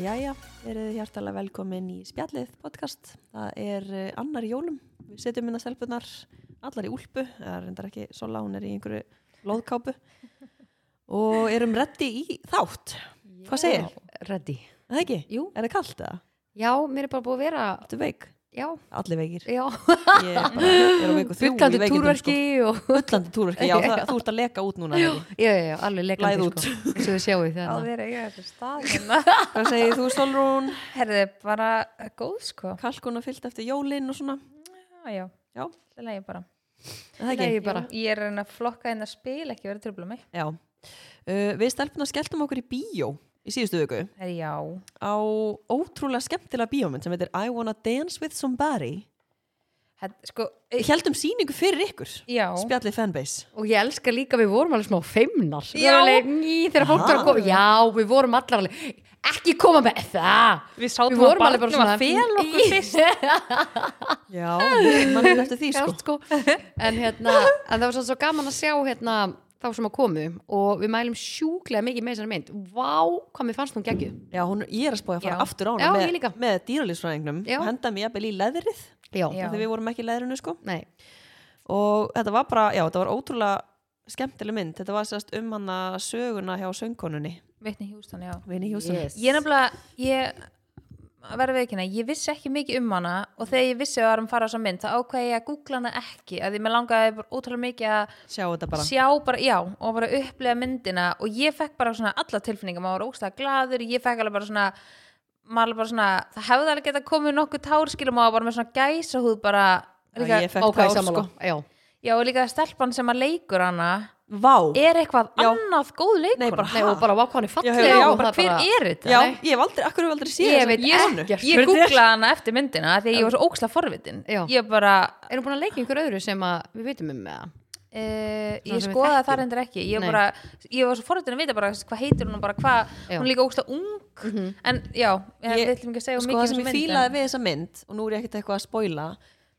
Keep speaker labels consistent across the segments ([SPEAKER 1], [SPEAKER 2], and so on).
[SPEAKER 1] Jæja, verið hjartalega velkomin í Spjallið podcast. Það er eh, annar í jólum. Við setjum hérna stelpunar allar í úlpu, það er reyndar ekki sola, hún er í einhverju lóðkápu og erum reddi í þátt. Hvað segir?
[SPEAKER 2] Ready.
[SPEAKER 1] Er Það ekki?
[SPEAKER 2] Jú.
[SPEAKER 1] Er það kalt eða?
[SPEAKER 2] Já, mér er bara búið að vera,
[SPEAKER 1] Ertu veik?
[SPEAKER 2] já,
[SPEAKER 1] Allir veikir.
[SPEAKER 2] já,
[SPEAKER 1] Ég er bara, ég er á veiku þrjú sko.
[SPEAKER 2] fullandi túrverki og,
[SPEAKER 1] Bullandi túrverki, já, það, þú ert að leka út núna. Já.
[SPEAKER 2] já, já, já, alveg
[SPEAKER 1] Blæð
[SPEAKER 2] leikandi,
[SPEAKER 1] út.
[SPEAKER 2] sko, eins og við sjáum
[SPEAKER 3] Já,
[SPEAKER 2] það.
[SPEAKER 3] þið eru eiga þessu stað hérna.
[SPEAKER 1] Hvað segir þú, Solrún?
[SPEAKER 3] Herðu, bara góð sko.
[SPEAKER 1] Kalkuna fyllt eftir jólinn og svona.
[SPEAKER 3] Já, já.
[SPEAKER 1] Já.
[SPEAKER 3] Það lægi bara.
[SPEAKER 1] Er Það ekki?
[SPEAKER 2] Ég bara-
[SPEAKER 3] Jú, ég er að reyna að flokka hérna spil, ekki verið að tröfla mig.
[SPEAKER 1] Já. Uh, við stelpunar skelltum okkur í bíó í síðustu vöku
[SPEAKER 3] Herðu, já.
[SPEAKER 1] á ótrúlega skemmtilega bíómynd sem heitir I Wanna Dance With Somebody.
[SPEAKER 3] Hætt, sko,
[SPEAKER 1] Við heldum síningu fyrir ykkur,
[SPEAKER 3] já.
[SPEAKER 1] spjallið fanbase.
[SPEAKER 2] Og ég elska líka, við vorum alveg smá feimnar. Við
[SPEAKER 3] Já.
[SPEAKER 2] vorum alveg, ný, þegar fólk var að koma, já, við vorum allar alveg, ekki koma með það.
[SPEAKER 3] Við sátum
[SPEAKER 2] Við vorum
[SPEAKER 3] að
[SPEAKER 2] alveg bara
[SPEAKER 3] barnum
[SPEAKER 2] svona.
[SPEAKER 3] að fel okkur fyrst.
[SPEAKER 1] Já, mannum eftir því sko.
[SPEAKER 2] Gátt, sko. En hérna, en það var svo, svo gaman að sjá hérna þá sem að komu og við mælum sjúklega mikið með þessari mynd. Vá, hvað mér fannst hún geggju.
[SPEAKER 1] Já, hún, ég er að spója að fara
[SPEAKER 3] Já.
[SPEAKER 1] aftur á
[SPEAKER 2] Já,
[SPEAKER 1] hana
[SPEAKER 2] ég
[SPEAKER 1] með,
[SPEAKER 2] líka.
[SPEAKER 1] með dýralýsfræðingnum
[SPEAKER 2] Já.
[SPEAKER 1] og henda mér jafnvel í leðrið,
[SPEAKER 2] Já.
[SPEAKER 3] Já.
[SPEAKER 1] þegar við vorum ekki í leðrinu sko.
[SPEAKER 2] Nei.
[SPEAKER 1] Og þetta var bara, já, þetta var ótrúlega skemmtileg mynd. Þetta var sérst um hana söguna hjá söngkonunni,
[SPEAKER 3] Vitni Hjústan, já.
[SPEAKER 1] Vinni Hjússon.
[SPEAKER 3] Ég nefnilega, ég verði veikina, ég vissi ekki mikið um hana og þegar ég vissi að það var um fara á þessa mynd, þá ákveði ég að googla hana ekki, að því mér langaði bara ótrúlega mikið að
[SPEAKER 1] Sjá þetta bara.
[SPEAKER 3] sjá bara, já, og bara upplega myndina og ég fekk bara svona alla tilfinningar maður var ógstæða gladur, ég fekk alveg bara svona maður alveg bara svona, það hefði alveg geta komið nokkuð társkilum maður var bara með svona gæsa húð bara,
[SPEAKER 1] Já,
[SPEAKER 3] líka,
[SPEAKER 1] ég fekk
[SPEAKER 2] Ok,
[SPEAKER 1] tár,
[SPEAKER 2] sammála. Já.
[SPEAKER 3] já, og líka stelpan sem að leikur hana
[SPEAKER 1] Vá!
[SPEAKER 3] er eitthvað
[SPEAKER 1] Já.
[SPEAKER 3] annað góð leikun
[SPEAKER 1] Nei, bara
[SPEAKER 2] Nei, og bara vákvæðan er
[SPEAKER 1] Já,
[SPEAKER 2] falleg
[SPEAKER 1] já,
[SPEAKER 3] já,
[SPEAKER 2] og
[SPEAKER 3] bara
[SPEAKER 2] það
[SPEAKER 3] hver er þetta?
[SPEAKER 1] Já,
[SPEAKER 2] Nei.
[SPEAKER 1] ég hef aldrei, akkur hef aldrei séð
[SPEAKER 2] Ég
[SPEAKER 1] þessa-
[SPEAKER 2] veit
[SPEAKER 1] konu?
[SPEAKER 2] ekkert.
[SPEAKER 3] Ég
[SPEAKER 2] Spurði þér?
[SPEAKER 3] googlaði hana eftir myndina af því að ég var svo óksla forvitin
[SPEAKER 2] Já.
[SPEAKER 3] ég bara,
[SPEAKER 2] Erum búin að leika einhver öðru sem að við veitum um með það?
[SPEAKER 3] Uh,
[SPEAKER 2] Svona
[SPEAKER 3] ég
[SPEAKER 2] sem við
[SPEAKER 3] skoðaði
[SPEAKER 2] þekkjum.
[SPEAKER 3] það reyndir ekki ég,
[SPEAKER 2] Nei.
[SPEAKER 3] bara, ég var svo forðin að vita bara hvað heitir hún og bara
[SPEAKER 2] Já.
[SPEAKER 3] hvað
[SPEAKER 2] Mhm.
[SPEAKER 3] hún er líka ógsta ung en já, ég,
[SPEAKER 1] Ég-
[SPEAKER 3] við ætlum ekki að segja of
[SPEAKER 1] Sko
[SPEAKER 3] mikið
[SPEAKER 1] það
[SPEAKER 3] um
[SPEAKER 1] sem ég
[SPEAKER 3] myndina.
[SPEAKER 1] fílaði við þessa mynd og nú er ég ekkert eitthvað að spoila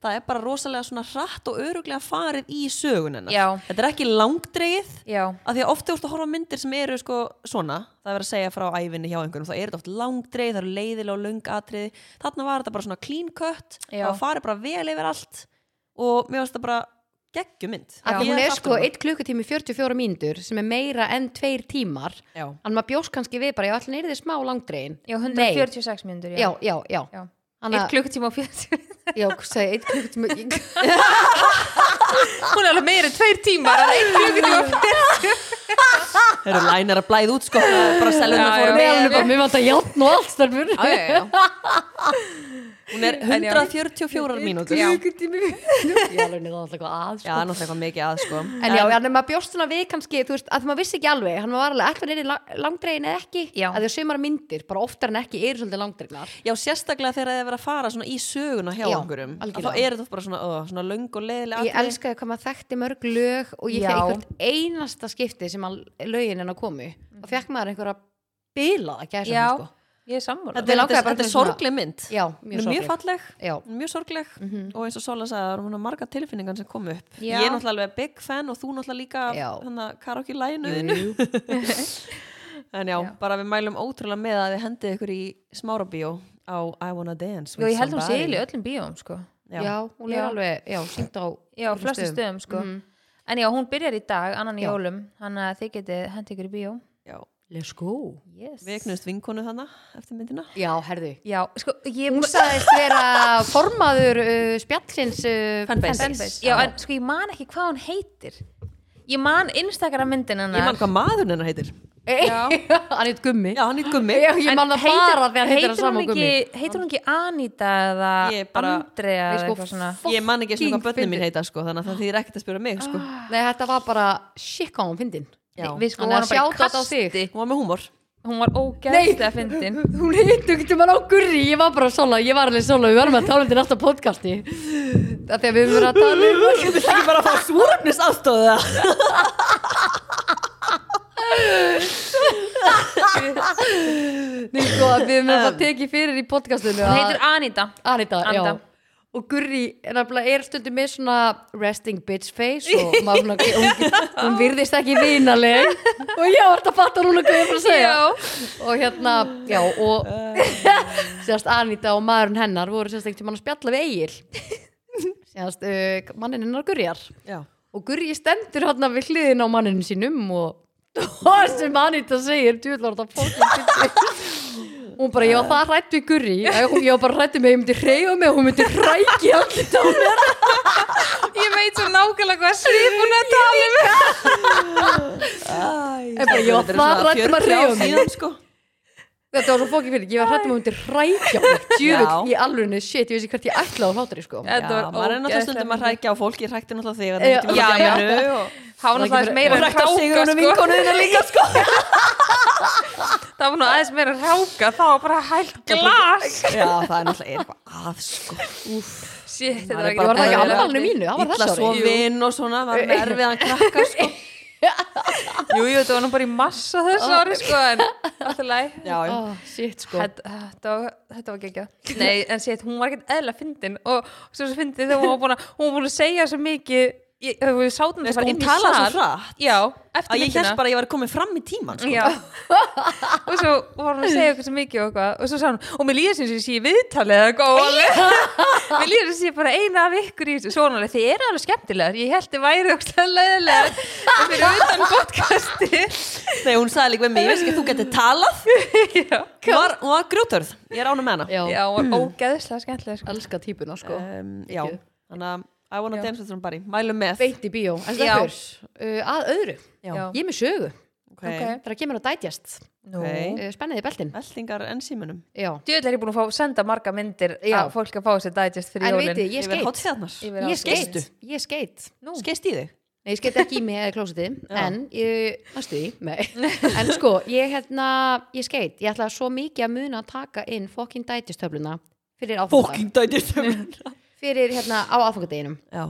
[SPEAKER 1] það er bara rosalega svona hratt og öruglega farið í sögun hennar
[SPEAKER 3] Já.
[SPEAKER 1] Þetta er ekki langdreið
[SPEAKER 3] já,
[SPEAKER 1] af því að oft þú ert að horfa á myndir sem eru sko svona, það er verið að segja frá ævinni hjá einhverjum þá er þetta oft langdreið, það eru leiðilega og lungatriði þarna var þetta bara svona clean cut
[SPEAKER 3] Já.
[SPEAKER 1] það farið bara vel yfir allt og mér varst það bara geggjumynd
[SPEAKER 2] Af því
[SPEAKER 1] Ég um
[SPEAKER 2] hún er
[SPEAKER 1] sátt
[SPEAKER 2] sko
[SPEAKER 1] við
[SPEAKER 2] 1 klukkutími 44 mínútur sem er meira enn 2 tímar
[SPEAKER 1] hana. Já.
[SPEAKER 2] en maður bjóst kannski við bara, já, allir neyri þið smá langdregin
[SPEAKER 3] já 146 myndur
[SPEAKER 2] Já, já, já
[SPEAKER 3] Já.
[SPEAKER 2] Hanna,
[SPEAKER 3] 1 klukkutíma og 40
[SPEAKER 2] já, segi, eitt klukkutími
[SPEAKER 3] hún er alveg meira en 2 tímar 1 klukkutíma og 40
[SPEAKER 1] Þeir eru lænir að blæða út sko bara selviðna
[SPEAKER 3] Já, já.
[SPEAKER 1] fórum
[SPEAKER 2] Með
[SPEAKER 1] með
[SPEAKER 2] alveg bara, mér vant að játn og allt starfur
[SPEAKER 3] já, já, já.
[SPEAKER 1] Hún er
[SPEAKER 3] En já.
[SPEAKER 1] 144 mínútur
[SPEAKER 3] Já.
[SPEAKER 2] klukkutími Já, alveg niður alltaf eitthvað að
[SPEAKER 1] Já,
[SPEAKER 2] sko.
[SPEAKER 1] það er náttúrulega eitthvað mikið að sko
[SPEAKER 2] En já, en maður bjóst svona við kannski, þú veist, að maður vissi ekki alveg, hann var alveg ætla neyri langdregin eða ekki,
[SPEAKER 3] Já.
[SPEAKER 2] að því að sömara myndir, bara oftar en ekki, eru svolítið langdregnar
[SPEAKER 1] Já, sérstaklega þegar það er verið að fara svona í söguna hjá
[SPEAKER 2] Já,
[SPEAKER 1] einhverjum að Þá er
[SPEAKER 2] algjörlega.
[SPEAKER 1] þetta oft bara svona, ó, svona löng og leðilega
[SPEAKER 2] ég elskaði hvað maður þekkti mörg lög og ég
[SPEAKER 3] Já.
[SPEAKER 2] fekk hvert einasta skipti sem að lögin hennar komu og fekk maður einhverja bilaða gæsa
[SPEAKER 3] já,
[SPEAKER 2] sko.
[SPEAKER 3] ég er sammála
[SPEAKER 1] Þetta er,
[SPEAKER 2] langaði
[SPEAKER 1] þetta,
[SPEAKER 2] bara
[SPEAKER 1] þetta er
[SPEAKER 2] til svona-
[SPEAKER 1] sorgleg mynd
[SPEAKER 2] já,
[SPEAKER 1] Hún er
[SPEAKER 2] mjög
[SPEAKER 1] mjög
[SPEAKER 2] sorgleg
[SPEAKER 1] falleg,
[SPEAKER 2] já,
[SPEAKER 1] hún er mjög sorgleg og eins og Sola sagði, það eru svona marga tilfinningar sem komu upp
[SPEAKER 3] Já.
[SPEAKER 1] Ég er náttúrulega alveg big fan og þú náttúrulega líka af
[SPEAKER 2] Já.
[SPEAKER 1] hana karaoke-læginu En já,
[SPEAKER 3] Já.
[SPEAKER 1] bara við mælum ótrúlega með að þið hendið ykkur í smárabíó á I Wanna Dance
[SPEAKER 3] já,
[SPEAKER 1] with
[SPEAKER 3] ég held hún
[SPEAKER 1] Somebody.
[SPEAKER 3] sél í öllum bíóm sko.
[SPEAKER 1] Já.
[SPEAKER 2] já, hún er
[SPEAKER 3] Já.
[SPEAKER 2] alveg já, sínt á
[SPEAKER 3] já,
[SPEAKER 2] öllum
[SPEAKER 3] flestu
[SPEAKER 2] stöðum. Mhm.
[SPEAKER 3] stöðum sko. en já, hún byrjar í dag, annan í
[SPEAKER 2] Já.
[SPEAKER 3] jólum þannig að þið getið hendt ykkur í bíó
[SPEAKER 1] Já,
[SPEAKER 2] let's go
[SPEAKER 3] yes.
[SPEAKER 1] við egnust vinkonu þannig eftir myndina
[SPEAKER 2] já, herðu
[SPEAKER 3] já, sko, ég
[SPEAKER 2] hún sagðist vera formaður uh, spjallins uh,
[SPEAKER 1] Fanbase.
[SPEAKER 2] fanbase.
[SPEAKER 3] Já, en sko ég man ekki hvað hún heitir Ég man Instagram myndin hennar
[SPEAKER 1] Ég man hvað maðurinn hennar heitir
[SPEAKER 2] Eh, hann heit gummi
[SPEAKER 1] Já, hann heit Gummi
[SPEAKER 2] Já, ég man það bara þegar hann heitir
[SPEAKER 3] heitir
[SPEAKER 2] að sama
[SPEAKER 3] hún
[SPEAKER 2] gummi
[SPEAKER 3] ekki, heitir hún ekki Anita eða
[SPEAKER 1] Ég bara-
[SPEAKER 3] Andrea
[SPEAKER 2] Ég
[SPEAKER 3] eða
[SPEAKER 2] sko
[SPEAKER 3] eitthvað svona
[SPEAKER 1] Ég man ekki eins og hvað
[SPEAKER 2] Fucking Ah.
[SPEAKER 1] börnum mín heita sko Þannig að það þýðir ekkert að spjóra mig sko
[SPEAKER 2] nei, þetta var bara shit hvað hún fyndin
[SPEAKER 1] Já.
[SPEAKER 3] Við sko
[SPEAKER 2] Þannig að
[SPEAKER 3] vorum bara í
[SPEAKER 2] shout out á þig.
[SPEAKER 3] kasti
[SPEAKER 1] Hún var með húmor
[SPEAKER 3] Hún var ógeðslega fyndin
[SPEAKER 2] Hún heitu ekki mann á gurri, ég var bara sola, ég var alveg sola, við varum að tala um þetta í næsta podcasti Það þegar við höfum verið að tala um
[SPEAKER 1] Þú vilt ekki bara að fá svúröfnis aðstóðu það
[SPEAKER 2] Nei, sko, við höfum verið að tekið fyrir í podcastinu
[SPEAKER 3] Hún
[SPEAKER 2] að
[SPEAKER 3] heitir Anita
[SPEAKER 2] Anita,
[SPEAKER 3] Anda.
[SPEAKER 2] já og Gurri er nefnilega- er stundum með svona resting bitch face og maður svona, hún, hún virðist ekki vinaleg og já, ertu að fatta núna hvað ég er bara að segja og hérna, já, og sérst Anita og maðurinn hennar voru sérst ekkert mann að spjalla við Egil sérst uh, mannin hennar Gurjar
[SPEAKER 1] Já.
[SPEAKER 2] og Gurri stendur hann við hliðin á manninu sínum og og sem Anita segir djúðlar þetta fólkið hún bara, ég var það rætt við Gurri ég hún- ég var bara rætt með, ég myndi reyða með hún myndi rækja allir á mér
[SPEAKER 3] Ég veit svo nákvæmlega hvað svip hún er að tala um
[SPEAKER 1] Æ,
[SPEAKER 2] En bara,
[SPEAKER 1] þetta
[SPEAKER 2] já,
[SPEAKER 1] er
[SPEAKER 2] það
[SPEAKER 1] svona 40 ár
[SPEAKER 2] ræddum að rífa mig.
[SPEAKER 1] síðan, sko.
[SPEAKER 2] þetta var svo fókið fyrir, ég var rætt með hún myndi rækja mig djúðl
[SPEAKER 1] Já.
[SPEAKER 2] í alvöru, shit, ég veist ekki hvert ég ætlaði á hlátri sko
[SPEAKER 1] Já,
[SPEAKER 3] Þetta var
[SPEAKER 1] maður er náttúrulega
[SPEAKER 3] ógeðslega
[SPEAKER 1] stundum að
[SPEAKER 3] fyndið.
[SPEAKER 1] hrækja á fólki, ég hrækti náttúrulega þig
[SPEAKER 2] Já,
[SPEAKER 1] þannig að við getum ekki að gera
[SPEAKER 3] já, Há hann
[SPEAKER 2] Það er
[SPEAKER 3] aðeins
[SPEAKER 2] ekki
[SPEAKER 3] meira
[SPEAKER 1] Og
[SPEAKER 3] en
[SPEAKER 1] hrækti á
[SPEAKER 3] hráka
[SPEAKER 1] sigurunum
[SPEAKER 3] sko.
[SPEAKER 1] vinkonu þina líka, sko.
[SPEAKER 3] Það var nú aðeins meira en hráka Það var bara hælt glas
[SPEAKER 1] Já, það er náttúrulega er eitthvað að, sko.
[SPEAKER 3] Shit, þetta
[SPEAKER 1] Maður
[SPEAKER 3] var
[SPEAKER 1] er
[SPEAKER 3] ekki
[SPEAKER 1] bara
[SPEAKER 2] var það ekki
[SPEAKER 1] Þetta er-
[SPEAKER 2] afmælinu mínu, það var
[SPEAKER 1] Ítla
[SPEAKER 2] þess ári
[SPEAKER 1] sofin og svona, var með erfiðan krakka, sko.
[SPEAKER 3] Jú, jú, þetta var nú bara í massa þessu ári sko En alltaf læg
[SPEAKER 1] Já, já.
[SPEAKER 2] Ó, shit, sko
[SPEAKER 3] Þetta, þetta, var- þetta var gekkja Nei, en sétt, hún var ekkert eðla fyndin og svo svo fyndið þegar hún var búin að hún var búin að segja svo mikið ég, þegar við sátum
[SPEAKER 1] Nei,
[SPEAKER 3] þetta
[SPEAKER 1] sko,
[SPEAKER 3] bara
[SPEAKER 1] hún
[SPEAKER 3] inn í
[SPEAKER 1] talaði svo
[SPEAKER 3] sal
[SPEAKER 1] hratt.
[SPEAKER 3] Já,
[SPEAKER 1] Að
[SPEAKER 3] eftir
[SPEAKER 1] ég held bara sko. að ég var komin fram í tíman, sko.
[SPEAKER 3] Já. og svo var hún að segja okkur svo mikið og eitthvað og svo sagði hún, og mér líður sem sem ég sé í viðtalið eða eitthvað og alveg- mér líður sem sé bara eina af ykkur í þessu svo var hún alveg, þið eru alveg skemmtilegar ég held þið væri okkur leðilegar en fyrir utan podcasti
[SPEAKER 1] Nei, hún sagði líka við mig, ég veist ekki að þú getur talað.
[SPEAKER 3] já,
[SPEAKER 1] Hún var, hún var grjótörð, ég er ánum með hana.
[SPEAKER 2] já,
[SPEAKER 3] já, hún var ógeðislega skemmtilega sko.
[SPEAKER 2] elska típuna, sko
[SPEAKER 1] Um, já,
[SPEAKER 2] Gekkjuð.
[SPEAKER 1] þannig að I wanna dance with somebody, mælum með.
[SPEAKER 2] beint í bíó, en
[SPEAKER 3] Já.
[SPEAKER 2] stelpur uh, að öðru,
[SPEAKER 1] Já.
[SPEAKER 2] ég er með sögu
[SPEAKER 1] Ok.
[SPEAKER 2] þegar kemur að dætjast
[SPEAKER 1] Ok.
[SPEAKER 2] uh, spenniði beltin
[SPEAKER 1] Eltingar enn símunum.
[SPEAKER 2] já.
[SPEAKER 3] Djöðlega er ég búin að fá, senda marga myndir
[SPEAKER 2] Já.
[SPEAKER 3] að fólk að fá sér digest fyrir
[SPEAKER 2] en
[SPEAKER 3] jólin
[SPEAKER 2] veitði, ég
[SPEAKER 1] Yfir
[SPEAKER 2] skeit
[SPEAKER 1] hátíðarnar.
[SPEAKER 3] Yfir
[SPEAKER 2] ég skeit,
[SPEAKER 1] Skeistu?
[SPEAKER 2] ég skeit
[SPEAKER 3] Nú.
[SPEAKER 1] Skeist í þig?
[SPEAKER 2] nei, ég skeit ekki í mig eða klósiti en ég, næstu því, nei en sko, ég hérna, ég skeit ég ætlaði svo mikið að muna að taka inn fokkin dætjast töfluna fyrir áfangadag
[SPEAKER 1] dætist
[SPEAKER 2] fyrir hérna á áfangadeginum
[SPEAKER 1] Já,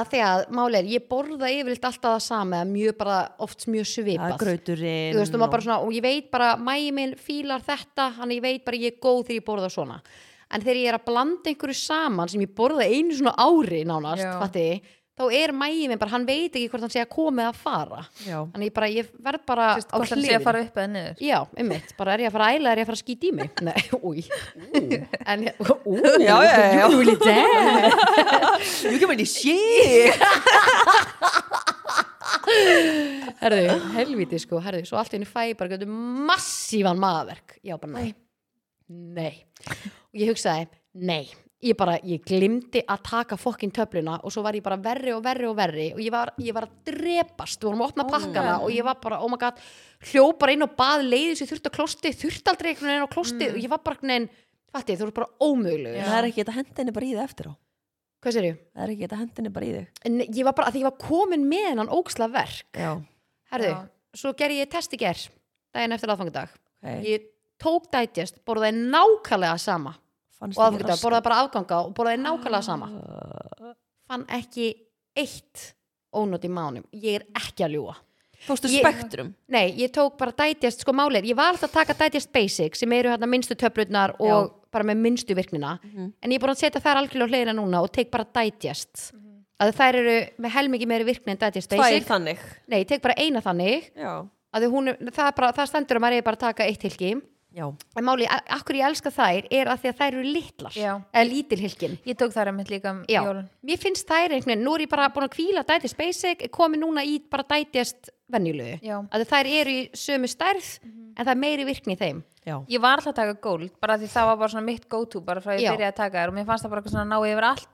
[SPEAKER 2] að því að máli er, ég borða yfirleitt alltaf það sama, eða mjög bara oft
[SPEAKER 1] það
[SPEAKER 2] mjög
[SPEAKER 1] er
[SPEAKER 2] svipað
[SPEAKER 1] grauturinn
[SPEAKER 2] þú veist, og maður bara svona, og ég veit bara mægi minn fílar þetta, hann ég veit bara ég er góð þegar ég borða svona en þegar ég er að blanda einhverju saman sem ég borða einu svona ári nánast
[SPEAKER 3] Já.
[SPEAKER 2] fatti, þá er mægi minn bara, hann veit ekki hvort hann sé að koma eða fara
[SPEAKER 1] Já,
[SPEAKER 2] þannig ég bara, ég verð bara
[SPEAKER 3] Sérst,
[SPEAKER 2] á
[SPEAKER 3] hvort hann sé að
[SPEAKER 2] hliðin
[SPEAKER 3] fara upp eða niður
[SPEAKER 2] já, einmitt, bara er ég að fara að æla, er ég að fara að skýta í mig nei, úi en, úi,
[SPEAKER 1] Já, já, já, já.
[SPEAKER 2] júli, damn
[SPEAKER 1] you can really see
[SPEAKER 2] herðu, helviti sko, herðu, svo allt í henni fæ ég bara gætu massívan maðverk já, bara nei, nei og ég hugsaði, nei ég bara, ég glimti að taka fokkin töfluna og svo var ég bara verri og verri og verri og ég var, ég var að drepast við vorum að opna pakkana og ég var bara, oh my god hljóp bara inn og bað leiðis ég þurfti á klosti, þurfti aldrei einhvern veginn á klosti og ég var bara, neinn, fatti, þú eru bara ómögulegur
[SPEAKER 1] Það er ekki þetta hendinni bara í þig eftir á
[SPEAKER 2] hvað sér ég?
[SPEAKER 1] Það er ekki þetta hendinni bara í þig
[SPEAKER 2] ég var bara, að því ég var komin með hennan óksla verk
[SPEAKER 1] Já,
[SPEAKER 2] herðu,
[SPEAKER 3] Já.
[SPEAKER 2] svo gerði ég test í ger daginn eftir aðfangadag
[SPEAKER 1] ok
[SPEAKER 2] ég tók digest, borðaði nákvæmlega sama
[SPEAKER 1] Fannst
[SPEAKER 2] og aðfangadag, borðaði bara afganga og borðaði nákvæmlega sama
[SPEAKER 1] Ah.
[SPEAKER 2] fann ekki eitt ónót í mánum, ég er ekki að ljúa
[SPEAKER 1] Fórstu
[SPEAKER 2] Ég-
[SPEAKER 1] spektrum
[SPEAKER 2] nei, ég tók bara digest, sko málið, ég var alltaf að taka digest basic sem eru hérna minnstu töflutnar og bara með minnstu virknina
[SPEAKER 1] Mhm.
[SPEAKER 2] en ég er búin að setja þær algjörlega á hliðina núna og tek bara digest að þær eru með helmingi meiri virkni en digest
[SPEAKER 1] Mhm. Tvær
[SPEAKER 2] basic
[SPEAKER 1] þannig
[SPEAKER 2] nei, ég tek bara eina þannig
[SPEAKER 1] Já,
[SPEAKER 2] að því hún, er- það, er bara, það stendur um að maður er bara að taka eitt hilki
[SPEAKER 1] já
[SPEAKER 2] en máli, a- akkur ég elska þær er að því að þær eru litlar
[SPEAKER 3] Já.
[SPEAKER 2] eða lítil hilkin
[SPEAKER 3] Ég tók þar að mitt líka um
[SPEAKER 2] Já,
[SPEAKER 3] jólun
[SPEAKER 2] mér finnst þær einhvern veginn, nú er ég bara búin að kvíla dætist basic, komi núna í bara dætist venjulegu,
[SPEAKER 3] Já. Mhm.
[SPEAKER 2] að þær eru í sömu stærð, en það er meiri virkni í þeim
[SPEAKER 1] Já,
[SPEAKER 3] Ég var alltaf að taka gold, bara því það var bara svona mitt go-to bara frá ég
[SPEAKER 2] Já.
[SPEAKER 3] byrjaði að taka þær og mér fannst það bara eitthvað svona að ná yfir allt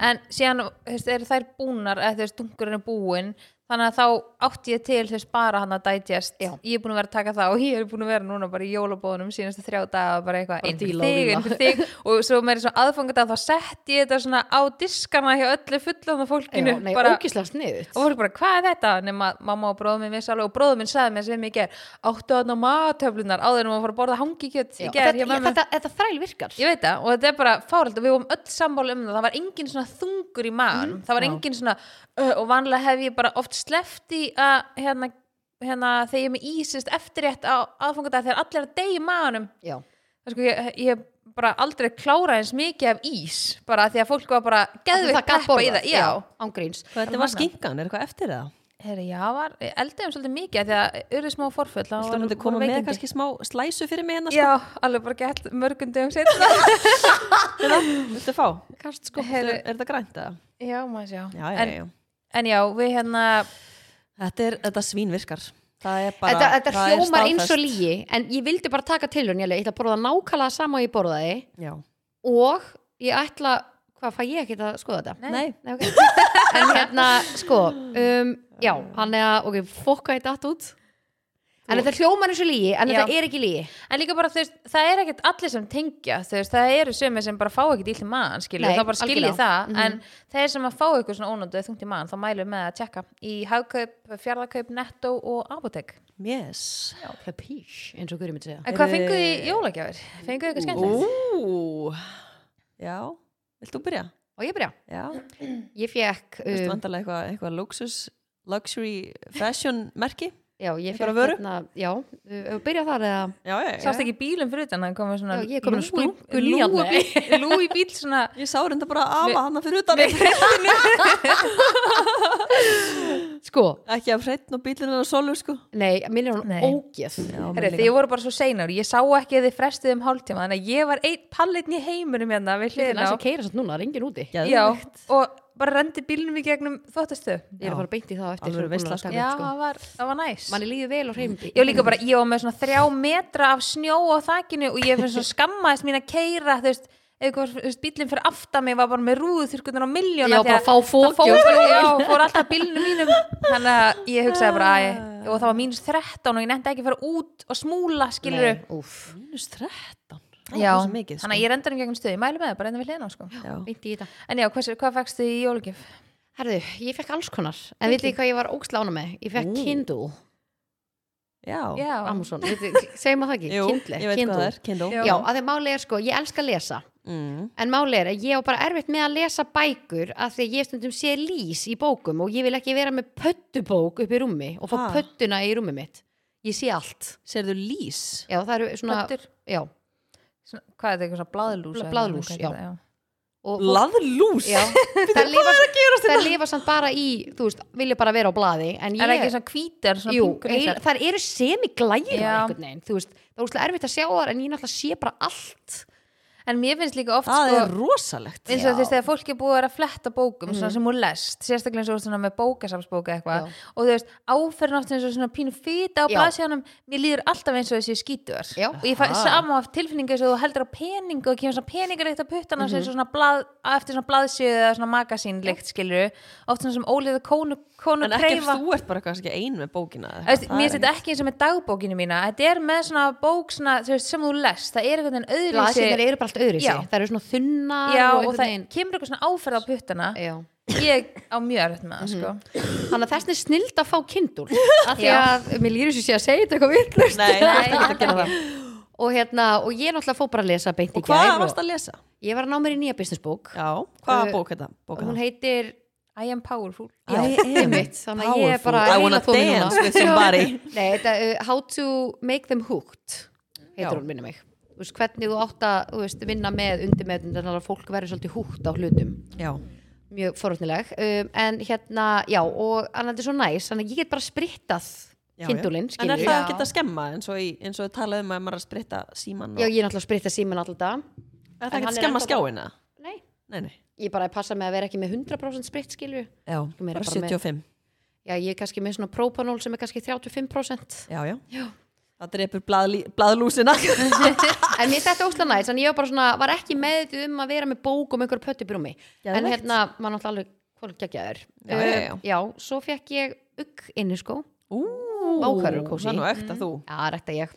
[SPEAKER 3] en síðan, þú veist, eru þær búnar eða þú veist, dungurinn er búinn þannig að þá átti ég til, þú veist, bara hann að digest
[SPEAKER 2] Já.
[SPEAKER 3] ég er búin að vera að taka það og ég er búin að vera núna bara í jólabóðunum síðanstu þrjá daga bara eitthvað, einn fyrir
[SPEAKER 2] díla og
[SPEAKER 3] þig,
[SPEAKER 2] díla.
[SPEAKER 3] einn fyrir þig og svo meiri svo aðfangadag þá sett ég þetta svona á diskana hjá öllu fullan fólkinu
[SPEAKER 2] Já, nei,
[SPEAKER 3] bara,
[SPEAKER 2] ógislega sniðut
[SPEAKER 3] og fólk bara, hvað er þetta? nema að mamma og bróðum minn vissi alveg og bróðum minn sagði mér sem ég ger áttu aðna matöflunar áður en maður fór að borða hangikjött
[SPEAKER 2] Já,
[SPEAKER 3] í
[SPEAKER 2] og
[SPEAKER 3] ger,
[SPEAKER 2] þetta,
[SPEAKER 3] ég,
[SPEAKER 2] ég,
[SPEAKER 3] ég,
[SPEAKER 2] þetta, þetta þræl virkar
[SPEAKER 3] ég veit það og þetta er bara fáralt og við vorum öll sammála um það það var engin svona þungur í maður
[SPEAKER 2] Mhm,
[SPEAKER 3] það var
[SPEAKER 1] Já.
[SPEAKER 3] engin svona, uh, og vanlega hef ég bara oft sleft í að hérna, hérna, þegar ég er með ísist eftirrétt á aðfangadag þegar allir er að deyja í maðunum
[SPEAKER 2] Já.
[SPEAKER 3] það er sko, ég, ég bara aldrei klára eins mikið af ís bara af því að fólk var bara geðvikt
[SPEAKER 2] það gat
[SPEAKER 3] peppa í
[SPEAKER 2] borðað,
[SPEAKER 3] það já,
[SPEAKER 2] ángríns
[SPEAKER 1] Hvað þetta var skinkan, er eitthvað eftir það?
[SPEAKER 3] Heri, já var, eldaðum svolítið mikið af því að urðu smá forföll þá
[SPEAKER 1] Þú
[SPEAKER 3] voru-
[SPEAKER 1] myndi
[SPEAKER 3] voru
[SPEAKER 1] koma með
[SPEAKER 3] veikindi.
[SPEAKER 1] kannski smá slæsu fyrir mig hérna sko.
[SPEAKER 3] já, alveg bara gett mörgum dögum setna
[SPEAKER 1] Hérna. Viltu fá?
[SPEAKER 3] Kast,
[SPEAKER 1] Er, er þetta grænt eða?
[SPEAKER 3] já, maður sjá
[SPEAKER 1] sko, Já, já,
[SPEAKER 3] en,
[SPEAKER 1] já.
[SPEAKER 3] en já, við hérna
[SPEAKER 1] Þetta, er, þetta svínvirkar. Það er bara,
[SPEAKER 2] Þetta, þetta
[SPEAKER 1] það er
[SPEAKER 2] hljómar eins og
[SPEAKER 1] staðfest.
[SPEAKER 2] lígi en ég vildi bara taka til hún, ég ætla að borða nákvæmlega sama og ég borðaði
[SPEAKER 1] Já.
[SPEAKER 2] og ég ætla, hvað fæ ég ekki að skoða þetta?
[SPEAKER 3] Nei.
[SPEAKER 1] Nei,
[SPEAKER 2] Nei, ok. en hérna, sko um, já, hann er að, ok, fokka þetta allt út en þetta hljómar eins og lígi en
[SPEAKER 3] Já.
[SPEAKER 2] þetta er ekki lígi
[SPEAKER 3] en líka bara, þú veist, það er ekkert allir sem tengja þú veist, það eru sömi sem bara fá ekkert illt í maðan skilju,
[SPEAKER 2] Nei,
[SPEAKER 3] þá bara skilji
[SPEAKER 2] algjörlega.
[SPEAKER 3] það
[SPEAKER 2] Mhm.
[SPEAKER 3] en þeir sem að fá eitthvað svona ónönduð þungt í maðan, þá mælum við með að tjekka í hagkaup, fjárðakaup, netto og apotek
[SPEAKER 1] yes.
[SPEAKER 2] kapís, eins og hverju myndi segja
[SPEAKER 3] En hvað
[SPEAKER 1] Heyrðu-
[SPEAKER 3] fenguð þið í jólagjafir? Fenguð þið eitthvað skemmtilegt?
[SPEAKER 1] Ú, já. Vilt þú byrja?
[SPEAKER 2] og ég byrja,
[SPEAKER 1] Já.
[SPEAKER 2] ég fekk
[SPEAKER 1] Þú veist
[SPEAKER 2] um,
[SPEAKER 1] vandalega eitthvað eitthva luxus, luxury fashion merki?
[SPEAKER 2] já, ég
[SPEAKER 1] Einhverja
[SPEAKER 2] fekk
[SPEAKER 1] vöru?
[SPEAKER 2] hérna, já, uh, byrja þar eða
[SPEAKER 1] Já, já, já.
[SPEAKER 3] Sást ekki bílum fyrir utan, hann komið svona
[SPEAKER 2] Já, ég er komin að
[SPEAKER 3] lúgu-
[SPEAKER 2] splunku nýjan
[SPEAKER 3] lúgu bíl- lúgu bíl svona
[SPEAKER 1] Ég sá reynda bara afa hana fyrir utan.
[SPEAKER 3] með prentinu.
[SPEAKER 2] sko,
[SPEAKER 1] Ekki af hreitn og bílinu og solu, sko.
[SPEAKER 2] nei, minn er hún
[SPEAKER 3] Nei.
[SPEAKER 2] ógeð
[SPEAKER 1] Já,
[SPEAKER 3] Herri, þið voru bara svo seinar, ég sá ekki að þið frestuð um hálftíma, þannig að ég var einn pallitn í heimurum hérna við
[SPEAKER 2] Ég er
[SPEAKER 3] hliðin á
[SPEAKER 2] næst að keira satt núna, það er engin úti Ég
[SPEAKER 3] Já, og bara rendi bílnum í gegnum þóttastu
[SPEAKER 2] er að fara beint í það á eftir
[SPEAKER 1] Alvöru
[SPEAKER 2] þegar við erum búin
[SPEAKER 1] veisla,
[SPEAKER 2] að taka
[SPEAKER 3] Já,
[SPEAKER 2] upp, sko.
[SPEAKER 3] það var, það var næs
[SPEAKER 2] Manni líður vel á hreimdi
[SPEAKER 3] Ég var líka bara, ég var með svona þrjá metra af snjó á þakinu og ég finnst svona skammaðist mín að keira, þú veist, eitthvað, þú veist, bílinn fyrir aftan mig var bara með rúðu þurrkundan á milljón
[SPEAKER 2] Já, bara fá
[SPEAKER 3] Það
[SPEAKER 2] fóki
[SPEAKER 3] fór,
[SPEAKER 2] og
[SPEAKER 3] bara, já, fór alltaf bílinu mínum þannig að ég hugsaði bara æ, og það var mínus 13 og ég nefndi ekki að fara út og smúla skilur
[SPEAKER 2] Nei, úff,
[SPEAKER 1] Mínus 13.
[SPEAKER 3] já,
[SPEAKER 1] Mikið, sko.
[SPEAKER 3] þannig að ég rendar um gegn stöð ég mælu með það, bara enda við hliðina á, sko.
[SPEAKER 1] Já.
[SPEAKER 2] beint í þetta
[SPEAKER 3] en já, hversu, hvað fækst þið í jólugjöf?
[SPEAKER 2] Herðu, ég fekk alls konar En vitið þið hvað ég var ógst lána með? Ég fekk
[SPEAKER 1] Ú.
[SPEAKER 2] Kindle,
[SPEAKER 1] Já.
[SPEAKER 3] já,
[SPEAKER 2] Amazon vitið- Segjum maður það ekki,
[SPEAKER 1] Jú,
[SPEAKER 2] Kindle
[SPEAKER 1] ég veit
[SPEAKER 2] Kindle.
[SPEAKER 1] hvað það er. Kindle.
[SPEAKER 3] Já.
[SPEAKER 2] Já, að þegar máli er sko, ég elska að lesa
[SPEAKER 1] Mm.
[SPEAKER 2] En máli er að ég á bara erfitt með að lesa bækur af því að ég stundum sé lýs í bókum og ég vil ekki vera með pöttubók upp í rúmi og fá
[SPEAKER 1] Ha.
[SPEAKER 2] pöttuna í rúmi mitt Ég sé allt
[SPEAKER 1] Serðu lís?
[SPEAKER 2] Já, það eru svona,
[SPEAKER 3] Pöttur?
[SPEAKER 2] já
[SPEAKER 3] Svona, hvað er þetta, eitthvað svona blaðlús? eða
[SPEAKER 2] Blaðlús,
[SPEAKER 3] eitthvað,
[SPEAKER 2] já.
[SPEAKER 3] já.
[SPEAKER 2] og fólk-
[SPEAKER 1] Blaðlús?
[SPEAKER 2] Já, það lifa, það lifa samt bara í, þú veist, vilja bara vera á blaði en
[SPEAKER 3] Er það ekki
[SPEAKER 2] ég,
[SPEAKER 3] svona hvítar, svona
[SPEAKER 2] jú,
[SPEAKER 3] pinkur
[SPEAKER 2] eil,
[SPEAKER 3] litlar?
[SPEAKER 2] þar eru semi-glæra
[SPEAKER 3] Já.
[SPEAKER 2] einhvern veginn, þú veist, það er úrslega erfitt að sjá þar en ég náttúrulega sé bara allt
[SPEAKER 3] En mér finnst líka oft
[SPEAKER 1] Það
[SPEAKER 3] sko,
[SPEAKER 1] er rosalegt.
[SPEAKER 3] eins og þú veist þegar fólk er búið að vera að fletta bókum svona sem hún lest, sérstaklega eins og svona með bókasamsbóka eitthvað
[SPEAKER 2] Mhm. Já.
[SPEAKER 3] og þú veist áferðin oft eins og svona pínu fýta á
[SPEAKER 2] Já.
[SPEAKER 3] blaðsjónum, mér líður alltaf eins og þessi skítur
[SPEAKER 2] Já.
[SPEAKER 3] og ég fæ
[SPEAKER 1] Aha.
[SPEAKER 3] sama af tilfinningu eins og þú heldur á pening og kemur svona peningaríkt á puttana
[SPEAKER 2] Mhm.
[SPEAKER 3] mm eins og svona blað, eftir svona blaðsjöðu eða svona magasínlíkt skilur oft svona sem óliða konu, konu
[SPEAKER 1] En ekki ef
[SPEAKER 3] preifa
[SPEAKER 1] þú ert bara kannski ein með bókina. eða
[SPEAKER 3] Þú veist,
[SPEAKER 1] eitthvað, það
[SPEAKER 3] Mér
[SPEAKER 1] er
[SPEAKER 3] setja ekki eins og með dagbókinu mína þetta er með svona bók svona, þú veist, sem þú lest það er einhvern veginn öðru
[SPEAKER 2] blaðsýnir eru bara allt öðru
[SPEAKER 3] Já.
[SPEAKER 2] sig, það eru svona þunnar
[SPEAKER 3] Já, og
[SPEAKER 2] einhvern
[SPEAKER 3] það
[SPEAKER 2] veginn-
[SPEAKER 3] kemur eitthvað svona áferð á puttana
[SPEAKER 2] Já.
[SPEAKER 3] ég á mjög erfitt með það sko.
[SPEAKER 1] Mhm.
[SPEAKER 2] þannig að þessna er snild að fá kindul af því
[SPEAKER 3] Já.
[SPEAKER 2] að mér líður þessu sé að segja þetta eitthvað vitlaust
[SPEAKER 1] Nei, þú ert
[SPEAKER 3] Nei,
[SPEAKER 1] ekki að gera það.
[SPEAKER 2] og hérna, og ég náttúrulega fór bara að lesa beint í
[SPEAKER 1] Og hvað
[SPEAKER 2] gær
[SPEAKER 1] varst að lesa?
[SPEAKER 2] ég var að ná mér í nýja businessbók
[SPEAKER 1] Já, hvaða
[SPEAKER 2] Uh,
[SPEAKER 1] bók er það? Bók er það?
[SPEAKER 2] hún heitir
[SPEAKER 3] I am powerful
[SPEAKER 2] Já,
[SPEAKER 1] I am
[SPEAKER 2] einmitt, þannig að ég er
[SPEAKER 1] powerful.
[SPEAKER 2] bara
[SPEAKER 1] I wanna
[SPEAKER 2] heila þomin núna.
[SPEAKER 1] dance with somebody.
[SPEAKER 2] Nei, þetta, uh, How to make them hooked
[SPEAKER 1] Já.
[SPEAKER 2] heitur hún minna mig Þú veist, hvernig þú átt að þú veist, vinna með undirmeðun þannig að fólk verður svolítið húkt á hlutum
[SPEAKER 1] Já,
[SPEAKER 2] mjög forutnileg um, en hérna, já, og hann er svo næs þannig að ég get bara sprittað
[SPEAKER 1] já,
[SPEAKER 2] kindulinn,
[SPEAKER 1] En er
[SPEAKER 2] skilur
[SPEAKER 1] það
[SPEAKER 3] Já.
[SPEAKER 1] ekki að skemma eins og, í, eins og talað um að maður er að spritta síman og...
[SPEAKER 2] Já, ég er náttúrulega að spritta síman alltaf dag
[SPEAKER 1] er
[SPEAKER 2] en
[SPEAKER 1] það ekki
[SPEAKER 2] hann
[SPEAKER 1] að
[SPEAKER 2] er
[SPEAKER 1] skemma
[SPEAKER 2] ennþá
[SPEAKER 1] skjáina?
[SPEAKER 2] Nei,
[SPEAKER 1] Nei, nei
[SPEAKER 2] ég bara passa með að vera ekki með 100% spritt, skilur
[SPEAKER 1] Já,
[SPEAKER 2] meira
[SPEAKER 1] bara
[SPEAKER 2] bara með-
[SPEAKER 1] 75
[SPEAKER 2] Já, ég er kannski með svona propanol sem er kannski 35%
[SPEAKER 1] Já, já
[SPEAKER 2] Já.
[SPEAKER 1] Það drepur blaðlí- blaðlúsina
[SPEAKER 2] en mér þetta ósla næst, en ég var bara svona var ekki meðvituð um að vera með bók um einhver pötti brúmi, en
[SPEAKER 1] Geðveikt.
[SPEAKER 2] hérna maður náttúrulega alveg hvort geggjaður
[SPEAKER 1] Já, já, já.
[SPEAKER 2] já, svo fekk ég ugg inni sko
[SPEAKER 1] Ú,
[SPEAKER 2] Vá, hvað eru
[SPEAKER 1] það
[SPEAKER 2] kósí.
[SPEAKER 1] er nú ekta þú
[SPEAKER 2] já, rækta ég,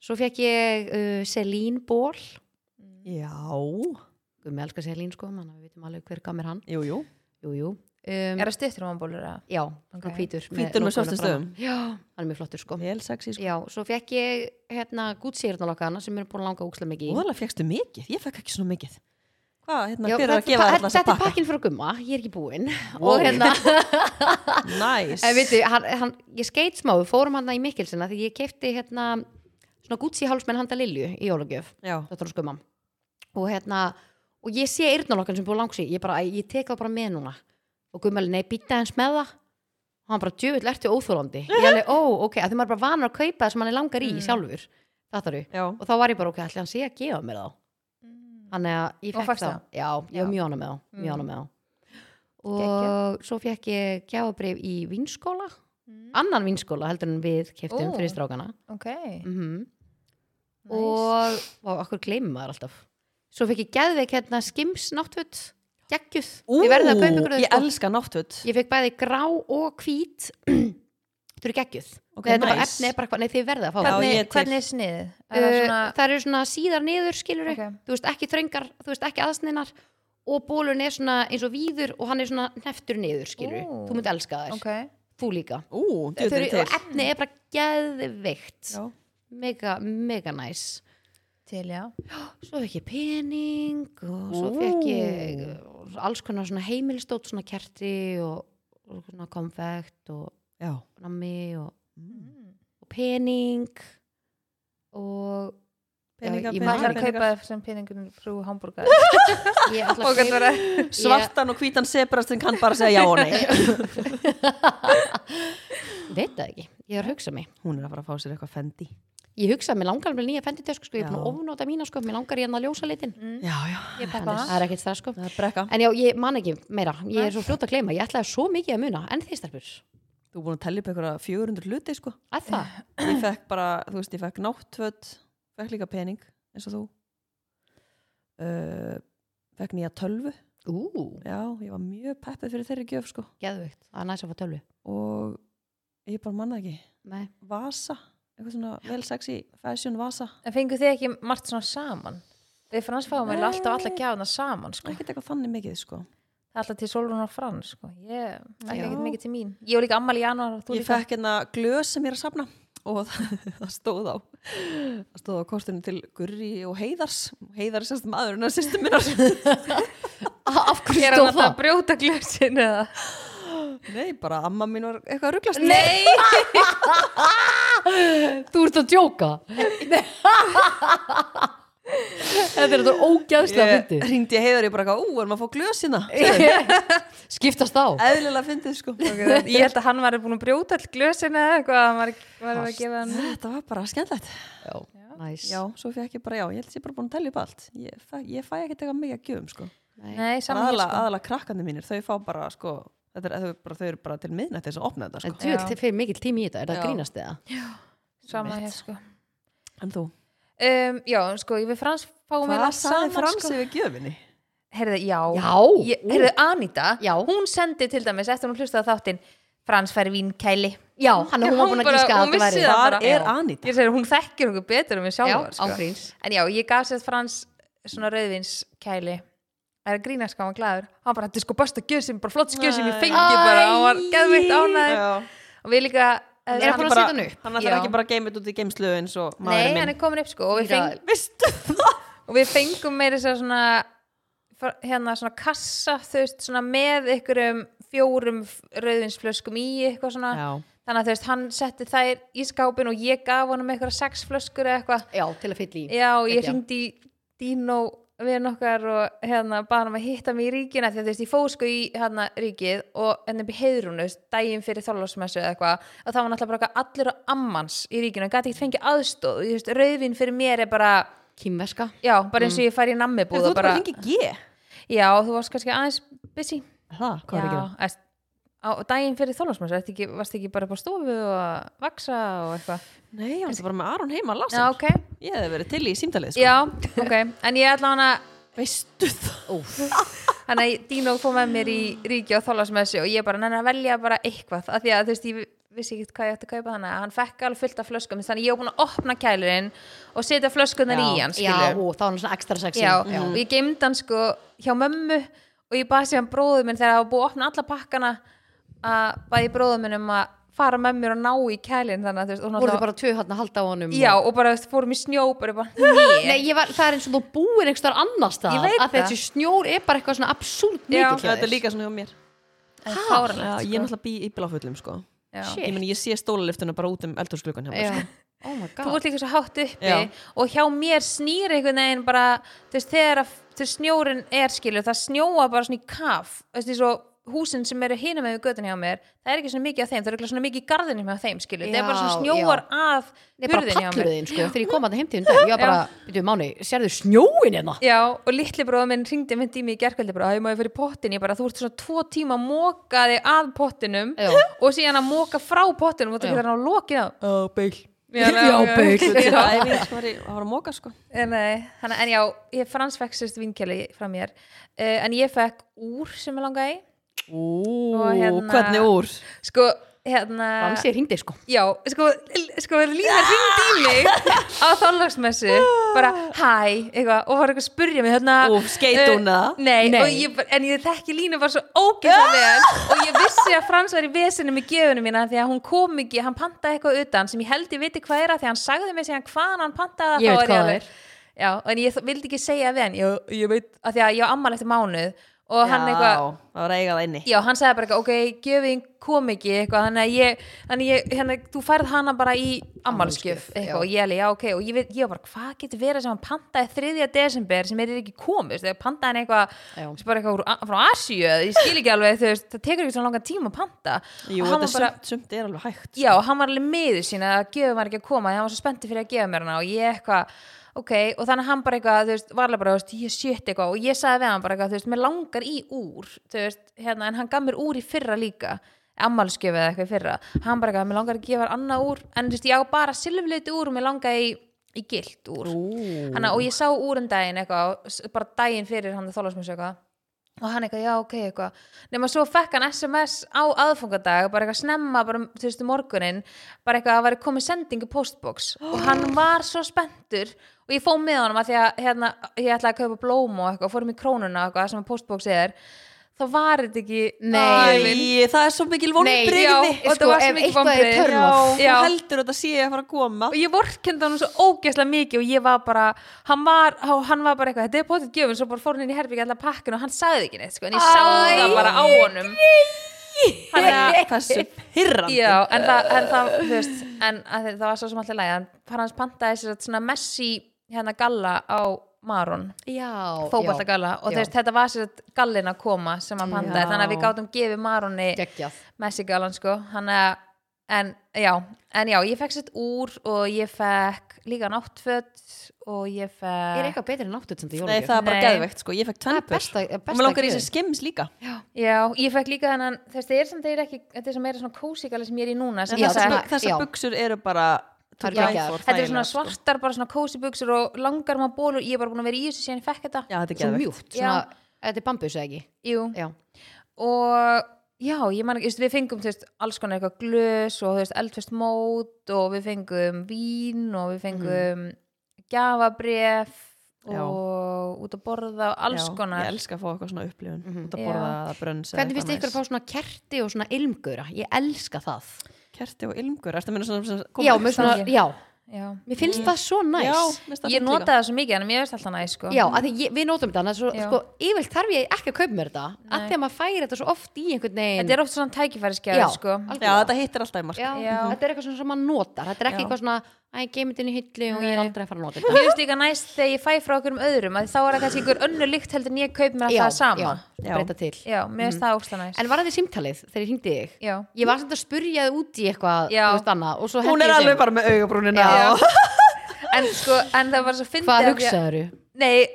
[SPEAKER 2] svo fekk ég uh, Selín Ból
[SPEAKER 1] Já,
[SPEAKER 2] Gummi elskar Selín sko, mann að við vitum alveg hver gammir hann
[SPEAKER 1] jú, jú
[SPEAKER 2] jú, jú, um,
[SPEAKER 3] er það stuttur um bólur að
[SPEAKER 2] já, hann
[SPEAKER 3] Ok.
[SPEAKER 2] hvítur
[SPEAKER 1] Hvítur með
[SPEAKER 2] lokkuna
[SPEAKER 1] svörtum stöfum.
[SPEAKER 2] framan. já, hann er mjög flottur sko
[SPEAKER 1] Vel sexy sko
[SPEAKER 2] já, svo fekk ég hérna gútsýrnalokkana sem er búin að langa úkslega mikið í
[SPEAKER 1] Óðalega fegstu mikið, ég fekk ekki svona mikið Hvað, hérna,
[SPEAKER 2] Já,
[SPEAKER 1] hver er að
[SPEAKER 2] þetta-
[SPEAKER 1] gefa
[SPEAKER 2] pa-
[SPEAKER 1] þér alltaf
[SPEAKER 2] Þetta
[SPEAKER 1] að
[SPEAKER 2] er
[SPEAKER 1] pakka?
[SPEAKER 2] pakkin frá gumma, ég er ekki búin
[SPEAKER 1] Wow.
[SPEAKER 2] Og hérna,
[SPEAKER 1] Næs
[SPEAKER 2] en veitu, hann, hann, ég skeit smá Við fórum hann í Mikkelsina Því ég kefti hérna svona Gucci hálsmenn handa Lilju í jólagjöf
[SPEAKER 1] já,
[SPEAKER 2] þetta er skumam og hérna, og ég sé eyrnalokkan sem búið langsi, ég bara, æ, ég tek það bara með núna og gummali, nei, býta hans með það og hann bara, djöfull, ertu óþólandi ég alveg, ó, ok, að því maður er bara vanur að kaupa það sem hann er langar í
[SPEAKER 3] Mm.
[SPEAKER 2] sjálfur þetta
[SPEAKER 1] já,
[SPEAKER 2] og þá var ég bara, ok, ætli hann sé að gefa mér þá
[SPEAKER 3] Mm.
[SPEAKER 2] þannig að ég
[SPEAKER 3] Og
[SPEAKER 2] fekk
[SPEAKER 3] fékkstu
[SPEAKER 2] þá
[SPEAKER 3] það?
[SPEAKER 2] já, ég var
[SPEAKER 3] Já.
[SPEAKER 2] mjög hana með þá, mjög
[SPEAKER 3] Mm.
[SPEAKER 2] hana með þá og
[SPEAKER 3] Geggjað.
[SPEAKER 2] svo fekk ég gjafabrif í vinskóla annan vinskóla heldur en við keftum
[SPEAKER 3] Ó.
[SPEAKER 2] fyrir strákana
[SPEAKER 3] ok
[SPEAKER 2] mm
[SPEAKER 3] Nice.
[SPEAKER 2] og, og okkur gleymum maður alltaf svo fekk ég geðveik hérna skims náttföt geggjuð, ég verði að kaupa ykkur þau,
[SPEAKER 1] ég
[SPEAKER 2] sko.
[SPEAKER 1] elska náttföt
[SPEAKER 2] ég fekk bæði grá og hvít þau eru geggjuð
[SPEAKER 1] Ok,
[SPEAKER 2] þetta var
[SPEAKER 1] nice.
[SPEAKER 2] efni, er bara, eitthvað- nei þið verði að
[SPEAKER 1] Já,
[SPEAKER 2] fá
[SPEAKER 1] ég
[SPEAKER 2] það
[SPEAKER 3] hvernig,
[SPEAKER 1] er til.
[SPEAKER 3] hvernig er snið er það
[SPEAKER 2] Uh,
[SPEAKER 3] svona
[SPEAKER 2] það eru svona síðar niður skilur
[SPEAKER 3] Ok.
[SPEAKER 2] þú veist ekki þröngar, þú veist ekki aðsniðnar og bólun er svona eins og víður og hann er svona neftur niður skilur
[SPEAKER 3] Ú.
[SPEAKER 2] þú myndi elska þær,
[SPEAKER 3] ok
[SPEAKER 2] þú líka
[SPEAKER 1] ú,
[SPEAKER 2] Þau
[SPEAKER 1] djöður
[SPEAKER 2] eru,
[SPEAKER 1] til
[SPEAKER 2] og efni er bara geðveikt
[SPEAKER 1] já,
[SPEAKER 2] mega, mega næs
[SPEAKER 3] til já
[SPEAKER 2] svo fekk ég pening og svo fekk ég alls konar svona heimilistótt svona kerti og, og svona konfekt og
[SPEAKER 1] já,
[SPEAKER 2] nammi og,
[SPEAKER 3] Mm.
[SPEAKER 2] og pening og
[SPEAKER 1] peninga,
[SPEAKER 2] ég
[SPEAKER 3] maður
[SPEAKER 1] peninga,
[SPEAKER 2] man
[SPEAKER 3] þarf að
[SPEAKER 1] peninga
[SPEAKER 3] kaupa sem peningun frú hambúrgar
[SPEAKER 2] ég ætla að
[SPEAKER 3] og gæti verið
[SPEAKER 1] svartan og hvítan sebrastin kann bara segja já og nei
[SPEAKER 2] ég veit það ekki, ég er að hugsa mig
[SPEAKER 1] hún er að fara að fá sér eitthvað fendi
[SPEAKER 2] ég hugsa að mér langar með nýja fenditösku sko, ég er búin
[SPEAKER 1] Já.
[SPEAKER 2] að ofnóta mína sko, mér langar hérna að ljósa litin
[SPEAKER 1] já, já,
[SPEAKER 3] ég peppa
[SPEAKER 2] það er ekkert stress sko
[SPEAKER 1] það er brekka
[SPEAKER 2] en já, ég man ekki meira, ég er svo fljótt að gleyma ég ætlaði svo mikið að muna, en þið starfur
[SPEAKER 1] þú er búin að tella upp eitthvað 400 hluti sko.
[SPEAKER 2] að það,
[SPEAKER 1] ég fekk bara, þú veist, ég fekk náttföt fekk líka pening, eins og þú uh, fekk nýja tölvu
[SPEAKER 2] ú,
[SPEAKER 1] já, ég var mjög peppið fyrir þeirri gjöf sko.
[SPEAKER 2] geðvögt það er næst að fá tölvu
[SPEAKER 1] og ég bara manna ekki
[SPEAKER 2] Nei.
[SPEAKER 1] vasa, eitthvað svona vel sexy fashion vasa,
[SPEAKER 3] en fengu þið ekki margt svona saman við frans fáum við alltaf alla gjafna saman sko.
[SPEAKER 1] ekkert eitthvað þannig mikið sko.
[SPEAKER 3] Það er alltaf til Solrún og frans sko. ég fekk
[SPEAKER 2] Já.
[SPEAKER 3] ekkert mikið til mín ég var líka ammali í januar og þú
[SPEAKER 1] ég
[SPEAKER 3] líka
[SPEAKER 1] fekk hérna glös sem ég er að safna og það, það stóð á það stóð á kortinu til Gurri og Heiðars Heiðar er sérst maðurinn að sýstum minnar
[SPEAKER 2] af hverju
[SPEAKER 3] ég er
[SPEAKER 2] stóð
[SPEAKER 3] annað að
[SPEAKER 2] það?
[SPEAKER 3] brjóta glösin eða
[SPEAKER 1] nei, bara amma mín var eitthvað að rugglast
[SPEAKER 3] nei
[SPEAKER 2] Þú ert að djóka Þetta er þetta ógæðslega
[SPEAKER 1] ég
[SPEAKER 2] fyndið
[SPEAKER 1] ringdi Heiðar ég bara eitthvað, ú, er maður að fá glös hérna
[SPEAKER 2] Skiptast á
[SPEAKER 1] eðlilega fyndið sko
[SPEAKER 3] Ok, ég held að hann var búin að brjóta all glösin eða eitthvað að maður var að gefa hann
[SPEAKER 1] þetta var bara skemmtlegt
[SPEAKER 2] Já, næs
[SPEAKER 1] já, svo fekk ég bara, já, ég held að ég er bara búin að tellja upp allt ég, fæ- ég fæ ekkert eitthvað mikið að gjöfum sko
[SPEAKER 3] nei, saman
[SPEAKER 1] aðalega
[SPEAKER 3] hér
[SPEAKER 1] sko.
[SPEAKER 3] sko
[SPEAKER 1] krakkandi mínir, þau fá bara sko Þetta er, þau, bara, þau eru bara til miðnætti þess að opna þetta
[SPEAKER 2] En
[SPEAKER 1] sko.
[SPEAKER 2] þú ert fyrir mikill tími í þetta, er það
[SPEAKER 1] Já.
[SPEAKER 2] að grínast eða?
[SPEAKER 3] saman hér sko
[SPEAKER 1] En þú,
[SPEAKER 3] um, já, sko, ég við frans fáum við
[SPEAKER 1] hvað
[SPEAKER 3] allt
[SPEAKER 1] sagði
[SPEAKER 3] saman
[SPEAKER 1] Frans um-
[SPEAKER 3] sko.
[SPEAKER 1] yfir gjöfinni?
[SPEAKER 3] heyrðu, já,
[SPEAKER 2] Já,
[SPEAKER 3] Ég, heyrðu, Anita,
[SPEAKER 2] Já.
[SPEAKER 3] hún sendi til dæmis eftir hún hlustaði á þáttinn Frans fær vínkæli
[SPEAKER 2] já, hann er hún var búin að
[SPEAKER 3] bara-
[SPEAKER 2] gíska að
[SPEAKER 3] hún
[SPEAKER 2] þetta
[SPEAKER 3] vissi
[SPEAKER 2] væri
[SPEAKER 3] það
[SPEAKER 1] Hvar
[SPEAKER 3] bara.
[SPEAKER 1] er
[SPEAKER 3] Já.
[SPEAKER 1] Anita?
[SPEAKER 3] ég segir, hún þekkir okkur betur um við
[SPEAKER 2] Já,
[SPEAKER 3] sjálfur sko.
[SPEAKER 2] ángríns
[SPEAKER 3] en já, ég gaf sér Frans svona rauðvinskæli Það er að grínast hvað hann var glæður hann bara, þetta er sko besta gjöð sem, bara flott gjöð sem ég
[SPEAKER 1] Æ.
[SPEAKER 3] fengi bara, hann var geðveitt ánæður og við líka
[SPEAKER 2] Er
[SPEAKER 3] eh,
[SPEAKER 2] hann
[SPEAKER 3] hann
[SPEAKER 2] búin að
[SPEAKER 3] bara-
[SPEAKER 2] setja hann upp?
[SPEAKER 1] Hann ætlar
[SPEAKER 3] Já.
[SPEAKER 1] ekki bara að geima þetta út í geimslu eins og
[SPEAKER 3] Nei,
[SPEAKER 1] maðurinn
[SPEAKER 3] hann
[SPEAKER 1] minn.
[SPEAKER 3] er komin upp sko og við,
[SPEAKER 2] Mýra-
[SPEAKER 3] feng, og við fengum meira sér svona fr- hérna svona kassa þú veist, svona með ykkurum fjórum f- rauðvinsflöskum í eitthvað svona
[SPEAKER 1] Já.
[SPEAKER 3] þannig að þú veist, hann setti þær í skápin og ég gaf honum eitthvað sex flöskur eða eitthvað
[SPEAKER 2] Já, til að fylla í
[SPEAKER 3] já, og ég
[SPEAKER 2] Geggjað.
[SPEAKER 3] hringdi í Dino við nokkar og hérna bara hann að hitta mig í ríkina því að þú veist, ég fóð sko í hérna ríkið og ennum í heiðrúnu daginn fyrir þorlásmessu eða eitthvað og það var náttúrulega bara eitthvað allir á ammans í ríkinu og gæti ekkert fengið aðstóð og þú veist, rauðvin fyrir mér er bara
[SPEAKER 2] Kimveska
[SPEAKER 3] já, bara eins og ég fær í
[SPEAKER 1] Mm. Þú
[SPEAKER 3] nammibúð
[SPEAKER 1] ert
[SPEAKER 3] og
[SPEAKER 1] bara
[SPEAKER 3] bara,
[SPEAKER 1] að hengi G.
[SPEAKER 3] já, þú varst kannski aðeins busy
[SPEAKER 1] Það, hvað er
[SPEAKER 3] já,
[SPEAKER 1] ekki það?
[SPEAKER 3] eða, á daginn fyrir þorlásmessu varst ekki bara på stofu og vaksa og eitthvað
[SPEAKER 1] Nei, hann er bara með Aron heima að lasa.
[SPEAKER 3] já, ok,
[SPEAKER 1] Ég hefði verið til í símtalið, sko.
[SPEAKER 3] já, ok en ég ætla hann að
[SPEAKER 1] Veistu það?
[SPEAKER 2] Úf,
[SPEAKER 3] Þannig að Dino fór með mér í ríki og þólas með þessu og ég bara nenni að velja bara eitthvað af því að þú veist, ég vissi ekkert hvað ég ætti að kaupa þannig að hann fekk alveg fullt af flöskum þannig að ég var búin að opna kælurinn og setja flöskunar í
[SPEAKER 2] já,
[SPEAKER 3] hann, skilur
[SPEAKER 2] og þá er hann svona ekstra sexy
[SPEAKER 3] já, og ég geimd hann sko hjá mömmu og ég baði síðan bróðum minn þegar það var búið að opna alla pakkana að baði bróðum minn um að fara með mér og ná í kælinn þannig að þú veist, og hún
[SPEAKER 2] Voru
[SPEAKER 3] alltaf-
[SPEAKER 2] þið bara tvö hann að halda á honum
[SPEAKER 3] já,
[SPEAKER 2] og-
[SPEAKER 3] og bara þú veist, fórum í snjó bara, bara
[SPEAKER 2] Nei, ég var, það er eins og þú búir einhvers þar annars
[SPEAKER 3] Ég
[SPEAKER 2] það
[SPEAKER 3] veit
[SPEAKER 2] að
[SPEAKER 3] það.
[SPEAKER 2] þessi snjór er bara eitthvað svona absúlt
[SPEAKER 3] Já.
[SPEAKER 2] mikill hjá
[SPEAKER 1] Þetta er
[SPEAKER 2] þér.
[SPEAKER 1] líka svona hjá mér. Já,
[SPEAKER 3] fáralegt,
[SPEAKER 1] ég er náttúrulega bý í bláfullum, sko.
[SPEAKER 3] Já.
[SPEAKER 2] Shit.
[SPEAKER 1] Ég meni, ég sé stólaliftuna bara út um eldhúsklukkan hjá mér,
[SPEAKER 2] Já.
[SPEAKER 1] sko.
[SPEAKER 2] oh my
[SPEAKER 3] þú ert líka svo hátt uppi
[SPEAKER 1] Já.
[SPEAKER 3] og hjá mér snýr einhvern veginn bara þú veist þegar að þegar snjórin er skilur það snjóa bara svona í kaf þú veist eins og húsin sem eru hinum með göttin hjá mér það er ekki svona mikið á þeim, það er ekki svona mikið í garðinum hjá þeim skilur, það er bara svona
[SPEAKER 2] Já,
[SPEAKER 3] snjóar að
[SPEAKER 2] Ég bara
[SPEAKER 3] hurðinni hjá mér.
[SPEAKER 2] pallur þín sko, þegar ég kom að það heimtíðin dag, ég var bara, byrju Máni, sérðu snjóin hérna?
[SPEAKER 3] Já, og litli bróður minn ringdi mynd í mig í gerkveldi bara, að ég maður fyrir pottin, ég bara, þú ert svona tvo tíma að móka þig að pottinum
[SPEAKER 2] Já.
[SPEAKER 3] og síðan að móka frá pottinum og
[SPEAKER 2] Já.
[SPEAKER 3] þú getur hann á lokið á
[SPEAKER 1] Oh, beil.
[SPEAKER 3] Já,
[SPEAKER 2] Já, bauk.
[SPEAKER 1] Það er við sem var í- það var að móka sko.
[SPEAKER 3] En, Eh, nei, hana, en já, ég frans fekk sérst vinkjali frá mér uh, en ég fekk úr sem ég langaði í.
[SPEAKER 1] Ú,
[SPEAKER 3] Og hérna-
[SPEAKER 1] hvernig úr?
[SPEAKER 3] sko, hérna
[SPEAKER 2] Þannig sé hringdi sko.
[SPEAKER 3] já, sko, l- sko Lína ringdi í mig á þóllagsmessu bara hæ, eitthvað og var eitthvað að spurja mig hérna
[SPEAKER 1] Úf, skeit hún
[SPEAKER 3] eh,
[SPEAKER 1] eða?
[SPEAKER 3] Nei,
[SPEAKER 2] Nei.
[SPEAKER 3] og Ég, bara- en ég þekki Línu bara svo ógeðslega vel og ég vissi að Frans var í vesinu með gefunum mína því að hún kom ekki, hann pantaði eitthvað utan sem ég held ég viti hvað er að því að hann sagði mig síðan hvað hann pantaði
[SPEAKER 2] Ég
[SPEAKER 3] þá
[SPEAKER 2] veit
[SPEAKER 3] var
[SPEAKER 2] hvað það
[SPEAKER 3] alveg-
[SPEAKER 2] er.
[SPEAKER 3] Já, en ég þ- vildi ekki segja við hann ég, ég veit, að því að ég á ammali eftir mánuð og hann eitthvað
[SPEAKER 1] Já, það var að eiga það inni.
[SPEAKER 3] Já, hann sagði bara eitthvað, ok, gjöfin kom ekki eitthvað, þannig að ég, þannig að ég hérna, þú færð hana bara í ammalskjöf
[SPEAKER 2] Afmælisgjöf, já.
[SPEAKER 3] eitthvað, og ég alveg, já, ok, og ég, veit, ég var bara, hvað getur verið sem hann pantaði 3. desember sem er ekki komist, þegar pantaði hann eitthvað
[SPEAKER 2] Já.
[SPEAKER 3] sem bara eitthvað úr, frá Asíu, eða ég skil ekki alveg, þú veist, það tekur ekki svona langan tíma að panta
[SPEAKER 1] Jú,
[SPEAKER 3] og hann
[SPEAKER 1] þetta
[SPEAKER 3] var bara,
[SPEAKER 1] sumt, sumt er alveg hægt.
[SPEAKER 3] já, og hann var alveg miður sín að gjöfum var ekki að koma, því hann var svo spennti fyrir að gefa mér hana og ég eitthvað, ok, og þannig að hann bara eitthvað, þú veist, varlega bara, þú veist, ég shit eitthvað og ég sagði við hann bara eitthvað, þú veist, mér langar í úr, þú veist, hérna, en hann gaf mér úr í fyrra líka, ammálskjöf eða eitthvað í fyrra, hann bara eitthvað, mér langar að gefa þér annað úr, en þú veist, ég á bara silfliti úr og mér langar í, í gilt úr, Hanna, og ég sá úr um daginn eitthvað, s- bara daginn fyrir hann þólasmjössu eitthvað og hann eitthvað, já ok eitthvað nema svo fekk hann sms á aðfungadag bara eitthvað snemma, bara um, þú veist, um morgunin bara eitthvað að væri komið sending í postbox og hann var svo spenntur og ég fóð með honum að því að hérna, ég ætlaði að kaupa blóm og eitthvað, fórum í krónuna og eitthvað sem að postbox er þá var þetta ekki
[SPEAKER 2] Nei.
[SPEAKER 3] Æ,
[SPEAKER 1] Æ, það er svo mikil vonbrigði.
[SPEAKER 3] já, og
[SPEAKER 2] Sko,
[SPEAKER 3] það var svo
[SPEAKER 2] ef
[SPEAKER 3] mikið
[SPEAKER 2] eitthvað er
[SPEAKER 3] vonbrigði.
[SPEAKER 2] turn off.
[SPEAKER 1] já.
[SPEAKER 3] Já.
[SPEAKER 1] þú heldur að þetta sé að fara að koma.
[SPEAKER 3] og ég vorkendi hann svo ógeðslega mikið og ég var bara, hann var, hann var bara eitthvað, þetta er potið gjöfum, svo bara fór hann inn í herbyggja allar pakkin og hann sagði ekki neitt, sko, en ég sá
[SPEAKER 2] Æ,
[SPEAKER 3] það bara á honum hann er,
[SPEAKER 1] Þessu hirrandi.
[SPEAKER 3] já, en það, en það, þú veist en að, það var svo sem allir lægja, hann hans pantaði sér svona Messi hérna galla á Maron
[SPEAKER 2] Já,
[SPEAKER 3] fótballtagalla og
[SPEAKER 2] já.
[SPEAKER 3] þú veist, þetta var sér gallin að koma sem hann pantaði,
[SPEAKER 1] Já.
[SPEAKER 3] þannig að við gátum gefið Maroni
[SPEAKER 2] geggjað.
[SPEAKER 3] Messi galan sko hann að en já, en já, ég fekk sett úr og ég fekk líka náttföt og ég
[SPEAKER 2] Er
[SPEAKER 3] fekk
[SPEAKER 2] eitthvað betur en áttuð sem þetta
[SPEAKER 1] Nei,
[SPEAKER 2] jólagjöf?
[SPEAKER 1] það er bara
[SPEAKER 3] Nei.
[SPEAKER 1] geðveikt sko. Ég fekk
[SPEAKER 2] Það er
[SPEAKER 1] tvennpur.
[SPEAKER 2] besta- besta
[SPEAKER 1] Og mér langar í
[SPEAKER 2] gjöfin.
[SPEAKER 1] þessi skims líka.
[SPEAKER 3] já, ég fekk líka þennan þess það er samt eiginlega ekki, þetta er sem meira svona kósi gali sem ég er í núna sem
[SPEAKER 2] Já,
[SPEAKER 3] þessa-
[SPEAKER 2] það er-
[SPEAKER 1] Þessar
[SPEAKER 2] já.
[SPEAKER 1] þessar buksur eru bara
[SPEAKER 2] Það eru
[SPEAKER 1] to die
[SPEAKER 2] geggjaðar.
[SPEAKER 1] for,
[SPEAKER 3] þetta er svona
[SPEAKER 1] þægilegar, sko.
[SPEAKER 3] svartar, bara svona kósi buksur og langar maður bólur, ég er bara búin að vera í þessu síðan ég fekk þetta,
[SPEAKER 1] Já, þetta er
[SPEAKER 2] Svo
[SPEAKER 1] geðveikt.
[SPEAKER 2] mjúkt, svona, þetta er bambus eða ekki?
[SPEAKER 3] jú
[SPEAKER 2] Já.
[SPEAKER 3] og já, ég man ekki, þú veist, við fengum þú veist, alls konar eitthvað glös og þú veist, eldfest mót og við fengum vín
[SPEAKER 2] Mhm.
[SPEAKER 3] og við fengum gjafabref
[SPEAKER 1] Já.
[SPEAKER 3] og út að borða og alls
[SPEAKER 1] Já,
[SPEAKER 3] konar
[SPEAKER 1] Ég elska að fá eitthvað svona upplifun mm
[SPEAKER 2] Mhm.
[SPEAKER 1] -hmm. út að
[SPEAKER 3] Já.
[SPEAKER 1] borða eða brönns eða
[SPEAKER 2] Hvernig finnst
[SPEAKER 1] eitthvað
[SPEAKER 2] ykkur að
[SPEAKER 1] næs.
[SPEAKER 2] fá svona kerti og svona ilmgura? Ég elska það.
[SPEAKER 1] Kerti og ilmgur, ertu að minna svona, svona
[SPEAKER 2] Já, mér svona,
[SPEAKER 3] ekki.
[SPEAKER 2] já,
[SPEAKER 3] já.
[SPEAKER 2] mér finnst það svo næs.
[SPEAKER 1] Já, mér finnst það
[SPEAKER 3] ég
[SPEAKER 1] fínt
[SPEAKER 3] nota það svo mikið en mér veist alltaf næ sko.
[SPEAKER 2] Já, að því ég, við notum þetta annars svo,
[SPEAKER 3] Já.
[SPEAKER 2] sko, yfirlt þarf ég ekki að kaupa mér þetta að því að maður færi þetta svo oft í einhvern veginn
[SPEAKER 3] þetta er oft svona tækifæriskjæð
[SPEAKER 2] Já,
[SPEAKER 3] sko.
[SPEAKER 1] líka. Já, þetta hittir alltaf í mark
[SPEAKER 2] Já,
[SPEAKER 3] Já.
[SPEAKER 2] þetta er eitthvað svona sem maður notar þetta er
[SPEAKER 1] Já.
[SPEAKER 2] ekki eitthvað svona, að ég geymið inn í hillu og ég er
[SPEAKER 3] Nei.
[SPEAKER 2] aldrei að fara að nota
[SPEAKER 3] mér veist líka næst þegar ég fæ frá okkur um öðrum að þá er það kannski einhver önnu líkt heldur en ég kaup mér alltaf það
[SPEAKER 2] já, Mhm.
[SPEAKER 3] sama
[SPEAKER 2] já,
[SPEAKER 1] Já.
[SPEAKER 2] breyta til
[SPEAKER 3] já, mér veist það ósla næst
[SPEAKER 2] En var þetta símtalið þegar ég hringdi í þig?
[SPEAKER 3] já,
[SPEAKER 2] Ég var samt að spurja þið út í eitthvað
[SPEAKER 3] Já.
[SPEAKER 2] þú veist annað, og svo
[SPEAKER 1] Hún
[SPEAKER 2] henti
[SPEAKER 1] er
[SPEAKER 2] ég
[SPEAKER 1] alveg
[SPEAKER 2] þeim.
[SPEAKER 1] bara með augabrúnina
[SPEAKER 2] Já.
[SPEAKER 1] og-
[SPEAKER 3] en sko, en það var svo fyndið
[SPEAKER 2] Hvað
[SPEAKER 3] af því að-
[SPEAKER 2] hugsaður þú?
[SPEAKER 3] Nei,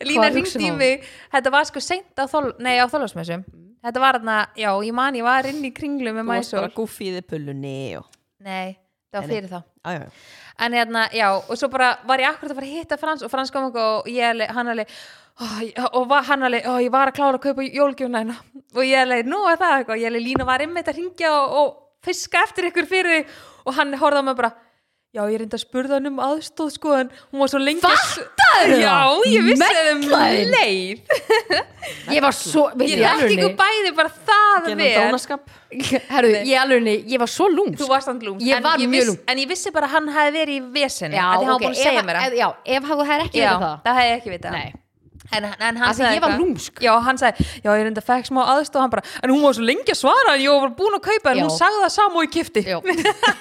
[SPEAKER 3] Lína
[SPEAKER 2] Hvað
[SPEAKER 3] ringdi
[SPEAKER 2] hugsaði
[SPEAKER 3] í
[SPEAKER 2] hún?
[SPEAKER 3] mig Þetta var sko seint á, þol, nei, á þólasmessum Þetta var þarna, já, ég man ég var inn í kringlu með
[SPEAKER 1] Mm. Þú varst
[SPEAKER 3] mæsól
[SPEAKER 1] bara gúfíði pullunni og
[SPEAKER 3] Nei, það var
[SPEAKER 1] Nei, nei.
[SPEAKER 3] fyrir þá
[SPEAKER 1] Æjá,
[SPEAKER 3] En hérna, já, og svo bara var ég akkurat að fara að hitta Frans og Frans kom eitthvað og ég alveg, hann alveg ó, ég- og var, hann alveg, ó, ég var að klára að kaupa jólgjónæna og ég alveg, nú er það eitthvað, ég alveg Lína var einmitt að ringja og, og fiska eftir ykkur fyrir þig og hann horfði á mig bara Já, ég reyndi að spurða hann um aðstóð sko en hún var svo lengi Fattaðu
[SPEAKER 2] það?
[SPEAKER 3] Já, ég vissi að um
[SPEAKER 2] Mellaðin?
[SPEAKER 3] leið
[SPEAKER 2] Ég var svo, veit
[SPEAKER 3] Ég þekki ykkur bæði bara það
[SPEAKER 1] genum
[SPEAKER 3] vel
[SPEAKER 1] dónaskap
[SPEAKER 2] Herru, ég alveg, ég var svo lúmsk
[SPEAKER 3] Þú varst hann lúmsk
[SPEAKER 2] Ég
[SPEAKER 3] en
[SPEAKER 2] var
[SPEAKER 3] ég
[SPEAKER 2] mjög
[SPEAKER 3] viss-
[SPEAKER 2] lúmsk.
[SPEAKER 3] En ég vissi bara að hann hafi verið í vesinu
[SPEAKER 2] Já,
[SPEAKER 3] af Því hann var
[SPEAKER 2] ok,
[SPEAKER 3] búin að segja
[SPEAKER 2] ef-
[SPEAKER 3] mér það
[SPEAKER 2] ef- Já, ef hafðu þær ekki verið það
[SPEAKER 3] það hefði ég ekki vitað
[SPEAKER 2] Nei,
[SPEAKER 3] en, en hann
[SPEAKER 2] Af því
[SPEAKER 3] sagði
[SPEAKER 2] ég var
[SPEAKER 3] eitthvað-
[SPEAKER 2] lúmsk.
[SPEAKER 3] já, hann sagði, já, ég reynda fekk smá aðstof hann bara, en hún var svo lengi að svara en ég var búin að kaupa, en
[SPEAKER 2] Já.
[SPEAKER 3] hún sagði það saman og ég kifti
[SPEAKER 2] Já.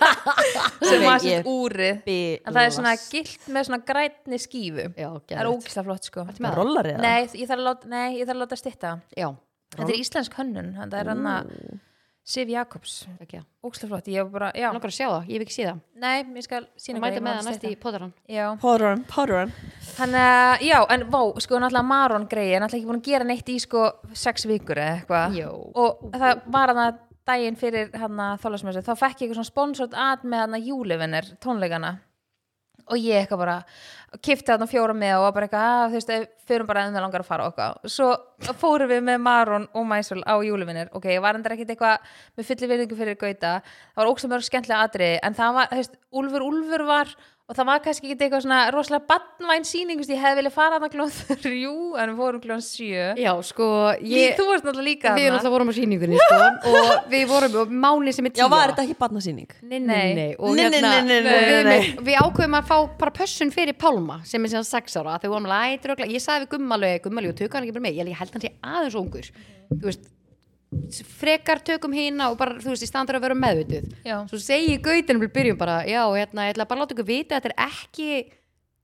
[SPEAKER 3] sem var
[SPEAKER 1] Ég-
[SPEAKER 3] sérst úrið en það er svona gilt með svona grætni skífu
[SPEAKER 2] Já,
[SPEAKER 3] það er
[SPEAKER 2] geðveikt.
[SPEAKER 3] ógislega flott sko
[SPEAKER 2] með það?
[SPEAKER 1] Rollar eða?
[SPEAKER 3] nei, ég þarf að láta, nei, ég þarf að láta stitta
[SPEAKER 2] Já,
[SPEAKER 3] þetta er íslensk hönnun, þannig að það er hann að Sif Jakobs,
[SPEAKER 2] ekki það.
[SPEAKER 3] ógislega flott ég var bara, já,
[SPEAKER 2] Nókar að sjá það, ég hef ekki séð það.
[SPEAKER 3] nei, ég skal sína
[SPEAKER 2] Ég mæta með það næst í podaran.
[SPEAKER 3] já,
[SPEAKER 1] Podrun, podrun.
[SPEAKER 3] hann, uh, já, en vá, sko, náttúrulega Maron greið, náttúrulega ekki búin að gera neitt í sko sex vikur eða eitthvað
[SPEAKER 2] Jó.
[SPEAKER 3] og það var hann að daginn fyrir hann að þólasmessu, þá fekk ég eitthvað svona sponsort að með hann að júlivinir tónleikana og ég eitthvað bara kifti hann og fjóra með og var bara eitthvað að þú veist, ef- förum bara ennum langar að fara og eitthvað svo fórum við með Maron og Mæsul á júlivinir, ok, ég var endur ekkit eitthvað með fulli virðingu fyrir Gauta það var óksum mörg skemmtilega atriði, en það var, þú veist, Úlfur Úlfur var og það var kannski ekki eitthvað svona rosalega batnvæn sýning, þú veist, ég hefði viljað fara hann klón þrjú, en við fórum klón sjö
[SPEAKER 2] Já, sko, ég...
[SPEAKER 3] þú varst náttúrulega líka
[SPEAKER 2] Við
[SPEAKER 3] þarna.
[SPEAKER 2] náttúrulega vorum á síningunni, sko, og við vorum og Máni sem er tíu
[SPEAKER 1] Já, var
[SPEAKER 2] ára.
[SPEAKER 1] þetta ekki barnasýning?
[SPEAKER 2] Nei, nei, nei, og
[SPEAKER 1] Nei, nei,
[SPEAKER 2] hérna,
[SPEAKER 1] nei, nei, nei,
[SPEAKER 2] og við,
[SPEAKER 1] nei,
[SPEAKER 2] með- við ákveðum að fá bara pössun fyrir Pálma sem er síðan sex ára, þegar við vorum alveg ættur og ég sagði við gummalög, gummalög og tökum hann ekki bara með ég ég held hann sé aðeins ungur þú veist, frekar tökum hina og bara, þú veist, í standar að vera meðvituð
[SPEAKER 3] Já.
[SPEAKER 2] svo segi gautin við byrjum bara, já, hérna, ég ætla bara að láta ykkur vita að þetta er ekki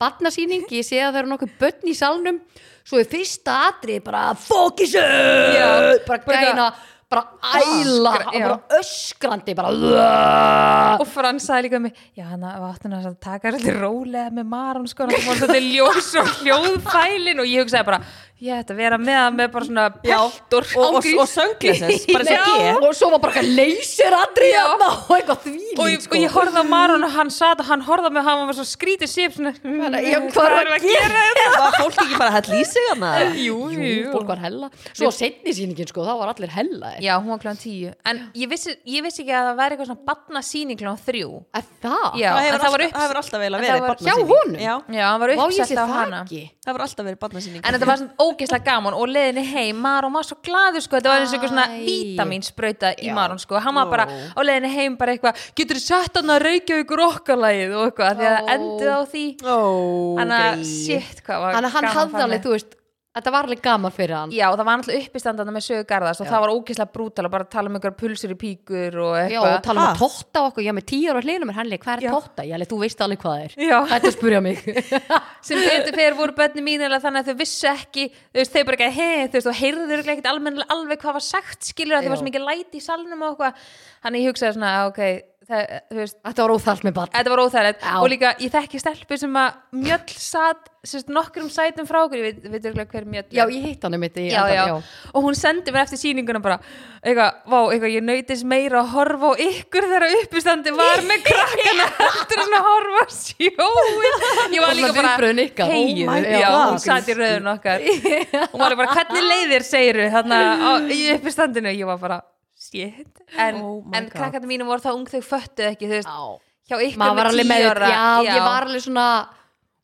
[SPEAKER 2] barnasýning, ég sé að það eru nokkuð börn í salnum, svo er fyrsta atrið bara fókisu
[SPEAKER 3] Já,
[SPEAKER 2] bara
[SPEAKER 3] bara
[SPEAKER 2] gæna, bara æla
[SPEAKER 3] Öskra-
[SPEAKER 2] og
[SPEAKER 3] já.
[SPEAKER 2] bara öskrandi bara "Uah!"
[SPEAKER 3] og Frans sagði líka um mig já, hann áttin að taka þetta rólega með Maron sko, hann var þetta ljós og hljóðfælin og ég hugsaði bara ég ætti að vera með hann með bara svona pelt og
[SPEAKER 1] og, og,
[SPEAKER 3] ángríns.
[SPEAKER 1] og söngleses, bara eins og
[SPEAKER 3] Já.
[SPEAKER 1] ég.
[SPEAKER 2] og svo var bara eitthvað leysir andri
[SPEAKER 3] Já.
[SPEAKER 2] og eitthvað sko.
[SPEAKER 3] og ég,
[SPEAKER 2] þvílík
[SPEAKER 3] og ég horfði á Maron og hann sat og hann horfði á mig og hann var svo skrítið sip svona, "Mm, eh,
[SPEAKER 2] já, hvað er að
[SPEAKER 3] gera
[SPEAKER 1] Var fólk ekki bara að hella í sig hana?
[SPEAKER 3] jú, jú,
[SPEAKER 2] Jú, fólk var hella svo setni síningin sko, þá var allir hella
[SPEAKER 3] já, hún var kláðan tíu en ég vissi, ég vissi ekki að það væri eitthvað svona batna síning kláðan þrjú
[SPEAKER 2] er Ah. það?
[SPEAKER 3] Já,
[SPEAKER 1] það
[SPEAKER 3] en
[SPEAKER 1] hefur
[SPEAKER 3] það var
[SPEAKER 1] alltaf,
[SPEAKER 3] upps-
[SPEAKER 1] það hefur alltaf vel
[SPEAKER 3] en
[SPEAKER 1] að
[SPEAKER 3] það
[SPEAKER 1] verið
[SPEAKER 3] var-
[SPEAKER 1] barnasýning.
[SPEAKER 2] Hjá honum?
[SPEAKER 1] Já,
[SPEAKER 3] já, hann var
[SPEAKER 2] Vá, ég sé
[SPEAKER 3] uppsett á
[SPEAKER 2] það
[SPEAKER 3] hana
[SPEAKER 2] ekki
[SPEAKER 1] það hefur alltaf verið barnasýning.
[SPEAKER 3] en þetta var svona ógeðslega gaman og leðinni heim Maron var svo glaður sko, þetta var eins og einhver svona
[SPEAKER 2] Æ.
[SPEAKER 3] vítaminsbrauta í
[SPEAKER 2] Já.
[SPEAKER 3] Maron sko, hann var bara
[SPEAKER 1] Ó.
[SPEAKER 3] á leðinni heim bara eitthvað, getur þið sett hann að raukja ykkur okkarlægið og eitthvað, því að
[SPEAKER 2] Ó.
[SPEAKER 3] það endið á því
[SPEAKER 1] Ó,
[SPEAKER 3] hann að
[SPEAKER 1] greyið.
[SPEAKER 3] shit hvað var
[SPEAKER 2] þannig að hann
[SPEAKER 3] gaman
[SPEAKER 2] hafði
[SPEAKER 3] farið.
[SPEAKER 2] alveg, þú veist þetta var alveg gaman fyrir hann
[SPEAKER 3] Já, og það var náttúrulega uppistandana með sögu garðast og það var ógeðslega brútal og bara tala um ykkur pulsur í píkur og
[SPEAKER 2] Já, og
[SPEAKER 3] eitthvað.
[SPEAKER 2] tala um
[SPEAKER 1] Ah.
[SPEAKER 2] að totta okkur, ég er með tíu ára hlýnum en hann leik, hvað
[SPEAKER 3] Já.
[SPEAKER 2] er totta? Ég leik, þú veist alveg hvað það er
[SPEAKER 3] Já.
[SPEAKER 2] Þetta spurja mig
[SPEAKER 3] sem betur fyrir voru bönni mín eða þannig að þau vissu ekki þú veist, þau bara ekki að hei, þú veist, og heyrðu þau ekkert almennilega alveg hvað var sagt skilur að þau
[SPEAKER 2] Já.
[SPEAKER 3] var svo mikið læti í salnum og eitthvað þannig ég hugsaði svona, "Ah, ok, það, þú veist
[SPEAKER 2] Þetta var óþarft með barn
[SPEAKER 3] þetta var óþægilegt
[SPEAKER 2] Já.
[SPEAKER 3] og líka ég þekki stelpu sem að mjöll satt sérst, nokkrum sætum frá okkur, ég veit, veit örugglega hver mjöll er.
[SPEAKER 2] Já, ég hitt hann um þetta
[SPEAKER 3] já, já. og hún sendi mér eftir sýninguna bara eitthvað, vá, eitthvað, ég nöytist meira að horfa á ykkur þegar uppistandi var með krakkana heldur en að horfa á
[SPEAKER 2] Og
[SPEAKER 3] sjóin ég var
[SPEAKER 2] svona
[SPEAKER 3] líka bara
[SPEAKER 2] viðbrögðin ykkar.
[SPEAKER 3] "Hey,
[SPEAKER 1] Oh my
[SPEAKER 3] já,
[SPEAKER 1] God.
[SPEAKER 3] hún satt í rauðun okkar hún var alveg bara, hvernig leiðir segiru þarna á, í uppistandinu ég var bara, shit en,
[SPEAKER 1] Oh my
[SPEAKER 3] en
[SPEAKER 1] God.
[SPEAKER 3] krakkana mínu voru þá ung þau föttu ekki, þú veist,
[SPEAKER 2] já.
[SPEAKER 3] hjá ykkur
[SPEAKER 2] maður var alveg með
[SPEAKER 3] tíu ára
[SPEAKER 2] já, ég var alveg svona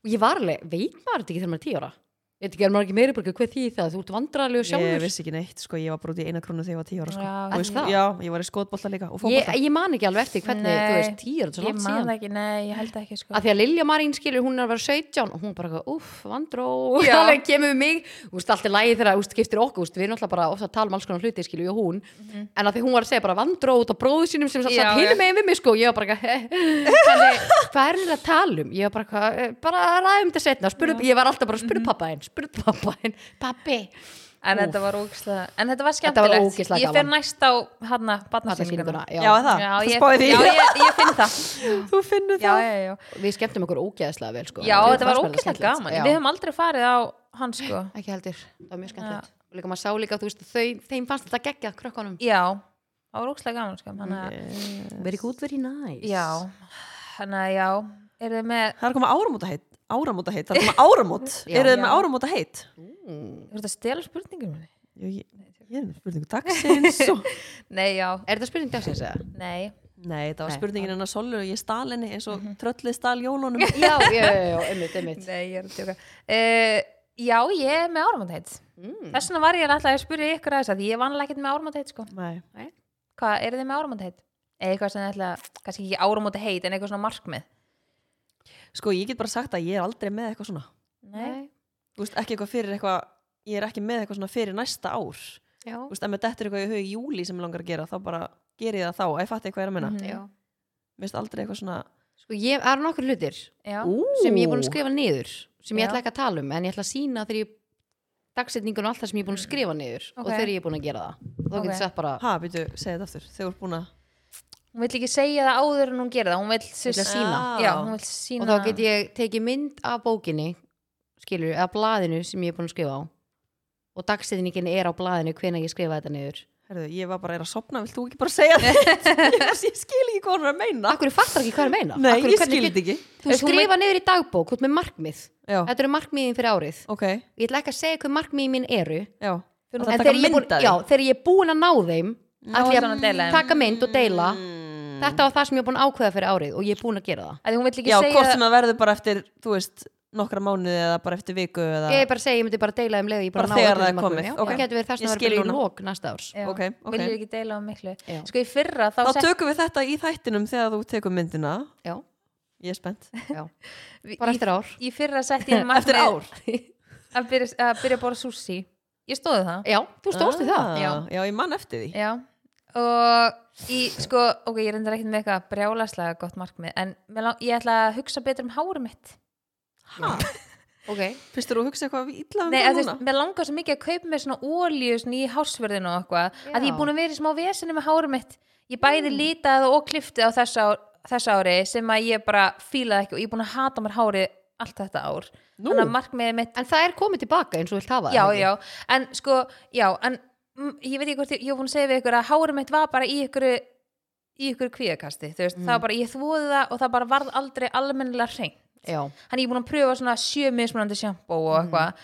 [SPEAKER 2] og ég var alveg, veit maður þetta ekki þegar maður er tíu ára ég veit ekki, er maður ekki meiri bara hvað því það þú ert vandrarlegu
[SPEAKER 1] Ég
[SPEAKER 2] sjálfur ég,
[SPEAKER 1] vissi ekki neitt, sko, ég var bara út í eina krónu þegar ég var tíu ára, sko.
[SPEAKER 3] Já,
[SPEAKER 1] Og ég-
[SPEAKER 2] er það?
[SPEAKER 1] já, ég var í skotbolta líka og
[SPEAKER 2] ég,
[SPEAKER 1] fótbolta.
[SPEAKER 2] man ekki alveg eftir hvernig
[SPEAKER 3] Nei.
[SPEAKER 2] þú veist tíu ára, þetta er svo
[SPEAKER 3] ég
[SPEAKER 2] langt
[SPEAKER 3] man
[SPEAKER 2] síðan
[SPEAKER 3] ekki, nei, ég held ekki sko.
[SPEAKER 2] að því að Lilja Marín skilur, hún er að vera 17 og hún bara, uff, vandró
[SPEAKER 3] Já.
[SPEAKER 2] alveg kemur við mig, úst, allt er lægi þegar úst, skiptir okkur, úst, við erum alltaf bara ofta að tala um alls konar hluti, skilur ég og hún en að því hún var að segja bara vandró út á bróðu sínum sem satt
[SPEAKER 3] Mhm. Já, já.
[SPEAKER 2] hinum megin við mig, sko, ég var bara þannig, hvað er hún að tala um? ég var bara, "Hvað, eh, bara ræðum þetta setna spurðu, ég var alltaf bara,
[SPEAKER 3] Mhm.
[SPEAKER 2] spurðu pappa henn, spurðu pappa henn pappi,
[SPEAKER 3] En þetta var ógislega, en þetta var
[SPEAKER 2] Þetta var
[SPEAKER 3] skemmtilegt
[SPEAKER 2] ógegislega
[SPEAKER 3] Ég fer
[SPEAKER 2] gaman.
[SPEAKER 3] næst á hana, barnasýninguna
[SPEAKER 2] barnasýninguna, já.
[SPEAKER 1] Já, er það?
[SPEAKER 3] Já,
[SPEAKER 1] Það
[SPEAKER 3] ég,
[SPEAKER 1] spáði því.
[SPEAKER 3] já ég, ég finn það
[SPEAKER 1] Þú finnur
[SPEAKER 3] Já,
[SPEAKER 1] það.
[SPEAKER 3] já, já,
[SPEAKER 2] við skemmtum okkur ógeðslega vel, sko
[SPEAKER 3] já
[SPEAKER 2] Mér
[SPEAKER 3] þetta var
[SPEAKER 2] fannst mér
[SPEAKER 3] ógislega
[SPEAKER 2] skemmtilegt.
[SPEAKER 3] gaman
[SPEAKER 2] Já.
[SPEAKER 3] Við höfum aldrei farið á hann sko
[SPEAKER 2] ekki heldur, það var mjög skemmtilegt og líka maður sá líka, þú veist, þau, þeim fannst þetta geggja krökkunum
[SPEAKER 3] Já, það var ógislega gaman sko Þannig að,
[SPEAKER 1] Eh,
[SPEAKER 2] Very good, very nice
[SPEAKER 3] já Þannig að já, eru þið með
[SPEAKER 1] Það er að koma áramóta heitt. Áramóta heitt, það er að koma áramót.
[SPEAKER 2] Já.
[SPEAKER 1] Eru þið
[SPEAKER 3] Já.
[SPEAKER 1] með áramóta heitt?
[SPEAKER 3] Þú ert að stela spurningum minni?
[SPEAKER 1] Ég, ég, ég er með spurningu dagsins og...
[SPEAKER 3] Nei, já,
[SPEAKER 2] Er þetta spurning dagsins eða?
[SPEAKER 3] nei
[SPEAKER 1] Nei, það Mhm. var
[SPEAKER 2] Nei.
[SPEAKER 1] spurningin hennar Sollu og ég stal henni eins og tröllið stal jólunum.
[SPEAKER 2] Já, já, já, já, einmitt, einmitt
[SPEAKER 3] Nei, ég er að tjóka uh, Já, ég er með áramótheit
[SPEAKER 2] mm.
[SPEAKER 3] Þess vegna var ég alltaf að spyrja ykkur að þess að Því ég vanlega ekkert með áramótheit sko
[SPEAKER 1] Nei.
[SPEAKER 3] Hvað, eru þið með áramótheit? Eða eitthvað sem þið ætla, kannski ekki áramóta en eitthvað svona markmið?
[SPEAKER 1] Sko, ég get bara sagt að ég er aldrei með eitthvað svona.
[SPEAKER 3] Nei.
[SPEAKER 1] þú veist, ekki eitthvað fyrir eitthvað ég er ekki með eitthvað svona fyrir næsta ár þú
[SPEAKER 3] já,
[SPEAKER 1] veist, ef mér dettur eitthvað í hug í júli sem mig langar að gera þá bara ger ég það þá, að ég fatti hvað ég er að minna mm
[SPEAKER 2] Mhm.
[SPEAKER 3] já,
[SPEAKER 1] -hmm. veist aldrei eitthvað svona
[SPEAKER 2] Sko, ég það eru nokkur hlutir
[SPEAKER 3] já,
[SPEAKER 1] Ú,
[SPEAKER 2] sem ég er búin að skrifa niður sem ég
[SPEAKER 3] Já.
[SPEAKER 2] ætla ekki að tala um en ég ætla að sína þegar ég dagsetningun og allt það sem ég er búin að skrifa niður og
[SPEAKER 3] Ok.
[SPEAKER 2] þegar ég er búin að gera það og þá
[SPEAKER 3] Ok.
[SPEAKER 2] getur sett bara
[SPEAKER 1] ha, býtu, segi þetta aftur, þegar þú ert búin að
[SPEAKER 3] hún vill ekki segja það áður en hún gera það hún vill
[SPEAKER 2] Vill að sýna.
[SPEAKER 1] Ah.
[SPEAKER 3] já, hún vill
[SPEAKER 2] og
[SPEAKER 3] sína
[SPEAKER 2] þá get ég tekið mynd af bókinni skilur, eða blaðinu sem ég er búin að skrifa á og dagsetningin er á blaðinu hvenær ég skrifa þetta niður
[SPEAKER 1] Herðu, ég var bara að er að sopna, vilt þú ekki bara segja þetta? ég, var- ég skil ekki hvað hún er að meina.
[SPEAKER 2] Akkur fattar ekki hvað er meina
[SPEAKER 1] Nei,
[SPEAKER 2] Akkur,
[SPEAKER 1] ég skil þetta ekki.
[SPEAKER 2] Þú
[SPEAKER 3] Ef þú
[SPEAKER 2] skrifa niður í dagbók, út með markmið
[SPEAKER 1] Já,
[SPEAKER 2] Þetta eru markmiðin fyrir árið
[SPEAKER 1] ok,
[SPEAKER 2] Ég ætla ekki að segja hvað markmiðin mín eru
[SPEAKER 1] já. Þú
[SPEAKER 2] En þegar ég, er búin, já, þegar ég er búin að ná þeim ætla ég
[SPEAKER 3] ertu búin að deila
[SPEAKER 2] að
[SPEAKER 3] þeim.
[SPEAKER 2] taka mynd og deila
[SPEAKER 1] Mm.
[SPEAKER 2] Þetta var það sem ég er búin að ákveða fyrir árið og ég er búin að gera það
[SPEAKER 3] að hún vill ekki
[SPEAKER 1] Já,
[SPEAKER 3] segja
[SPEAKER 1] hvort sem það verður bara eftir, þú veist, nokkra mánuði eða bara eftir viku eða...
[SPEAKER 2] Ég er bara að segja, ég myndi bara að deila þeim leið Ég er búin
[SPEAKER 1] Bara
[SPEAKER 2] að ná
[SPEAKER 1] þegar
[SPEAKER 2] öllum
[SPEAKER 1] það er
[SPEAKER 2] markmiðum.
[SPEAKER 1] komið,
[SPEAKER 2] Já,
[SPEAKER 1] ok.
[SPEAKER 2] Það getur verið það
[SPEAKER 1] Ég
[SPEAKER 2] sem það
[SPEAKER 1] skil
[SPEAKER 2] verður í
[SPEAKER 1] núna.
[SPEAKER 2] lók næsta árs
[SPEAKER 3] Já,
[SPEAKER 1] Ok, ok.
[SPEAKER 3] viljir ekki deila um miklu
[SPEAKER 2] Já.
[SPEAKER 3] sko í fyrra þá,
[SPEAKER 1] Þá
[SPEAKER 3] sett-
[SPEAKER 1] tökum við þetta í þættinum þegar þú tekur myndina.
[SPEAKER 2] Já,
[SPEAKER 1] Ég er spennt.
[SPEAKER 2] já, bara eftir ár
[SPEAKER 3] í fyrra sett ég
[SPEAKER 1] Eftir
[SPEAKER 3] markmið
[SPEAKER 1] ár.
[SPEAKER 3] að byrja, að byrja að bora sushi ég stóði það
[SPEAKER 2] Já, þú stóðst við það
[SPEAKER 1] Já.
[SPEAKER 3] Já.
[SPEAKER 1] Ah, já, ég man eftir því.
[SPEAKER 3] já. og í sko ok, ég reyndar ekkert með eitthvað brjálaslega gott markmið en mig lang- ég ætla að hugsa betur um hárum mitt
[SPEAKER 1] Ha,
[SPEAKER 2] Ok,
[SPEAKER 1] finnst þú að hugsa eitthvað illa um
[SPEAKER 3] Nei,
[SPEAKER 1] það
[SPEAKER 3] að þú veist,
[SPEAKER 1] núna?
[SPEAKER 3] mér langar svo mikið að kaupa mér svona ólíu svona í hásverðinu og eitthvað
[SPEAKER 2] Já.
[SPEAKER 3] að ég er búin að vera í smá vesinu með hárum mitt ég
[SPEAKER 1] Mm.
[SPEAKER 3] bæði litað og kliftið á þess, á, þess ári sem að ég bara fílaði ekki og ég er búin að hata mér hári allt þetta ár
[SPEAKER 1] Nú?
[SPEAKER 3] þannig að markmiðið mitt
[SPEAKER 2] En það er komið tilbaka eins og þú vilt hafa það,
[SPEAKER 3] já,
[SPEAKER 2] ekki?
[SPEAKER 3] já, en sko, já en mm, ég veit ekki hvort, ég, ég er búin að segja við ykkur að hárum mitt var bara í ykkur í ykkur kvíðakasti, þú veist, það
[SPEAKER 1] Mm.
[SPEAKER 3] var bara ég þvóði það og það bara varð aldrei almennilega hreint
[SPEAKER 2] já
[SPEAKER 3] hann er búin að pröfa svona sjö mismunandi sjampó og eitthvað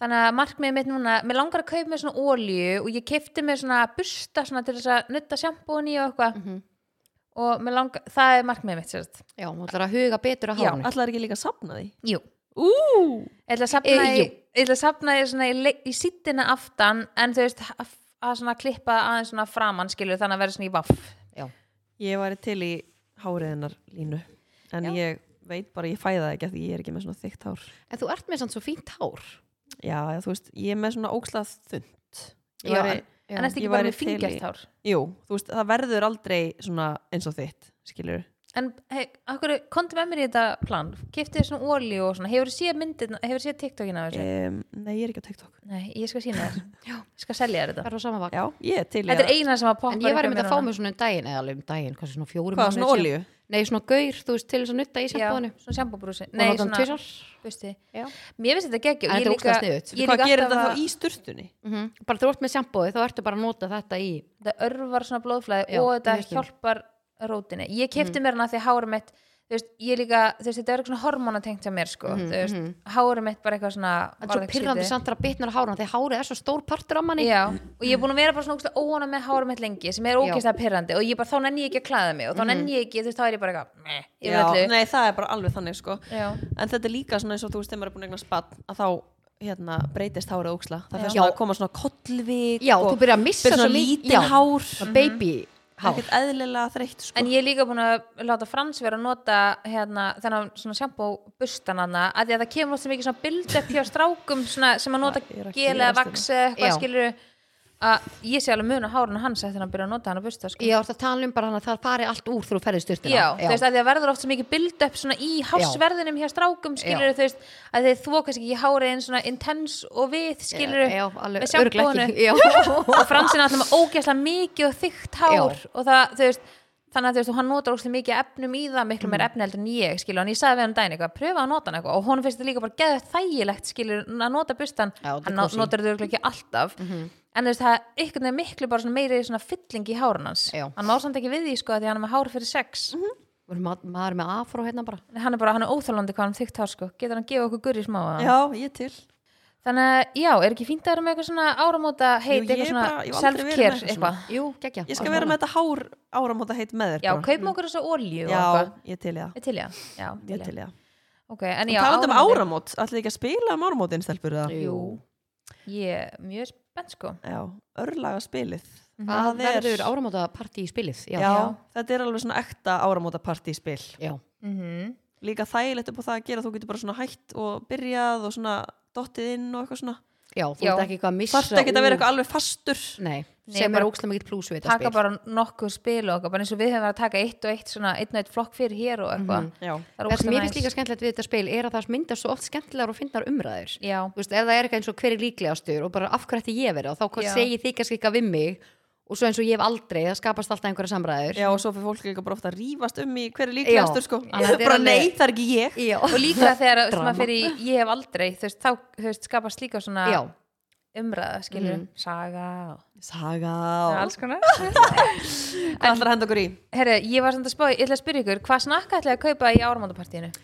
[SPEAKER 3] þannig að markmiðið mitt núna, mér langar að kaupa mér svona ólíu og ég kefti mér svona busta svona til þess að nutta sjampóin í og eitthvað
[SPEAKER 2] Mhm.
[SPEAKER 3] og mér langar, það er markmiðið mitt sérst.
[SPEAKER 2] Já, þú ætlar að huga betur að
[SPEAKER 3] Já,
[SPEAKER 2] hárinu.
[SPEAKER 1] Ætlaðir ekki líka að sapna því?
[SPEAKER 3] Jú,
[SPEAKER 1] Ú!
[SPEAKER 3] ég ætla að sapna
[SPEAKER 2] Eh, jú.
[SPEAKER 3] í, ég ætla að sapna í svona í, le- í sittina aftan en þú veist að, að svona klippa aðeins svona framann skilur þannig að vera svona í vaff
[SPEAKER 2] Já.
[SPEAKER 1] Ég væri til í háriðinar línu. En
[SPEAKER 3] Já.
[SPEAKER 1] ég veit bara, ég fæða ekki af því ég er ekki með svona þykkt hár.
[SPEAKER 2] En þú ert með samt svo fínt hár.
[SPEAKER 1] Já, já, þú veist, ég er með svona ógslað þund. Ég
[SPEAKER 2] Já,
[SPEAKER 1] væri-
[SPEAKER 2] Já.
[SPEAKER 3] en
[SPEAKER 1] ég
[SPEAKER 3] ertu ekki bara
[SPEAKER 1] væri
[SPEAKER 3] með
[SPEAKER 1] til í-
[SPEAKER 3] fingjart hár
[SPEAKER 1] Jú, þú veist, það verður aldrei svona eins og þitt, skilur
[SPEAKER 3] en hei, akkur, komdu með mér í þetta plan kefti svona ólíu og svona hefur séð myndin, hefur séð TikTokin af þessu
[SPEAKER 1] um, Nei, ég er ekki á TikTok
[SPEAKER 3] Nei, ég skal sína þér Ég skal selja þér þetta
[SPEAKER 2] Það er á sama vakt.
[SPEAKER 1] Já, ég er til í
[SPEAKER 3] Þetta er
[SPEAKER 1] að-
[SPEAKER 3] eina sem að poppa
[SPEAKER 2] En ég var einmitt að fá mig svona um daginn, eða alveg um daginn, kannski svona fjórum
[SPEAKER 1] Hvað, svona olíu?
[SPEAKER 2] Nei, svona gaur, þú veist, til þess að nutta í sjampónu.
[SPEAKER 3] sjampónu Svona sjampóbrúsi
[SPEAKER 2] Nei, svona... Tvisar.
[SPEAKER 3] busti
[SPEAKER 2] Já.
[SPEAKER 3] Mér finnst þetta geggjum
[SPEAKER 2] En þetta er ógeðslega sniðugt.
[SPEAKER 1] Hvað gerir þetta þá í sturtunni?
[SPEAKER 2] Mm Bara þú ert með sjampói, þá ertu bara að nota þetta í.
[SPEAKER 3] Þetta örvar svona blóðflæði
[SPEAKER 2] Já, Mhm.
[SPEAKER 3] og þetta
[SPEAKER 2] mér finnst það.
[SPEAKER 3] hjálpar rótinni Ég kefti mér hana því að hárum mitt Þú veist, ég líka, þú veist, þetta er eitthvað svona hormonatengt hjá mér, sko, þú veist, hárum mitt bara eitthvað svona
[SPEAKER 2] Það er Mhm, svo
[SPEAKER 3] varð ekki
[SPEAKER 2] pyrrandi
[SPEAKER 3] skrítið.
[SPEAKER 2] samt að bitnar að hárinu, þegar hárið er svo stór partur af manni.
[SPEAKER 3] Já, og ég er búin að vera bara svona ógeðslega óana með hárum mitt lengi, sem er ógeðslega pyrrandi og ég bara, þá nenni ég ekki að klæða mig og þá
[SPEAKER 2] Mhm.
[SPEAKER 3] nenni ég ekki, þú veist, þá er ég bara eitthvað, meh, yfir öllu.
[SPEAKER 1] nei, það er bara alveg þannig, sko
[SPEAKER 3] Já.
[SPEAKER 1] En þetta er líka svona eins og þú veist, þegar maður er búin að eignast spatt að þá, hérna, breytist hárið óksla Það fyrir
[SPEAKER 2] Já.
[SPEAKER 1] svona að koma svona kollvik
[SPEAKER 2] Já,
[SPEAKER 1] og
[SPEAKER 2] þú byrjar að missa
[SPEAKER 1] byrjar
[SPEAKER 2] svo
[SPEAKER 1] svona
[SPEAKER 2] mikið-
[SPEAKER 1] lítið
[SPEAKER 2] Já.
[SPEAKER 1] hár Mhm.
[SPEAKER 2] Svona baby hár.
[SPEAKER 1] Ekkert eðlilega þreytt, sko
[SPEAKER 3] En ég er líka búin að láta Frans vera að nota hérna, þennan svona sjampó bustananna að því að það kemur oft sem ekki svona build-up hjá strákum svona, sem að nota
[SPEAKER 1] Það er að
[SPEAKER 3] gel eða
[SPEAKER 1] gerast hérna.
[SPEAKER 3] vaks
[SPEAKER 2] Já.
[SPEAKER 3] eða eitthvað skilur að ég sé alveg mun á hárun hans eftir að hann byrja að nota hann að busta sko.
[SPEAKER 2] Ég átt að tala um bara hann að það fari allt úr þrú ferðið styrtina.
[SPEAKER 3] Já, þú veist að því að verður oft sem ekki build-up svona í hásverðinum hjá strákum skilur þú veist að þeir þvó kannski ekki hárið einn svona intense og við skilur
[SPEAKER 2] Já, alveg,
[SPEAKER 3] með
[SPEAKER 2] örugglega
[SPEAKER 3] sjampóinu
[SPEAKER 2] ekki. Já.
[SPEAKER 3] og Fransin alltaf með ógeðslega mikið og þykkt hár
[SPEAKER 2] Já.
[SPEAKER 3] og það, þú veist þannig að þú veist, og hann notar ógeðslega mikið efnum í það miklu
[SPEAKER 2] Mm.
[SPEAKER 3] meir efni heldur en ég, skilur, en ég sagði við hann um daginn eitthvað, pröfa að nota hann eitthvað og honum finnst þetta líka bara geðið þægilegt, skilur, að nota bustan
[SPEAKER 2] Já, þetta er
[SPEAKER 3] hann ná-
[SPEAKER 2] kósí. Mhm.
[SPEAKER 3] notar þetta örugglega ekki alltaf en þú veist, það er einhvern veginn miklu bara svona meiri svona fylling í hárun hans
[SPEAKER 2] Já.
[SPEAKER 3] hann má samt ekki við því, sko, af því hann er með hár fyrir sex
[SPEAKER 2] Ma- Maður er með afró hérna bara.
[SPEAKER 3] hann er bara, hann er óþálandi hvað hann er þykkt hár, sko getur hann gefið okkur gurri smá að
[SPEAKER 1] Já, ég er til
[SPEAKER 3] þannig að, já, er ekki fínt að vera með eitthvað svona áramóta heit,
[SPEAKER 1] Jú, ég
[SPEAKER 3] eitthvað
[SPEAKER 1] er bara- ég
[SPEAKER 3] svona
[SPEAKER 1] hef aldrei verið með
[SPEAKER 3] self-care
[SPEAKER 1] eitthvað svona.
[SPEAKER 3] eitthvað
[SPEAKER 2] Jú, geggja.
[SPEAKER 1] Ég skal vera með þetta hár áramóta heitt með þér
[SPEAKER 3] Já,
[SPEAKER 1] bara.
[SPEAKER 3] kaupum okkur þessa olju og
[SPEAKER 1] Já,
[SPEAKER 3] eitthvað.
[SPEAKER 1] ég er til í það
[SPEAKER 3] Ég til ég, já,
[SPEAKER 1] Ég er til í það
[SPEAKER 3] Ok, en já,
[SPEAKER 1] Já, talandi um
[SPEAKER 3] áramótin-
[SPEAKER 1] áramót, ætlið þið ekki að spila um áramótin stelpur það?
[SPEAKER 2] Jú.
[SPEAKER 3] Ég er mjög spennt sko
[SPEAKER 1] Já, örlaga spilið
[SPEAKER 2] Mhm. Það verður áramóta partí í spilið.
[SPEAKER 1] já,
[SPEAKER 2] Já. Já.
[SPEAKER 1] þetta er alveg svona ekta áramóta spil
[SPEAKER 2] Já.
[SPEAKER 3] mm -hmm.
[SPEAKER 1] Líka þægilegt upp á það að gera, þú getur bara svona hætt og byrjað og svona dottið inn og eitthvað svona
[SPEAKER 2] já, þú
[SPEAKER 3] Já.
[SPEAKER 2] ert ekki eitthvað að missa
[SPEAKER 1] þarf ekki að
[SPEAKER 2] úr-
[SPEAKER 1] vera eitthvað alveg fastur
[SPEAKER 2] nei,
[SPEAKER 3] Nei,
[SPEAKER 2] sem
[SPEAKER 3] bara-
[SPEAKER 2] er ókslega mikill plús við þetta
[SPEAKER 3] taka
[SPEAKER 2] spil
[SPEAKER 3] bara nokkuð spil og okkar, bara eins og við höfum verið að taka eitt og eitt svona, einn og eitt flokk fyrir hér og eitthvað
[SPEAKER 2] Mhm.
[SPEAKER 1] já,
[SPEAKER 3] það er
[SPEAKER 2] það sem
[SPEAKER 3] ógeðslega
[SPEAKER 2] mér finnst líka
[SPEAKER 3] næs.
[SPEAKER 2] skemmtilegt við þetta spil er að það myndast svo oft skemmtilegar og finnar umræður
[SPEAKER 3] já,
[SPEAKER 2] Þú veist, ef það er eitthvað eins og hver er líklegastur og bara af hverju ætti ég verið og þá
[SPEAKER 3] Já.
[SPEAKER 2] segi þið kannski eitthvað við mig og svo eins og ég hef aldrei, það skapast alltaf einhverja samræður
[SPEAKER 1] já og svo fyrir fólk líka bara ofta að rífast um í hver er líklegastur sko
[SPEAKER 2] Þannig að þetta er
[SPEAKER 1] bara
[SPEAKER 2] alveg-
[SPEAKER 1] nei, það er ekki ég
[SPEAKER 2] Já.
[SPEAKER 3] og líka þegar að-
[SPEAKER 2] Drama.
[SPEAKER 3] maður fyrir í ég hef aldrei, þú veist, þá þú veist, skapast líka svona
[SPEAKER 2] Já.
[SPEAKER 3] umræða, skilur,
[SPEAKER 1] Mhm.
[SPEAKER 3] saga og
[SPEAKER 1] saga og
[SPEAKER 3] alls konar
[SPEAKER 1] hvað ætlar að henda okkur í
[SPEAKER 3] Herri, ég var samt að spá, ég ætla að spyrja ykkur hvað snakka ætla að kaupa í áramandapartíinu?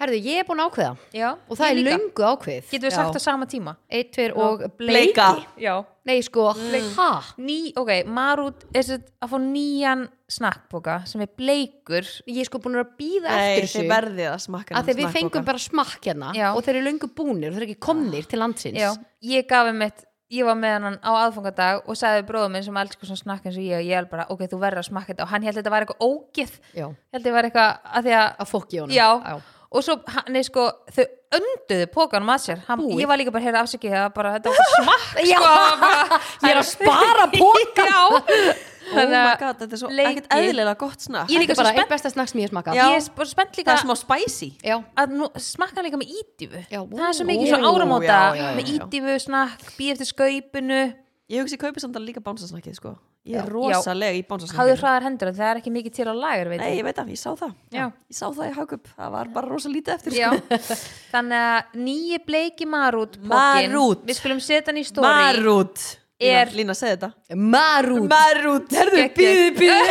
[SPEAKER 2] herðu, ég er búin að ákveða
[SPEAKER 3] Já,
[SPEAKER 2] og það
[SPEAKER 3] ég
[SPEAKER 2] er
[SPEAKER 3] líka.
[SPEAKER 2] löngu ákveð
[SPEAKER 3] Getum við
[SPEAKER 1] Já.
[SPEAKER 3] sagt á sama tíma?
[SPEAKER 2] eitt, tver og bleiki
[SPEAKER 1] bleika
[SPEAKER 3] Já
[SPEAKER 2] nei, sko,
[SPEAKER 3] Mm.
[SPEAKER 2] ha
[SPEAKER 3] Ný, ok, Marút er sér að fá nýjan snakkboka sem er bleikur
[SPEAKER 2] ég er sko búin að býða
[SPEAKER 1] nei,
[SPEAKER 2] eftir
[SPEAKER 1] þið
[SPEAKER 2] þessu
[SPEAKER 1] verðið að smakka
[SPEAKER 2] að þegar við fengum bara smakk hérna
[SPEAKER 3] Já. Ah.
[SPEAKER 2] og þeir eru löngu búnir og þeir eru ekki komnir til landsins
[SPEAKER 3] Já, ég gaf um eitt ég var með hann á aðfangadag og sagði bróðum minn sem elsku svona snakk eins og ég og ég er bara, ok, þú verður að smakka þetta og hann held að þetta var eitthvað ógeð
[SPEAKER 2] Já.
[SPEAKER 3] held að þetta var eitthvað að því að
[SPEAKER 2] að fokki honum
[SPEAKER 3] Já.
[SPEAKER 2] Já.
[SPEAKER 3] og svo, hann, nei sko, þau önduðu pókanum að sér hann,
[SPEAKER 2] Búið.
[SPEAKER 3] ég var líka bara að heyra afsakið það bara, þetta var bara smakk
[SPEAKER 2] Já.
[SPEAKER 3] sko, bara,
[SPEAKER 2] ég er að spara póka
[SPEAKER 3] já
[SPEAKER 1] oh my
[SPEAKER 3] Þannig að
[SPEAKER 1] god, þetta er svo
[SPEAKER 3] bleiki.
[SPEAKER 1] ekkert eðlilega gott snakk
[SPEAKER 3] Ég
[SPEAKER 2] þetta
[SPEAKER 3] er líka
[SPEAKER 2] er bara
[SPEAKER 3] svo
[SPEAKER 2] einn besta snakk sem ég hef smakað
[SPEAKER 1] Já.
[SPEAKER 3] ég er bara spennt
[SPEAKER 1] það
[SPEAKER 3] líka
[SPEAKER 1] er smá spicy
[SPEAKER 2] Já.
[SPEAKER 3] að nú, smakka líka með ídífu
[SPEAKER 2] Já,
[SPEAKER 3] það er svo
[SPEAKER 2] ú,
[SPEAKER 1] ú,
[SPEAKER 3] mikið svona áramóta
[SPEAKER 1] já, já, já,
[SPEAKER 3] með
[SPEAKER 1] já.
[SPEAKER 3] ídífu, snakk, býð eftir skaupinu
[SPEAKER 1] ég hugsi kaupi samt að líka bánsasnakkið sko ég
[SPEAKER 2] Já.
[SPEAKER 1] er rosalega í bánsasnakkið
[SPEAKER 3] hafðu hraðar hendur en það er ekki mikið til á lagur veit
[SPEAKER 1] Nei,
[SPEAKER 3] ég.
[SPEAKER 1] ég veit það, ég sá það
[SPEAKER 3] Já.
[SPEAKER 1] Ég sá það í Hagkup, það var bara rosa lítið eftir sko.
[SPEAKER 3] Já, þannig að nýji bleiki marút pókin,
[SPEAKER 1] Marút.
[SPEAKER 3] við skulum setja hann í
[SPEAKER 1] sko.
[SPEAKER 3] stóri
[SPEAKER 1] Marút
[SPEAKER 3] Er-
[SPEAKER 1] Lína, Lína, segði þetta
[SPEAKER 2] marút
[SPEAKER 1] Marút, herðu,
[SPEAKER 3] Gekkið.
[SPEAKER 1] bíðu, bíðu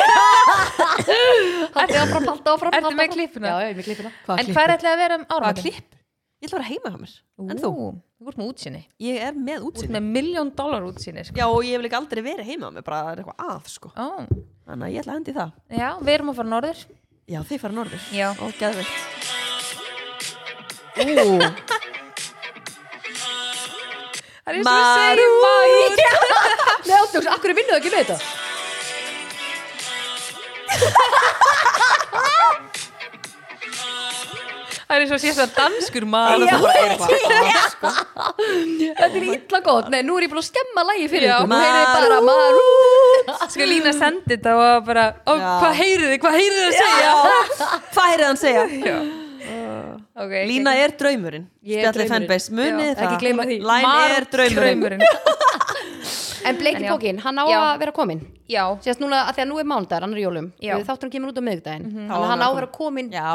[SPEAKER 2] Haldi áfram, haldi áfram
[SPEAKER 3] Ertu
[SPEAKER 2] haldi
[SPEAKER 3] með
[SPEAKER 2] áfram.
[SPEAKER 3] klippuna?
[SPEAKER 2] Já, ég er með klippuna
[SPEAKER 3] en hvað er ætlaði að vera um
[SPEAKER 1] Hvað
[SPEAKER 3] áramótin?
[SPEAKER 1] klipp? Ég ætla að vera heima hjá mér En þú?
[SPEAKER 3] Ú, Þú ert með útsinni
[SPEAKER 1] Ég er með
[SPEAKER 3] Þú ert
[SPEAKER 1] útsinni
[SPEAKER 3] með miljón dólar útsinni sko.
[SPEAKER 1] Já, og ég hef líka aldrei verið heima hjá mér, bara það er eitthvað að, sko
[SPEAKER 3] Ó,
[SPEAKER 1] Þannig að ég ætla að hendi það
[SPEAKER 3] Já, við erum að fara norður
[SPEAKER 1] Já, þið fara norður
[SPEAKER 3] Já.
[SPEAKER 1] Og geðveikt
[SPEAKER 3] Það er eins og við segjum marút
[SPEAKER 2] Nei, áttjóks, akkur er vinnuð ekki með þetta?
[SPEAKER 3] Það er eins og sést að danskur marút
[SPEAKER 1] Já, það er eitthvað að, sko
[SPEAKER 2] Þetta er illa gott, nei, nú er ég búin að skemma lægi fyrir
[SPEAKER 3] Já.
[SPEAKER 2] ykkur Nú heyrið þið bara marút
[SPEAKER 3] Skal Lína sendi þetta og bara ó,
[SPEAKER 1] Já.
[SPEAKER 3] Hvað heyrið þið, hvað heyrið þið að segja
[SPEAKER 1] Hvað er það hann segja?
[SPEAKER 3] okay,
[SPEAKER 1] Lína er draumurinn
[SPEAKER 2] Ég er
[SPEAKER 1] Spjallið
[SPEAKER 2] draumurinn.
[SPEAKER 1] fanbase, munið
[SPEAKER 2] Já,
[SPEAKER 1] það
[SPEAKER 2] ekki gleyma því.
[SPEAKER 1] Læn er draumurinn
[SPEAKER 2] En
[SPEAKER 3] En
[SPEAKER 2] bleiki
[SPEAKER 3] já.
[SPEAKER 2] pókin, hann á
[SPEAKER 3] Já.
[SPEAKER 2] að vera kominn
[SPEAKER 3] Já,
[SPEAKER 2] Sérst núna, að því að nú er mánudagur, annar jólum
[SPEAKER 3] Já.
[SPEAKER 2] Þátturinn kemur út á miðvikudaginn Þannig
[SPEAKER 1] Þá
[SPEAKER 2] að
[SPEAKER 1] á
[SPEAKER 2] hann á
[SPEAKER 1] hann
[SPEAKER 2] að
[SPEAKER 1] að
[SPEAKER 2] vera kominn
[SPEAKER 1] Já,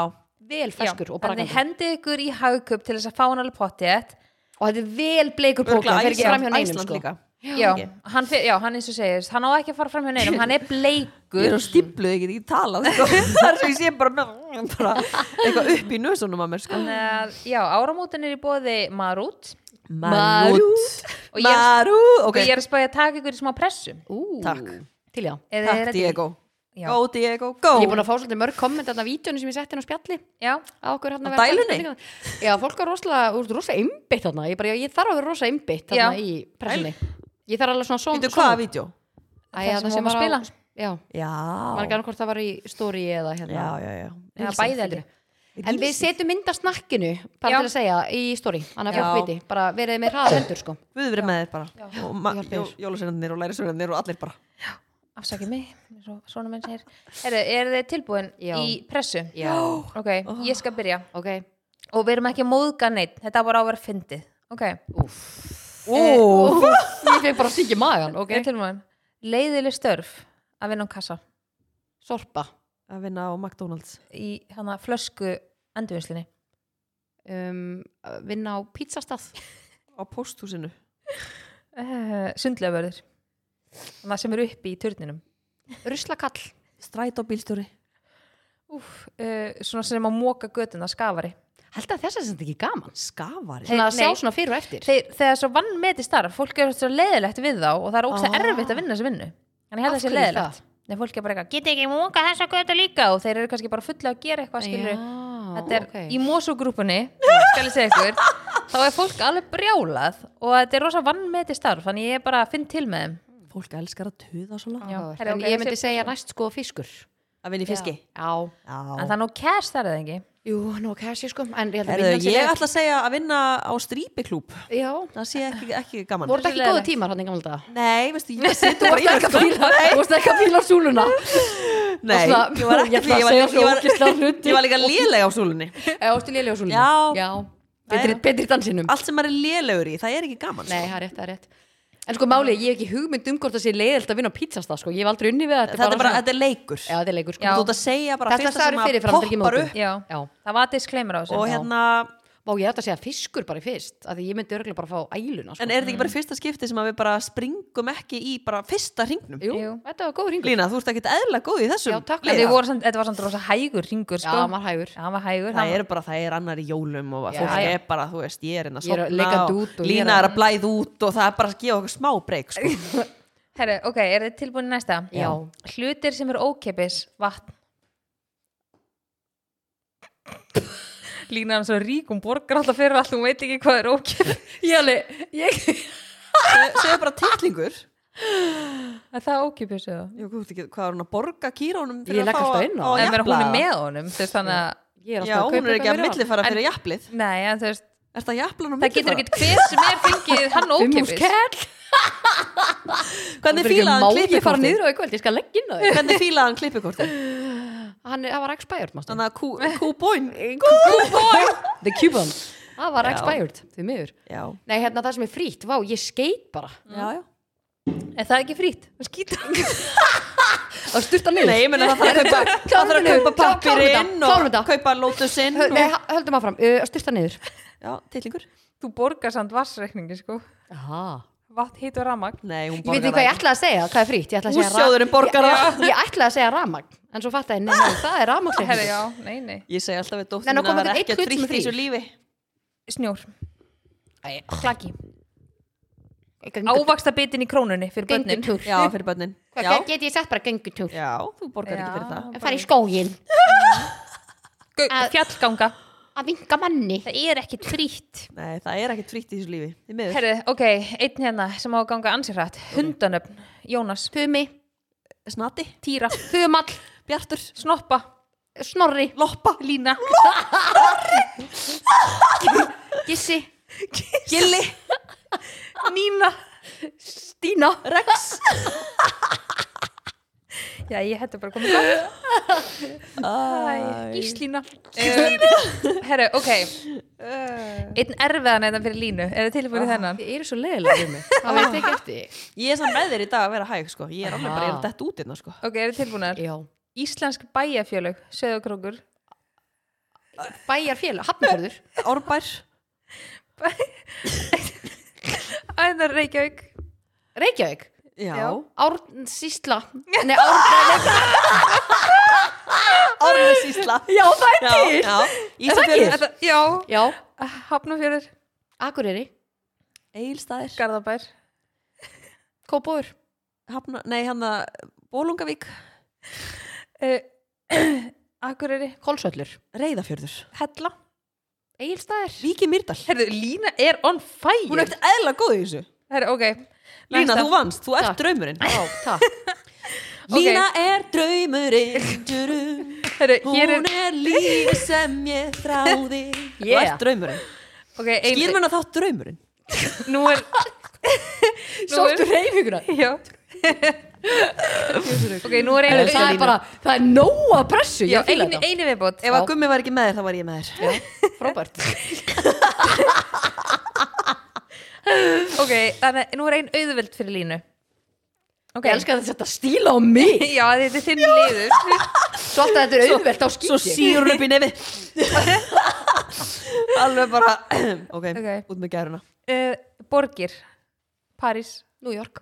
[SPEAKER 2] vel ferskur og
[SPEAKER 3] þannig
[SPEAKER 2] brakandi
[SPEAKER 3] hendið ykkur í hagkup til þess að fá hann alveg pottið
[SPEAKER 2] Og þetta er vel bleikur pókin, hann fer ekki fram hjá neinum
[SPEAKER 1] Æsland
[SPEAKER 2] sko
[SPEAKER 1] líka
[SPEAKER 3] já, hann, fyr, já, hann eins og segist hann á ekki að fara fram hjá neinum, hann
[SPEAKER 1] Ég
[SPEAKER 3] er
[SPEAKER 1] er
[SPEAKER 3] bleikur
[SPEAKER 1] á stíplu, ég get ekki talað sko. Það er svo ég sé bara, með, bara eitthvað upp í nösunum að mér sko.
[SPEAKER 3] Þannig að, já, áramótin er í bóði Marút Og ég-
[SPEAKER 1] Marú Ok,
[SPEAKER 3] og ég er að spæja að taka ykkur í smá pressu
[SPEAKER 2] Ú,
[SPEAKER 1] Takk.
[SPEAKER 2] Til já
[SPEAKER 3] Eruð þið
[SPEAKER 1] takk
[SPEAKER 3] ready?
[SPEAKER 1] Diego
[SPEAKER 3] Já.
[SPEAKER 1] Go Diego, go
[SPEAKER 2] Ég er búin að fá svolítið mörg komment þarna á vídjónu sem ég setti hérna á spjalli
[SPEAKER 3] Já,
[SPEAKER 2] á okkur
[SPEAKER 1] Á
[SPEAKER 2] hérna að vera
[SPEAKER 1] dælunni?
[SPEAKER 2] dælunni. já, fólk er rosalega, þú ert rosalega einbytt þarna ég, bara, ég þarf að vera rosalega einbytt þarna
[SPEAKER 3] Já.
[SPEAKER 2] í pressunni ég þarf alveg svona som,
[SPEAKER 1] Veitu hvaða vídeo?
[SPEAKER 2] Æ,
[SPEAKER 3] Það
[SPEAKER 2] þarna
[SPEAKER 3] sem hún
[SPEAKER 2] sem
[SPEAKER 3] var að
[SPEAKER 2] var á-
[SPEAKER 3] spila.
[SPEAKER 2] já,
[SPEAKER 1] Já
[SPEAKER 2] maður gæna hvort það var í story eða hérna
[SPEAKER 1] Já, já, já
[SPEAKER 3] já
[SPEAKER 2] Reels,
[SPEAKER 3] bæði held ég
[SPEAKER 2] en við setjum mynda snakkinu bara
[SPEAKER 3] Já.
[SPEAKER 2] til að segja í story annað
[SPEAKER 1] Já.
[SPEAKER 2] fólk viti, bara verið með hraða hendur sko
[SPEAKER 1] Við verðum með þér bara Og ma-
[SPEAKER 2] Hjálpa
[SPEAKER 1] jó- jólasveinarnir og lærisveinarnir og allir bara
[SPEAKER 3] Afsakið mig, eins og svona menn segir Eru er þið tilbúin
[SPEAKER 2] Já.
[SPEAKER 3] í pressu?
[SPEAKER 2] já,
[SPEAKER 3] Ok, ég skal byrja
[SPEAKER 2] ok,
[SPEAKER 3] Og við erum ekki að móðga neitt, þetta á bara á að vera fyndið Ok,
[SPEAKER 2] úff
[SPEAKER 1] Ó,
[SPEAKER 2] ég fekk bara að syngja magan,
[SPEAKER 3] okay. er
[SPEAKER 2] ok
[SPEAKER 3] tilbúin Leiðileg störf að vinna um kassa
[SPEAKER 2] sorpa
[SPEAKER 1] að vinna á McDonalds
[SPEAKER 3] í hana flösku endurvinnslinni
[SPEAKER 2] um, vinna á pizzastað
[SPEAKER 1] á pósthúsinu
[SPEAKER 3] uh, sundlefurður það sem er uppi í turninum
[SPEAKER 2] ruslakall,
[SPEAKER 1] strætóbílstjóri
[SPEAKER 3] Úf, uh, svona sem að móka götuna skafari
[SPEAKER 2] held að þess að þetta er ekki gaman
[SPEAKER 1] skafari
[SPEAKER 2] svona að sjá
[SPEAKER 3] nei.
[SPEAKER 2] svona fyrir og eftir
[SPEAKER 3] Þeir, þegar svo vann meti starf, fólk er svo leiðilegt við þá og það er ógst
[SPEAKER 1] Ah.
[SPEAKER 3] erfitt að vinna þessu vinnu þannig ég
[SPEAKER 2] Af
[SPEAKER 3] held að það sé
[SPEAKER 2] hverju
[SPEAKER 3] leiðilegt Nei, fólk er bara eitthvað, geti ekki móka þessa götu líka og þeir eru kannski bara fulla að gera eitthvað skilur
[SPEAKER 2] Já,
[SPEAKER 3] þetta er
[SPEAKER 2] ok.
[SPEAKER 3] í mósugrúpunni skal ég segja ykkur þá er fólk alveg brjálað og þetta er rosa vannmeti starf þannig ég bara finn til með þeim
[SPEAKER 1] fólk elskar að tuða svona
[SPEAKER 3] Já,
[SPEAKER 2] Áhugavert.
[SPEAKER 3] herra,
[SPEAKER 2] en
[SPEAKER 3] ok,
[SPEAKER 2] ég myndi
[SPEAKER 3] þessi-
[SPEAKER 2] segja næst sko fiskur
[SPEAKER 1] að vinna í fiski
[SPEAKER 2] já,
[SPEAKER 1] Já.
[SPEAKER 3] en það er nú kæst þar eða ekki
[SPEAKER 2] Jú, nú að kæsi sko En ég held að
[SPEAKER 1] Heyrðu,
[SPEAKER 2] vinnan sé
[SPEAKER 1] ég
[SPEAKER 2] leið.
[SPEAKER 1] ætla að segja að vinna á strípiklúb
[SPEAKER 2] Já,
[SPEAKER 1] það sé ekki, ekki gaman
[SPEAKER 2] voru þetta ekki
[SPEAKER 3] Leiðilegt.
[SPEAKER 2] góðu tímar hann í gamla daga?
[SPEAKER 1] nei, veistu, ég sittu bara í
[SPEAKER 2] Ekki að fíla, vorstu ekki að fíla á súluna
[SPEAKER 1] nei,
[SPEAKER 2] Og svona,
[SPEAKER 1] ég var ekki
[SPEAKER 2] ég ætla að
[SPEAKER 1] ég var-
[SPEAKER 2] segja svo
[SPEAKER 1] ég var-
[SPEAKER 2] ógeðslega hluti.
[SPEAKER 1] ég var líka léleg á súlunni
[SPEAKER 2] Eða vorstu lélega á súluna?
[SPEAKER 1] Já.
[SPEAKER 2] Betri,
[SPEAKER 1] Jæja.
[SPEAKER 2] betri dansinum
[SPEAKER 1] allt sem maður er lélegur í, það er ekki gaman sko.
[SPEAKER 2] Nei, það er rétt, það er rétt En sko málið, ég hef ekki hugmynd um hvort það sé leiðilt að vinna á pizzastað sko. Ég hef aldrei unni við það
[SPEAKER 1] þetta er bara,
[SPEAKER 2] svona-
[SPEAKER 1] þetta er leikur
[SPEAKER 2] Já, þetta er leikur sko.
[SPEAKER 3] Já.
[SPEAKER 1] þú ert að segja bara
[SPEAKER 2] Þetta
[SPEAKER 1] fyrsta sem
[SPEAKER 2] sagði
[SPEAKER 1] að
[SPEAKER 2] fyrirfram, þetta er ekki
[SPEAKER 1] poppar
[SPEAKER 2] mótið.
[SPEAKER 1] upp
[SPEAKER 3] Já.
[SPEAKER 2] Já.
[SPEAKER 3] það var disclaimer á þessu
[SPEAKER 1] og
[SPEAKER 3] Já.
[SPEAKER 1] hérna,
[SPEAKER 2] Má ég ætla að segja fiskur bara í fyrst að því ég myndi örgulega bara fá æluna sko.
[SPEAKER 1] en er þetta ekki bara fyrsta skipti sem að við bara springum ekki í bara fyrsta hringnum
[SPEAKER 2] Jú,
[SPEAKER 3] Jú.
[SPEAKER 2] þetta var góð ringur
[SPEAKER 1] Lína, þú ert ekki eðla góð í þessum
[SPEAKER 2] Já, takk.
[SPEAKER 3] En
[SPEAKER 1] leik.
[SPEAKER 3] þið voru samt- þetta var samt rosa hægur ringur
[SPEAKER 2] Já,
[SPEAKER 3] sko.
[SPEAKER 2] maður hægur
[SPEAKER 3] Já, hann var hægur hann
[SPEAKER 1] það
[SPEAKER 3] var-
[SPEAKER 1] er bara, það er annar í jólum og
[SPEAKER 2] hérna. Já,
[SPEAKER 1] fólk
[SPEAKER 2] já.
[SPEAKER 1] er bara, þú veist, ég er inn að
[SPEAKER 2] Ég er að
[SPEAKER 1] sofna
[SPEAKER 2] leika
[SPEAKER 1] og,
[SPEAKER 2] dút og ég er
[SPEAKER 1] Lína
[SPEAKER 2] að-
[SPEAKER 1] er að blæð út og það er bara að gefa okkur smá breyk sko.
[SPEAKER 3] Herru, ok, er þið tilbúin í næsta?
[SPEAKER 2] Já.
[SPEAKER 3] Hlutir sem eru ókeppis, vatn. Lína hann svo rík, hún borgar alltaf fyrir allt, hún veit ekki hvað er ókeppis.
[SPEAKER 2] Jæli, ég
[SPEAKER 1] segja bara titlingur
[SPEAKER 3] Er það ókeppis eða?
[SPEAKER 1] Jú, hvað, ekki, hvað er hún að borga kýrónum
[SPEAKER 2] Ég legg alltaf inn á það.
[SPEAKER 3] En verður hún er með honum, þú veist þannig að...
[SPEAKER 1] Já,
[SPEAKER 2] Ég er alltaf að
[SPEAKER 1] hún er
[SPEAKER 2] kaupa
[SPEAKER 1] ekki
[SPEAKER 2] eitthvað
[SPEAKER 1] að
[SPEAKER 2] fyrir
[SPEAKER 1] millifara fyrir jafnlið
[SPEAKER 3] Nei, en þú veist,
[SPEAKER 1] Er það jaflan og
[SPEAKER 3] það getur
[SPEAKER 1] millifara?
[SPEAKER 3] ekkert hver sem er fengið hann
[SPEAKER 2] hann. Fimm
[SPEAKER 3] ókeppis.
[SPEAKER 2] hús kell
[SPEAKER 1] Hvernig fílaði hann
[SPEAKER 2] Má ég fara
[SPEAKER 1] klippikortið?
[SPEAKER 2] niður á eitthvað, ég skal leggja inn á þig
[SPEAKER 1] Hvernig fílaði hann klippikortið?
[SPEAKER 2] Hann er- það var expired, mástu
[SPEAKER 1] Þannig að kú- kúbóin
[SPEAKER 2] The Cuban Það var expired, því miður
[SPEAKER 1] Já, Mm.
[SPEAKER 2] Nei, hérna það sem er frítt, vá, ég skeit bara
[SPEAKER 1] já, já
[SPEAKER 3] Er það ekki frýtt? Það skýtur.
[SPEAKER 2] Það styrta niður
[SPEAKER 1] Nei, ég meina það þarf að kaupa, það þarf að kaupa
[SPEAKER 2] Klárum þetta,
[SPEAKER 1] pappirinn
[SPEAKER 2] klárum
[SPEAKER 1] og
[SPEAKER 2] þetta.
[SPEAKER 1] kaupa lótusinn
[SPEAKER 2] Hö-
[SPEAKER 1] og...
[SPEAKER 2] Nei, ha- höldum áfram, uh, styrta niður
[SPEAKER 1] Já, titlingur
[SPEAKER 3] Þú borgar samt vassreikningi, sko.
[SPEAKER 2] Aha.
[SPEAKER 3] Vatn, hít og ramagn.
[SPEAKER 1] Nei, hún
[SPEAKER 2] Ég veit
[SPEAKER 1] borgar
[SPEAKER 2] ekki hvað ég
[SPEAKER 1] ekki.
[SPEAKER 2] ætlaði að segja, hvað er frítt Ég ætlaði að segja ra-
[SPEAKER 1] Hússjóðurinn borgar það
[SPEAKER 2] Ég- Ég ætlaði að segja ramagn En svo fatt að nei, nei, það er
[SPEAKER 3] Herru,
[SPEAKER 2] ramagsreikningur
[SPEAKER 3] já, nei, nei.
[SPEAKER 1] Ég segi alltaf við
[SPEAKER 2] Nei,
[SPEAKER 1] dóttir
[SPEAKER 2] nú
[SPEAKER 1] mín
[SPEAKER 2] kom
[SPEAKER 1] að það er
[SPEAKER 2] þetta einn
[SPEAKER 1] ekkert
[SPEAKER 2] hlut sem
[SPEAKER 1] frítt í
[SPEAKER 2] er
[SPEAKER 1] þessu lífi
[SPEAKER 3] Snjór. Klaki.
[SPEAKER 2] Gengutúr.
[SPEAKER 3] Ávaksta bitin í krónunni fyrir börnin.
[SPEAKER 1] Já, fyrir börnin
[SPEAKER 2] Hvað
[SPEAKER 1] Já,
[SPEAKER 2] get- get ég sett bara gengutúr
[SPEAKER 1] já þú borgar ekki fyrir
[SPEAKER 3] Já.
[SPEAKER 1] það
[SPEAKER 2] Að fara í skógin
[SPEAKER 3] Gau-
[SPEAKER 2] Að-
[SPEAKER 3] Fjallganga.
[SPEAKER 2] Að vinka manni
[SPEAKER 3] Það er ekkit frýtt.
[SPEAKER 1] Nei, það er ekkert frítt í þessu lífi Þið miður
[SPEAKER 3] Herri, ok, einn hérna sem á að ganga ansýrrætt. Hundanöfn, Jónas,
[SPEAKER 2] Tumi,
[SPEAKER 1] Snati,
[SPEAKER 3] Týra,
[SPEAKER 2] Þumall,
[SPEAKER 1] Bjartur,
[SPEAKER 3] Snoppa,
[SPEAKER 2] Snorri,
[SPEAKER 1] Loppa
[SPEAKER 3] Lína,
[SPEAKER 2] Gissi
[SPEAKER 1] Gilli,
[SPEAKER 3] Nína.
[SPEAKER 2] Stína
[SPEAKER 1] Rex
[SPEAKER 3] Já, ég hætti bara komið það.
[SPEAKER 1] Æ,
[SPEAKER 3] Gíslína. Gíslína. Herri, ok, einn erfiðan eða fyrir Línu. Er þið tilbúin í þennan?
[SPEAKER 2] Þið eru svo leiðilega við mig Það veit ekki eftir
[SPEAKER 1] Ég er samt með þér í dag að vera hæg sko. Ég er alveg bara, ég er
[SPEAKER 2] Aha.
[SPEAKER 1] dætt út innan sko.
[SPEAKER 3] Ok, er þið tilbúinar?
[SPEAKER 2] Já
[SPEAKER 3] Íslensk bæjarfjölög, Söðokrókur.
[SPEAKER 2] Bæjarfélag, Hafnfjörður
[SPEAKER 1] Árbær,
[SPEAKER 3] Æðar Reykjavík.
[SPEAKER 2] Reykjavík
[SPEAKER 1] já,
[SPEAKER 3] Já.
[SPEAKER 2] Árnsísla Nei, Árn
[SPEAKER 1] Árnesísla
[SPEAKER 2] Já, það
[SPEAKER 1] Já, já, Ísafjörður,
[SPEAKER 3] Þetta- Já,
[SPEAKER 2] Já,
[SPEAKER 3] Hafnafjörður,
[SPEAKER 2] Akureyri
[SPEAKER 1] Egilstaðir
[SPEAKER 3] Garðabær,
[SPEAKER 2] Kópóður
[SPEAKER 1] Hafna, nei hérna, hann að Bólungavík,
[SPEAKER 3] uh, Akureyri,
[SPEAKER 2] Kolsvöllur
[SPEAKER 1] Reyðafjörður
[SPEAKER 3] Hella.
[SPEAKER 2] Egilstaðir
[SPEAKER 1] Víki Myrdal
[SPEAKER 3] Herru, Lína er on fire.
[SPEAKER 1] Hún er ekkert eðla góð í þessu
[SPEAKER 3] Herru, ok.
[SPEAKER 1] Lína,
[SPEAKER 3] Næsta.
[SPEAKER 1] þú vannst, þú ert
[SPEAKER 2] Takk.
[SPEAKER 1] draumurinn
[SPEAKER 2] Já, takk
[SPEAKER 3] Ok.
[SPEAKER 1] Lína er draumurinn durum.
[SPEAKER 3] Herru, hér er,
[SPEAKER 1] Hún er lífi sem ég þráði Þú
[SPEAKER 2] Yeah.
[SPEAKER 1] ert draumurinn
[SPEAKER 3] ok, ein,
[SPEAKER 1] Skýr mér að þátt draumurinn
[SPEAKER 3] nú er,
[SPEAKER 2] Sóttu reyfinguna
[SPEAKER 3] já. ok, nú er
[SPEAKER 2] Heyrðu,
[SPEAKER 3] einu,
[SPEAKER 2] Það er bara, það er nóa pressu
[SPEAKER 3] já,
[SPEAKER 2] Ég fíla
[SPEAKER 3] einu,
[SPEAKER 2] þetta
[SPEAKER 3] einu viðbót.
[SPEAKER 1] Ef að gummi var ekki með þér, þá var ég með þér
[SPEAKER 2] Frábært
[SPEAKER 3] Ok, þannig, að nú er ein auðvöld fyrir Línu. Ok,
[SPEAKER 2] Ég elska að þetta stíla á mig
[SPEAKER 3] Já, þetta er þinn liður.
[SPEAKER 2] Svo alltaf þetta er auðvelt á
[SPEAKER 1] Svo
[SPEAKER 2] skýt ég
[SPEAKER 1] sígur hún upp í nefi Alveg bara Ok,
[SPEAKER 3] Ok.
[SPEAKER 1] út með gæruna
[SPEAKER 3] Uh, borgir, París,
[SPEAKER 2] New York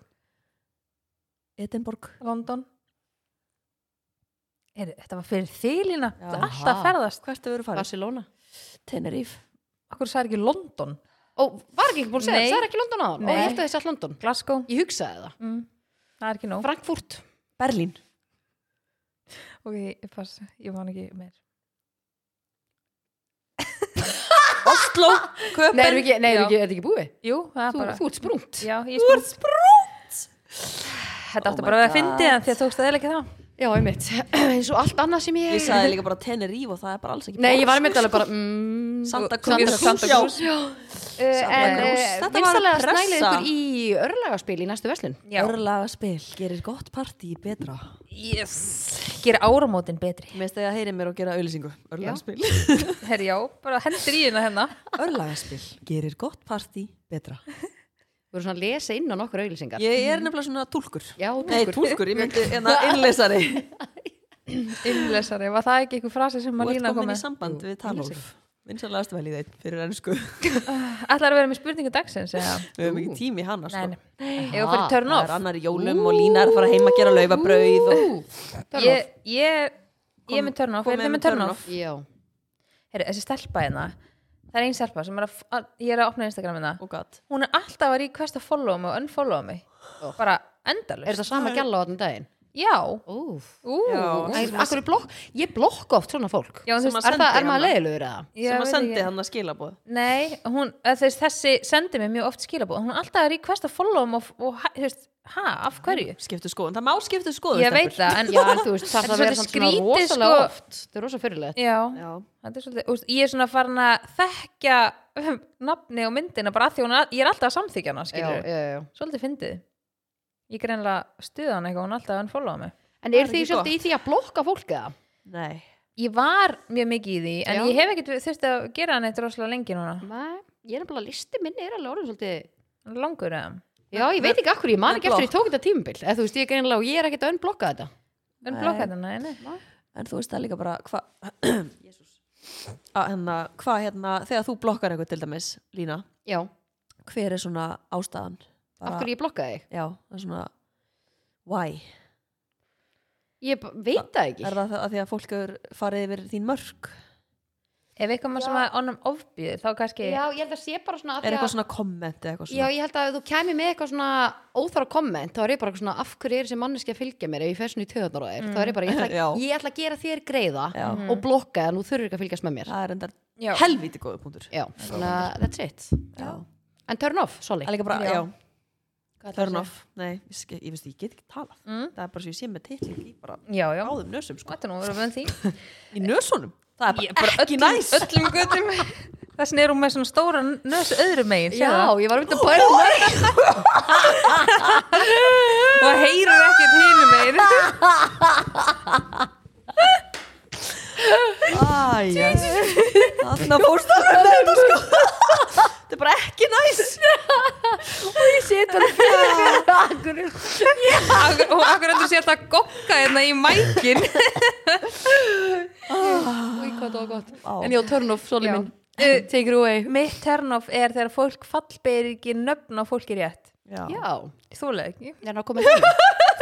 [SPEAKER 1] Edinborg
[SPEAKER 3] London. Heyrðu, þetta var fyrir þig, Lína.
[SPEAKER 1] Já.
[SPEAKER 3] Þetta er alltaf að ferðast.
[SPEAKER 1] Hvert hefur þú farið?
[SPEAKER 2] Barcelona
[SPEAKER 1] Teneríf
[SPEAKER 3] Akkur sagði ekki London.
[SPEAKER 2] Ó, var ekki ekki búin að segja,
[SPEAKER 3] Nei.
[SPEAKER 2] það er ekki London áðan Ó,
[SPEAKER 3] Nei.
[SPEAKER 2] ég held að þið sett London
[SPEAKER 3] Glasgow.
[SPEAKER 2] Ég hugsaði það
[SPEAKER 3] Mm, það er ekki nóg.
[SPEAKER 2] Frankfurt
[SPEAKER 1] Berlín
[SPEAKER 3] Ok, ég pass, ég man ekki meir.
[SPEAKER 1] Oslo
[SPEAKER 2] Nei,
[SPEAKER 1] Köpen
[SPEAKER 2] erum við ekki, nei, erum við
[SPEAKER 3] Já.
[SPEAKER 2] ekki, er þetta ekki búið?
[SPEAKER 3] Jú, það er
[SPEAKER 2] Þú,
[SPEAKER 3] bara...
[SPEAKER 2] þú ert sprungt
[SPEAKER 3] Já, ég Oh spurt.
[SPEAKER 1] sprútt
[SPEAKER 3] Þetta
[SPEAKER 1] Oh
[SPEAKER 3] átti
[SPEAKER 1] my
[SPEAKER 3] bara að vera
[SPEAKER 1] God.
[SPEAKER 3] fyndið en því að tókst að eða ekki það.
[SPEAKER 2] já, einmitt eins og allt annað sem ég
[SPEAKER 1] Ég sagði líka bara Tenerife og það er bara alls ekki
[SPEAKER 2] nei, ég var
[SPEAKER 1] Portúgal,
[SPEAKER 2] einmitt alveg
[SPEAKER 1] sko.
[SPEAKER 2] bara mm,
[SPEAKER 1] Santa
[SPEAKER 2] Santa
[SPEAKER 1] Cruz,
[SPEAKER 2] Cruz,
[SPEAKER 1] já.
[SPEAKER 2] já. Uh,
[SPEAKER 1] Santa
[SPEAKER 3] Eh,
[SPEAKER 2] en
[SPEAKER 1] Cruz.
[SPEAKER 2] uh,
[SPEAKER 1] Þetta var
[SPEAKER 2] vinsalega
[SPEAKER 1] pressa.
[SPEAKER 2] snælið ykkur í örlagaspil í næstu verslun
[SPEAKER 3] Já.
[SPEAKER 1] Örlaga spil, gerir gott partí betra
[SPEAKER 3] Yes. Gera áramótin betri.
[SPEAKER 1] Mér stegi að heyri mér og gera auðlýsingu Örlaga spil
[SPEAKER 3] Herri, já, bara hendur í hérna hérna.
[SPEAKER 1] Örlaga spil, gerir gott partí betra
[SPEAKER 2] við vorum svona að lesa inn á nokkur auðlýsingar
[SPEAKER 1] Ég er nefnilega svona túlkur
[SPEAKER 2] já,
[SPEAKER 1] Nei,
[SPEAKER 2] túlkur.
[SPEAKER 1] túlkur, ég myndi enna innlesari
[SPEAKER 3] Innlesari, var það ekki einhver frasi sem
[SPEAKER 1] Þú ert
[SPEAKER 3] Malína kom
[SPEAKER 1] komin í
[SPEAKER 3] með?
[SPEAKER 1] samband við Talólf Vinsanlegast vel í þeim fyrir ennsku Við
[SPEAKER 3] Ætlar að vera með spurningu dagsins eða?
[SPEAKER 1] höfum ekki tími hana sko.
[SPEAKER 3] Nei, nei. Ég var
[SPEAKER 2] Ha,
[SPEAKER 3] fyrir törn
[SPEAKER 1] Það er
[SPEAKER 3] off.
[SPEAKER 1] annar í jólum og Lína er að fara heima að gera laufabrauð og...
[SPEAKER 2] Turn
[SPEAKER 3] Ég, ég, ég er
[SPEAKER 1] Kom-
[SPEAKER 3] með törn off.
[SPEAKER 1] komið
[SPEAKER 3] Er þið
[SPEAKER 1] með
[SPEAKER 3] með törn
[SPEAKER 1] turn
[SPEAKER 3] off?
[SPEAKER 2] já,
[SPEAKER 3] Herri, þessi stelpa hérna, það er einn stelpa sem er að, að ég er að opna Instagramina.
[SPEAKER 1] Oh god.
[SPEAKER 3] Hún er alltaf að requesta followa mig og unfollowa mig.
[SPEAKER 2] Oh.
[SPEAKER 3] Bara
[SPEAKER 2] er
[SPEAKER 3] endalust.
[SPEAKER 2] þetta sama gæla á þann daginn
[SPEAKER 3] Já.
[SPEAKER 2] úf
[SPEAKER 3] Ú.
[SPEAKER 1] Já.
[SPEAKER 2] Æ, akkur er blokk, ég blokka oft svona fólk
[SPEAKER 3] Já, þú
[SPEAKER 1] Sem
[SPEAKER 3] veist,
[SPEAKER 1] að
[SPEAKER 2] er, það,
[SPEAKER 1] sendi
[SPEAKER 2] er maður
[SPEAKER 1] hana.
[SPEAKER 2] leiðilegur eða?
[SPEAKER 3] Ég
[SPEAKER 1] sem að
[SPEAKER 3] veit
[SPEAKER 1] sendi
[SPEAKER 3] ekki.
[SPEAKER 1] hann að skilabóð
[SPEAKER 3] Nei, hún, eða þess, þessi sendi mér mjög oft skilabóð. Hún er alltaf að requesta followa mig og, og hæ- þú veist, hæ, af hverju?
[SPEAKER 1] skiptu skoðun, það má skiptu skoðun
[SPEAKER 3] Ég veit það, en
[SPEAKER 2] Já, en þú veist,
[SPEAKER 3] Þetta
[SPEAKER 2] það
[SPEAKER 3] er
[SPEAKER 2] það verður
[SPEAKER 3] svolítið
[SPEAKER 2] samt svona
[SPEAKER 3] skrítið,
[SPEAKER 2] rosalega
[SPEAKER 3] sko.
[SPEAKER 2] oft Það er rosa fyrirlegt
[SPEAKER 3] Já,
[SPEAKER 1] Já,
[SPEAKER 3] þetta er svolítið, úst, ég er svona farin að þekkja um, nafni og myndina bara að því hún er, ég er alltaf að samþykja hana,
[SPEAKER 2] já,
[SPEAKER 3] skilur
[SPEAKER 2] já, já.
[SPEAKER 3] Svolítið fyndið. Ég greinlega stuða hana eitthvað, hún er alltaf að unfollowa mig.
[SPEAKER 2] En
[SPEAKER 1] Það
[SPEAKER 2] er
[SPEAKER 1] er
[SPEAKER 2] því
[SPEAKER 1] ekki
[SPEAKER 2] svolítið í því að blokka fólk eða?
[SPEAKER 1] nei
[SPEAKER 3] Ég var mjög mikið í því, en
[SPEAKER 2] Já.
[SPEAKER 3] ég hef ekkert þurfti að gera hann eitt rosalega lengi núna.
[SPEAKER 2] Nei, ég er nefnilega listi minni er alveg orðin svolítið
[SPEAKER 3] Hann er Langur eða?
[SPEAKER 2] Já, ég veit ekki akkur, ég man
[SPEAKER 1] með
[SPEAKER 2] ekki eftir
[SPEAKER 1] blokk.
[SPEAKER 2] ég tók þetta tímabil Eða þú veist, ég er greinlega og ég er ekkert að unblokka þetta
[SPEAKER 3] En
[SPEAKER 1] Nei.
[SPEAKER 3] blokka þetta, nei, nei.
[SPEAKER 1] en þú veist það er líka bara hva, Jesus. að hérna, hva, hérna, þegar þú blokkar eitthvað til dæmis Lína,
[SPEAKER 2] Já,
[SPEAKER 1] hver er svona ástæðan
[SPEAKER 2] af hverju ég blokka þig?
[SPEAKER 1] já, það er svona why,
[SPEAKER 2] Ég b- veit það ekki
[SPEAKER 1] er það að því að fólk er farið yfir þín mörg
[SPEAKER 3] Ef eitthvað maður sem að honum ofbýður, þá kannski...
[SPEAKER 2] Já, ég held að sé bara svona af
[SPEAKER 1] er
[SPEAKER 2] því að-
[SPEAKER 1] eitthvað svona komment eða eitthvað
[SPEAKER 2] Já,
[SPEAKER 1] svona
[SPEAKER 2] ég held að ef þú kæmi með eitthvað svona óþara komment, þá er ég bara eitthvað svona af hverju er þessi manneski að fylgja mér ef ég fer svona í töðanar á þér þá er ég bara, ég ætla,
[SPEAKER 1] Já.
[SPEAKER 2] ég ætla að gera þér greiða
[SPEAKER 1] Já.
[SPEAKER 2] og blokka en þú þurfur ekki að fylgjast með mér
[SPEAKER 1] það er endar
[SPEAKER 3] Já.
[SPEAKER 1] helvíti góðu punktur
[SPEAKER 2] Já, þannig að that's it
[SPEAKER 1] já.
[SPEAKER 2] En turn off, sorry
[SPEAKER 1] það er líka bara, já,
[SPEAKER 3] Já.
[SPEAKER 2] Hvað
[SPEAKER 1] turn off nei, ég, ske- ég veist, ég get ekki talað
[SPEAKER 3] Mm.
[SPEAKER 1] það er bara sem ég sé með titling í bara
[SPEAKER 3] Já, já.
[SPEAKER 1] áðum nösum sko.
[SPEAKER 3] Þetta er nú að vera vönd því.
[SPEAKER 1] í nösunum, það er bara,
[SPEAKER 3] Ég- bara
[SPEAKER 1] ekki
[SPEAKER 3] öllum,
[SPEAKER 1] næs
[SPEAKER 3] öllum göttum þessin er hún með svona stóra nös öðru megin hérna.
[SPEAKER 2] Já,
[SPEAKER 3] sérðu það?
[SPEAKER 2] ég var um þetta bæra
[SPEAKER 3] og heyrur ekkert hinu megin
[SPEAKER 1] Æja Þarna fórst alveg nefn sko. Þetta er bara ekki næs
[SPEAKER 2] Ég seti hann fyrir akkur
[SPEAKER 3] Ak- og akkur endur sér þetta að gokka hérna í mækin
[SPEAKER 2] Úi, hvað það var gott
[SPEAKER 1] Vá.
[SPEAKER 2] En já, turn off, sorry
[SPEAKER 3] Já.
[SPEAKER 2] minn
[SPEAKER 3] Eh,
[SPEAKER 2] Take it away
[SPEAKER 3] mitt turn-off er þegar fólk fallbeir ekki nöfn á fólki rétt
[SPEAKER 1] Já.
[SPEAKER 2] Já,
[SPEAKER 3] þúlega ekki,
[SPEAKER 2] menn að koma dæmi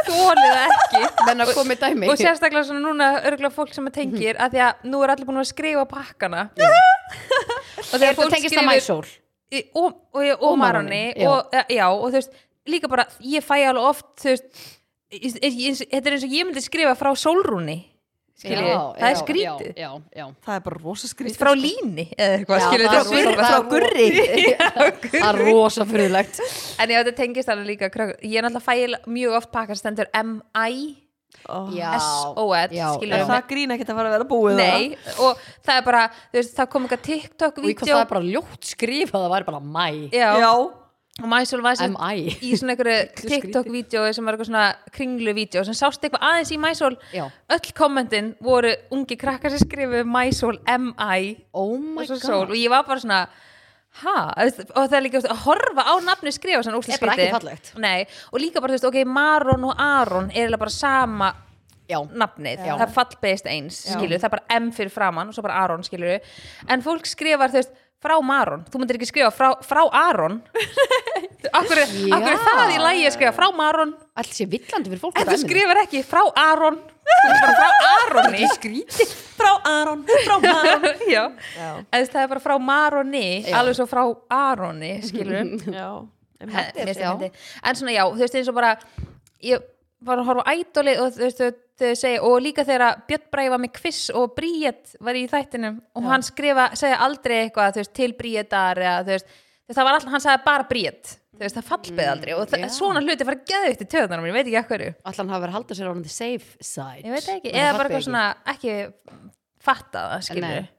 [SPEAKER 3] þúlega ekki
[SPEAKER 2] Menn að koma dæmi
[SPEAKER 3] og sérstaklega svona núna örgulega fólk sem að tengir að því að nú er allir búin að skrifa pakkana og
[SPEAKER 2] Er þetta tengist að mæsól?
[SPEAKER 3] Í- og, og, og, og Maroni
[SPEAKER 2] Maroni, já.
[SPEAKER 3] og, e, já, og þú veist, líka bara ég fæ alveg oft þú veist, ég- ég- ég- þetta er eins og ég myndi skrifa frá Solrúni skilji,
[SPEAKER 2] Já,
[SPEAKER 3] það er
[SPEAKER 2] já,
[SPEAKER 3] skrítið
[SPEAKER 2] Já, já, já
[SPEAKER 1] Það er bara rosa skrítið sko.
[SPEAKER 3] frá Líni eða eitthvað
[SPEAKER 2] Já,
[SPEAKER 3] skilji,
[SPEAKER 2] það er
[SPEAKER 3] þetta er
[SPEAKER 2] rosa-
[SPEAKER 3] svipað.
[SPEAKER 2] það
[SPEAKER 1] Frá
[SPEAKER 2] er-
[SPEAKER 1] gurri
[SPEAKER 2] Það er rosa fyrirlegt
[SPEAKER 3] en já, þetta tengist alveg líka krökk- ég er náttúrulega fæ mjög oft pakkar stendur M-I-S-O-N
[SPEAKER 1] oh.
[SPEAKER 2] Já, já,
[SPEAKER 1] Er
[SPEAKER 3] skilji,
[SPEAKER 1] það grín ekkert að fara að vera búið
[SPEAKER 3] nei, og það er bara þú veist, það kom eitthvað
[SPEAKER 2] Og í hvað það
[SPEAKER 3] TikTok-vídeó
[SPEAKER 2] er bara ljótt skrifað, það væri bara mæ
[SPEAKER 1] það?
[SPEAKER 3] já,
[SPEAKER 1] Já
[SPEAKER 3] og Mæsul var sem
[SPEAKER 2] M.I.
[SPEAKER 3] í svona einhverju TikTok-vídeói sem var eitthvað svona kringlu-vídeó sem sást eitthvað aðeins í Mæsól
[SPEAKER 2] Já.
[SPEAKER 3] öll kommentin voru ungi krakkar sem skrifu Mæsól M.I.
[SPEAKER 2] Oh
[SPEAKER 3] og
[SPEAKER 2] my
[SPEAKER 3] svo
[SPEAKER 2] god
[SPEAKER 3] sól og ég var bara svona ha, Þú veist, og það er líka þú veist, að horfa á nafni skrifa svona úrslega
[SPEAKER 2] Er bara ekki fallegt.
[SPEAKER 3] Nei, og líka bara þú veist, ok, Maron og Aron er eiginlega bara sama
[SPEAKER 2] Já,
[SPEAKER 3] nafnið,
[SPEAKER 2] Já.
[SPEAKER 3] það er fallbeist eins skilur, það er bara M fyrir framann og svo bara Aron skilur en fólk skrifar þú veist frá Maron, þú myndir ekki skrifa frá, frá Aron akkur, er-
[SPEAKER 2] Já.
[SPEAKER 3] akkur er það í lagi að skrifa frá Maron
[SPEAKER 2] allt sé villandi fyrir fólk á
[SPEAKER 3] en þú
[SPEAKER 2] dæminu.
[SPEAKER 3] skrifar ekki frá Aron þú skrifar frá Aroni
[SPEAKER 2] skríti
[SPEAKER 1] Frá Aron, frá Maron
[SPEAKER 3] já,
[SPEAKER 1] Já.
[SPEAKER 3] en þú veist, það er bara frá Maroni alveg svo frá Aroni skilur
[SPEAKER 1] Já
[SPEAKER 3] He- mér finnst
[SPEAKER 2] já.
[SPEAKER 3] það fyndið. en svona já, þú veist eins og bara ég var að horfa á ædoli og þú veist þau- þau segja, og líka þegar Björn Bragi var með kviss og Bríett var í þættinum og hann skrifa, segja aldrei eitthvað þú veist, til Bríettar eða þú veist, þú það var alltaf, hann sagði bara bríð þú veist, það fallbeði aldrei og það,
[SPEAKER 2] já.
[SPEAKER 3] svona hluti var geðvitt í töðunar ég veit ekki að hverju
[SPEAKER 2] Allan hafa verið að halda sér á hann the safe side
[SPEAKER 3] ég veit það ekki,
[SPEAKER 2] Þannig
[SPEAKER 3] eða
[SPEAKER 2] að
[SPEAKER 3] bara
[SPEAKER 2] fattaði
[SPEAKER 3] eitthvað svona ekki fatta það, skilur
[SPEAKER 2] Nei.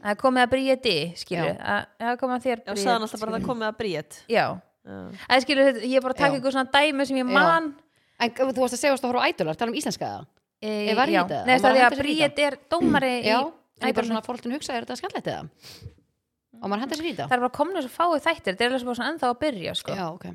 [SPEAKER 3] að komið að bríði, skilur
[SPEAKER 2] Já.
[SPEAKER 3] að að komið að þér
[SPEAKER 1] Já,
[SPEAKER 3] Bríet,
[SPEAKER 1] sagðan alltaf bara
[SPEAKER 3] skilurðu.
[SPEAKER 1] að það komið að bríðt
[SPEAKER 3] já,
[SPEAKER 1] Já,
[SPEAKER 3] að skilur, ég er bara að
[SPEAKER 2] Já.
[SPEAKER 3] taka ykkur svona dæmi sem ég
[SPEAKER 2] Já.
[SPEAKER 3] man
[SPEAKER 2] En þú varst að segja að þú horfa á ædular, tala um íslenska það
[SPEAKER 3] e,
[SPEAKER 2] Ég Eh, var í
[SPEAKER 3] já.
[SPEAKER 2] þetta,
[SPEAKER 3] Nei,
[SPEAKER 2] hann var
[SPEAKER 3] það
[SPEAKER 2] að
[SPEAKER 3] er
[SPEAKER 2] henda
[SPEAKER 3] að
[SPEAKER 2] sér í
[SPEAKER 3] bríði er dómari í,
[SPEAKER 2] Já, en ég bara
[SPEAKER 3] Ædolunum.
[SPEAKER 2] svona fólkin hugsa, er þetta skallett eða? Og maður henda sér í
[SPEAKER 3] það
[SPEAKER 2] þetta?
[SPEAKER 3] er bara komin þess að fáið þættir þetta er alveg svona ennþá að byrja sko.
[SPEAKER 2] Já, ok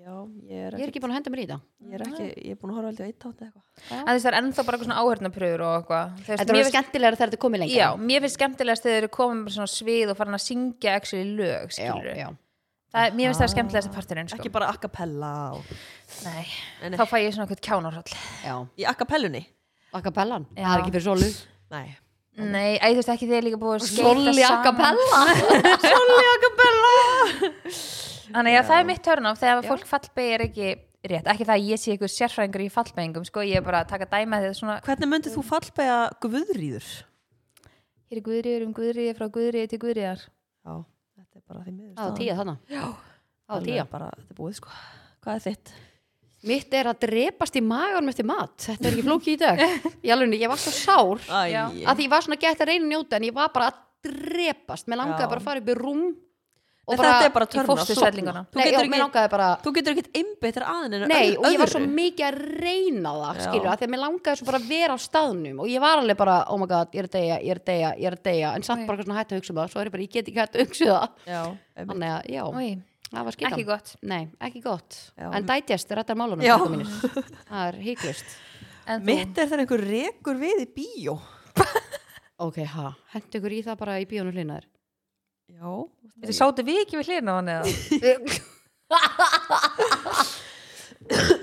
[SPEAKER 1] já ég er
[SPEAKER 2] Ég er
[SPEAKER 1] ekki,
[SPEAKER 2] ekki búin að henda mér í þetta
[SPEAKER 1] ég er ekki, ég er búin að horfa aldrei á eitt átt eitthvað.
[SPEAKER 3] en þess það er ennþá bara eitthvað svona áhörnapröfur og eitthvað Þú veist,
[SPEAKER 2] Þetta
[SPEAKER 3] mér
[SPEAKER 2] var
[SPEAKER 3] finnst-
[SPEAKER 2] skemmtilega þegar þetta komið lengra
[SPEAKER 3] Já, mér finnst skemmtilegast þegar þeir eru komin með svona svið og farin að syngja actually lög,
[SPEAKER 2] já,
[SPEAKER 3] skilur
[SPEAKER 2] já. Ah.
[SPEAKER 3] það, Mér finnst það skemmtilegast að parturinn, sko
[SPEAKER 1] Ekki bara acapella og...
[SPEAKER 3] Nei,
[SPEAKER 1] Nei, nei.
[SPEAKER 3] þá fæ ég svona eitthvað kjánarhall
[SPEAKER 2] já.
[SPEAKER 1] Í acapellunni?
[SPEAKER 2] Akapellan,
[SPEAKER 3] Já.
[SPEAKER 2] það er ekki fyrir sólu
[SPEAKER 1] Nei.
[SPEAKER 3] Nei, æ, þú veist ekki þeir líka búið að skeyta
[SPEAKER 2] Sóli
[SPEAKER 3] saman.
[SPEAKER 2] akapella
[SPEAKER 3] Þannig að það er mitt törn á þegar fólk fallbegi er ekki rétt Ekki það að ég sé eitthvað sérfræðingur í fallbegingum, sko Ég er bara að taka dæma þegar svona
[SPEAKER 1] Hvernig myndið þú fallbega guðrýður?
[SPEAKER 3] Hér er guðriður um guðriði frá guðriði til guðriðar
[SPEAKER 1] Já, þetta er bara því miður. sko.
[SPEAKER 2] Það er tíja þannig Já, það er tíja
[SPEAKER 1] Bara, þetta er búið sko. Hvað er þitt?
[SPEAKER 2] Mitt er að drepast í maganum eftir mat Þetta er ekki flóki í dag Í alveg, ég var svo sár
[SPEAKER 1] Æ,
[SPEAKER 3] Já.
[SPEAKER 2] að því ég var svona gett að reyna að njóta en ég var bara að drepast Mér langaði
[SPEAKER 1] Já.
[SPEAKER 2] bara að fara upp í rúm og
[SPEAKER 1] Nei, þetta er bara
[SPEAKER 3] í
[SPEAKER 1] törn á
[SPEAKER 3] fósturfellinguna.
[SPEAKER 1] Þú
[SPEAKER 2] Nei, já,
[SPEAKER 1] getur
[SPEAKER 2] mér
[SPEAKER 1] ekki,
[SPEAKER 2] langaði bara
[SPEAKER 1] þú getur ekki einbyttir aðin en
[SPEAKER 2] Nei,
[SPEAKER 1] öðru-
[SPEAKER 2] og ég var svo
[SPEAKER 1] öðru.
[SPEAKER 2] mikið að reyna það
[SPEAKER 1] Já.
[SPEAKER 2] skilur, að því að mér langaði svo bara að vera á staðnum og ég var alveg bara, oh my god, ég er að deyja, ég er að deyja ég er að deyja, en samt
[SPEAKER 3] Oj.
[SPEAKER 2] bara eitthvað svona hætt að hugsa um það svo er ég bara, ég get ekki hætt að hugsa um það
[SPEAKER 1] Já, einmitt.
[SPEAKER 2] þannig að, já,
[SPEAKER 3] Új,
[SPEAKER 2] það var
[SPEAKER 3] Ekki
[SPEAKER 2] skilan
[SPEAKER 3] gott
[SPEAKER 2] Nei, ekki gott,
[SPEAKER 1] Já.
[SPEAKER 2] en dætjast er rættar málunum
[SPEAKER 1] Já.
[SPEAKER 2] krakkar mínir. það er híklust
[SPEAKER 3] En þú,
[SPEAKER 1] Mitt er þegar einhver rekur við í bíó.
[SPEAKER 2] ok, ha, hendu ykkur í það bara í bíónu hlinar
[SPEAKER 1] Já.
[SPEAKER 3] Veitir, sátu við ekki við hlýrna hann eða?
[SPEAKER 2] ég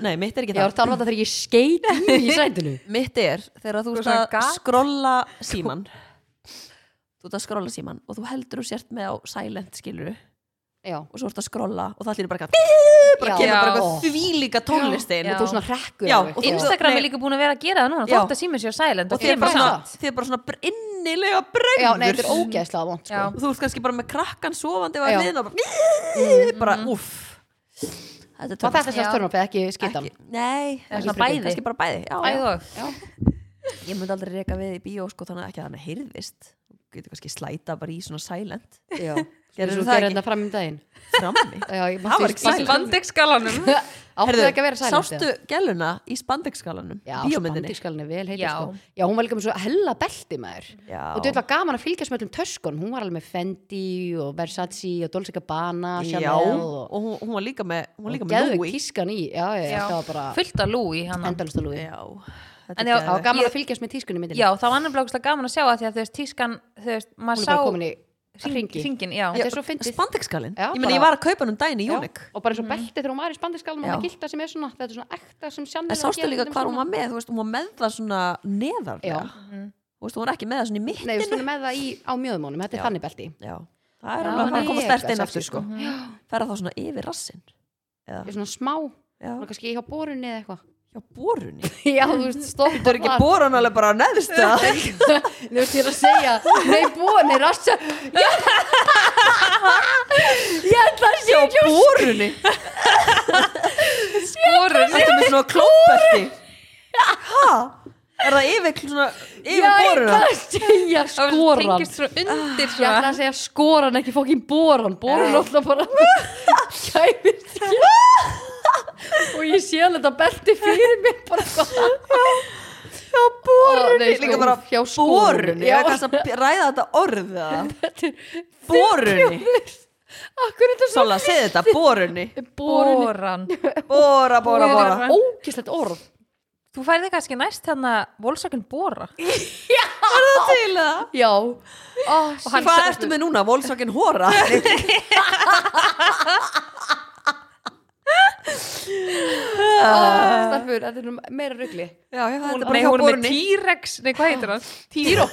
[SPEAKER 1] Nei, mitt er ekki það.
[SPEAKER 2] var að tala um þetta þegar ég skeit í í sætinu
[SPEAKER 1] Mitt er þegar þú
[SPEAKER 3] Þú
[SPEAKER 1] ert Sko-
[SPEAKER 3] svona
[SPEAKER 1] að
[SPEAKER 3] gat.
[SPEAKER 1] skrolla síman Þú ert að skrolla síman og þú heldur þú sért með á silent skiluru og
[SPEAKER 2] já,
[SPEAKER 1] svo ert að skrolla og það allir bara eitthvað bara
[SPEAKER 2] Já.
[SPEAKER 1] kemur bara
[SPEAKER 2] Já.
[SPEAKER 1] eitthvað þvílíka tónlistin
[SPEAKER 3] Já.
[SPEAKER 2] og þú svona hrekkur
[SPEAKER 1] Já,
[SPEAKER 2] og
[SPEAKER 1] og
[SPEAKER 2] eitthvað.
[SPEAKER 1] Insta-
[SPEAKER 3] Instagram er
[SPEAKER 1] Nei.
[SPEAKER 3] líka búin að vera að gera það núna
[SPEAKER 1] Já.
[SPEAKER 3] þótt að síma sér silent
[SPEAKER 1] og
[SPEAKER 3] og
[SPEAKER 1] þið er bara
[SPEAKER 2] bara
[SPEAKER 1] svona, þið er bara svona br- innilega
[SPEAKER 2] já, nei,
[SPEAKER 1] bregður
[SPEAKER 2] þetta er ógeðslega vont sko.
[SPEAKER 3] Já.
[SPEAKER 1] og þú ert kannski bara með krakkan sofandi
[SPEAKER 2] Já. Mm-hmm.
[SPEAKER 1] og hliðin og bara, bara uff Þetta er
[SPEAKER 2] Var þetta sem
[SPEAKER 3] Já.
[SPEAKER 2] stjórnarpið, ekki skitan?
[SPEAKER 1] Ekki- Nei,
[SPEAKER 3] Eða
[SPEAKER 1] ekki
[SPEAKER 3] svona
[SPEAKER 1] bæði
[SPEAKER 3] bæði.
[SPEAKER 1] kannski bara bæði, já, já.
[SPEAKER 3] Æ, og
[SPEAKER 2] Já,
[SPEAKER 1] Ég myndi aldrei reka við í bíó sko, þannig að ekki að hann heyrðist Þú getur kannski slæta bara í svona silent
[SPEAKER 2] já.
[SPEAKER 1] Gerðirðu
[SPEAKER 2] Gerðu
[SPEAKER 1] það
[SPEAKER 2] það
[SPEAKER 1] ekki?
[SPEAKER 2] ekki? fram um daginn.
[SPEAKER 1] frammi
[SPEAKER 2] Já, ég
[SPEAKER 1] Það var
[SPEAKER 2] mátti
[SPEAKER 1] ekki
[SPEAKER 3] Í
[SPEAKER 1] Silent.
[SPEAKER 3] spandeksskalanum
[SPEAKER 2] Áttu það ekki að vera sæl?
[SPEAKER 1] sástu gæluna í spandeksskalanum
[SPEAKER 2] Já,
[SPEAKER 1] bíómyndinni
[SPEAKER 2] spandískalinn er vel heitir
[SPEAKER 3] Já.
[SPEAKER 2] sko. Já, hún var líka með svo hella belti maður.
[SPEAKER 1] Já.
[SPEAKER 2] Og þetta var gaman að fylgjast með öllum töskunum. Hún var alveg með Fendi og Versace og Dolce Gabbana,
[SPEAKER 1] já,
[SPEAKER 2] Chanel
[SPEAKER 1] og
[SPEAKER 2] og...
[SPEAKER 1] hún, hún var líka með hún var líka
[SPEAKER 2] og
[SPEAKER 1] með
[SPEAKER 2] geðveik
[SPEAKER 1] Louis
[SPEAKER 2] tískan í. Já, já, já,
[SPEAKER 3] Já.
[SPEAKER 2] það var bara
[SPEAKER 3] fullt af lúi hann
[SPEAKER 2] endalasta lúi.
[SPEAKER 1] já, þetta
[SPEAKER 3] En
[SPEAKER 1] er
[SPEAKER 2] Það
[SPEAKER 3] já,
[SPEAKER 2] var
[SPEAKER 1] geðveikt.
[SPEAKER 2] gaman að fylgjast með tískunni í myndinni.
[SPEAKER 3] Já, það var annar blókslega gaman að sjá að því að þú veist tískan, þú veist,
[SPEAKER 2] Hún
[SPEAKER 3] maður
[SPEAKER 2] er bara
[SPEAKER 3] sá
[SPEAKER 2] komin í hringi.
[SPEAKER 3] hringin, já.
[SPEAKER 2] Þetta er svo fyndið.
[SPEAKER 1] spandeksskalinn,
[SPEAKER 2] Já,
[SPEAKER 1] ég meina ég
[SPEAKER 2] bara-
[SPEAKER 1] var að kaupa hann um daginn í Jónik
[SPEAKER 2] Já, Og bara eins og belti þegar hún var í spandískalinn og
[SPEAKER 1] Já.
[SPEAKER 2] það gilda sem er svona, þetta er svona ekta sem
[SPEAKER 1] en
[SPEAKER 2] Chanel. er að
[SPEAKER 1] sástu
[SPEAKER 2] gera
[SPEAKER 1] líka
[SPEAKER 2] til dæmis
[SPEAKER 1] hvað
[SPEAKER 2] núna.
[SPEAKER 1] hún var með þú veist, hún var með það svona neðar
[SPEAKER 2] Já.
[SPEAKER 3] Mhm.
[SPEAKER 1] þú veist, hún var ekki með það svona í
[SPEAKER 2] Nei, við
[SPEAKER 1] mittinu
[SPEAKER 2] stunum með það í, á mjöðumónum, þetta er þannig belti
[SPEAKER 1] já, það er
[SPEAKER 3] Já,
[SPEAKER 1] alveg að fara að koma
[SPEAKER 2] mega
[SPEAKER 1] stert inn
[SPEAKER 2] sexy,
[SPEAKER 1] aftur sko
[SPEAKER 2] sko.
[SPEAKER 1] færa þá svona yfir rassin eða,
[SPEAKER 2] Ég er svona smá,
[SPEAKER 1] já,
[SPEAKER 2] svona kannski hjá borunni eða eitthvað
[SPEAKER 1] já, borunni
[SPEAKER 2] Já, þú veist, stoppar
[SPEAKER 1] þú er ekki borun alveg bara neðst það
[SPEAKER 2] Þú veist, ég er að segja, nei borunni, rassa Ég Ég ætla að sé
[SPEAKER 1] já, borunni
[SPEAKER 3] Borun.
[SPEAKER 1] Þetta með svona klóberti Hæ? Er það yfir svona
[SPEAKER 2] Ég
[SPEAKER 1] yfir
[SPEAKER 2] ætla
[SPEAKER 1] boruna?
[SPEAKER 2] að segja
[SPEAKER 3] Það
[SPEAKER 2] skoran
[SPEAKER 3] tengist svo undir
[SPEAKER 2] Ég ætla
[SPEAKER 3] svona.
[SPEAKER 2] að segja skoran, ekki fokkin boran Boran
[SPEAKER 1] Já.
[SPEAKER 2] alltaf bara Kæmist ekki Og ég sé alveg þetta belti fyrir mér bara hvað
[SPEAKER 1] Já, borunni
[SPEAKER 2] Nei, sko,
[SPEAKER 1] Líka bara
[SPEAKER 2] hjá
[SPEAKER 1] borunni
[SPEAKER 2] já.
[SPEAKER 1] Ég veit hvað að ræða þetta orð það Borunni
[SPEAKER 2] Akkur þetta er svo
[SPEAKER 1] Sola, segð þetta, borunni
[SPEAKER 2] Borunni
[SPEAKER 3] Boran.
[SPEAKER 1] Bora, bora, bora
[SPEAKER 2] Ógislegt orð
[SPEAKER 3] Þú færði kannski næst þarna volsökun Bora.
[SPEAKER 1] Er það til það?
[SPEAKER 2] Já oh,
[SPEAKER 1] Hvað ertu með núna? Volkswagen Hora?
[SPEAKER 2] Stafur, þetta er nú meira rugli
[SPEAKER 1] Já, já, þetta er
[SPEAKER 3] Nei,
[SPEAKER 1] bara hjá
[SPEAKER 3] hún er með
[SPEAKER 1] borunni
[SPEAKER 3] T-Rex, nei, hvað heitir hann?
[SPEAKER 2] Týró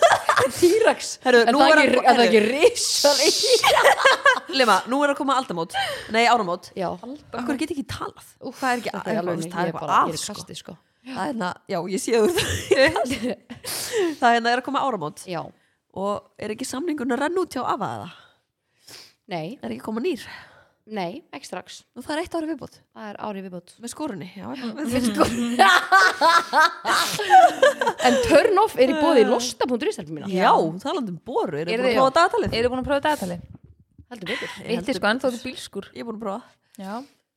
[SPEAKER 2] Týrax
[SPEAKER 1] Herru,
[SPEAKER 2] En
[SPEAKER 1] nú
[SPEAKER 2] það
[SPEAKER 1] er
[SPEAKER 2] ekki,
[SPEAKER 1] að-
[SPEAKER 2] er það ekki risar í
[SPEAKER 1] Lema, nú er að koma aldamót Nei, áramót
[SPEAKER 2] Já
[SPEAKER 1] Akkur get ekki talað
[SPEAKER 2] Úf, það er
[SPEAKER 1] ekki-
[SPEAKER 2] Það er
[SPEAKER 1] þú
[SPEAKER 2] alveg
[SPEAKER 1] veist,
[SPEAKER 2] ég
[SPEAKER 1] það er
[SPEAKER 2] er
[SPEAKER 1] eitthvað
[SPEAKER 2] bara
[SPEAKER 1] að,
[SPEAKER 2] Ég er í
[SPEAKER 1] sko.
[SPEAKER 2] kasti sko
[SPEAKER 1] Það er hérna, já, ég sé þú Það er hérna er að koma áramót
[SPEAKER 2] Já
[SPEAKER 1] og er ekki samningun að renna út hjá afaða
[SPEAKER 2] Nei
[SPEAKER 1] er ekki koma nýr
[SPEAKER 2] nei, ekki strax
[SPEAKER 1] Nú, það er eitt ári viðbútt
[SPEAKER 2] það er árið viðbót
[SPEAKER 1] með skorunni já,
[SPEAKER 2] Við sko- en turn off er í bóði losta.is helfum mína
[SPEAKER 1] já talandum boru, eru búin
[SPEAKER 3] Eru
[SPEAKER 1] að
[SPEAKER 3] þið-
[SPEAKER 1] prófa dagatalið?
[SPEAKER 3] Eru búin að prófa dagatali?
[SPEAKER 2] heldur betur
[SPEAKER 1] Ég
[SPEAKER 3] Eitt
[SPEAKER 1] heldur
[SPEAKER 3] er sko ennþá til bílskur
[SPEAKER 1] ég er búin að prófa
[SPEAKER 3] Já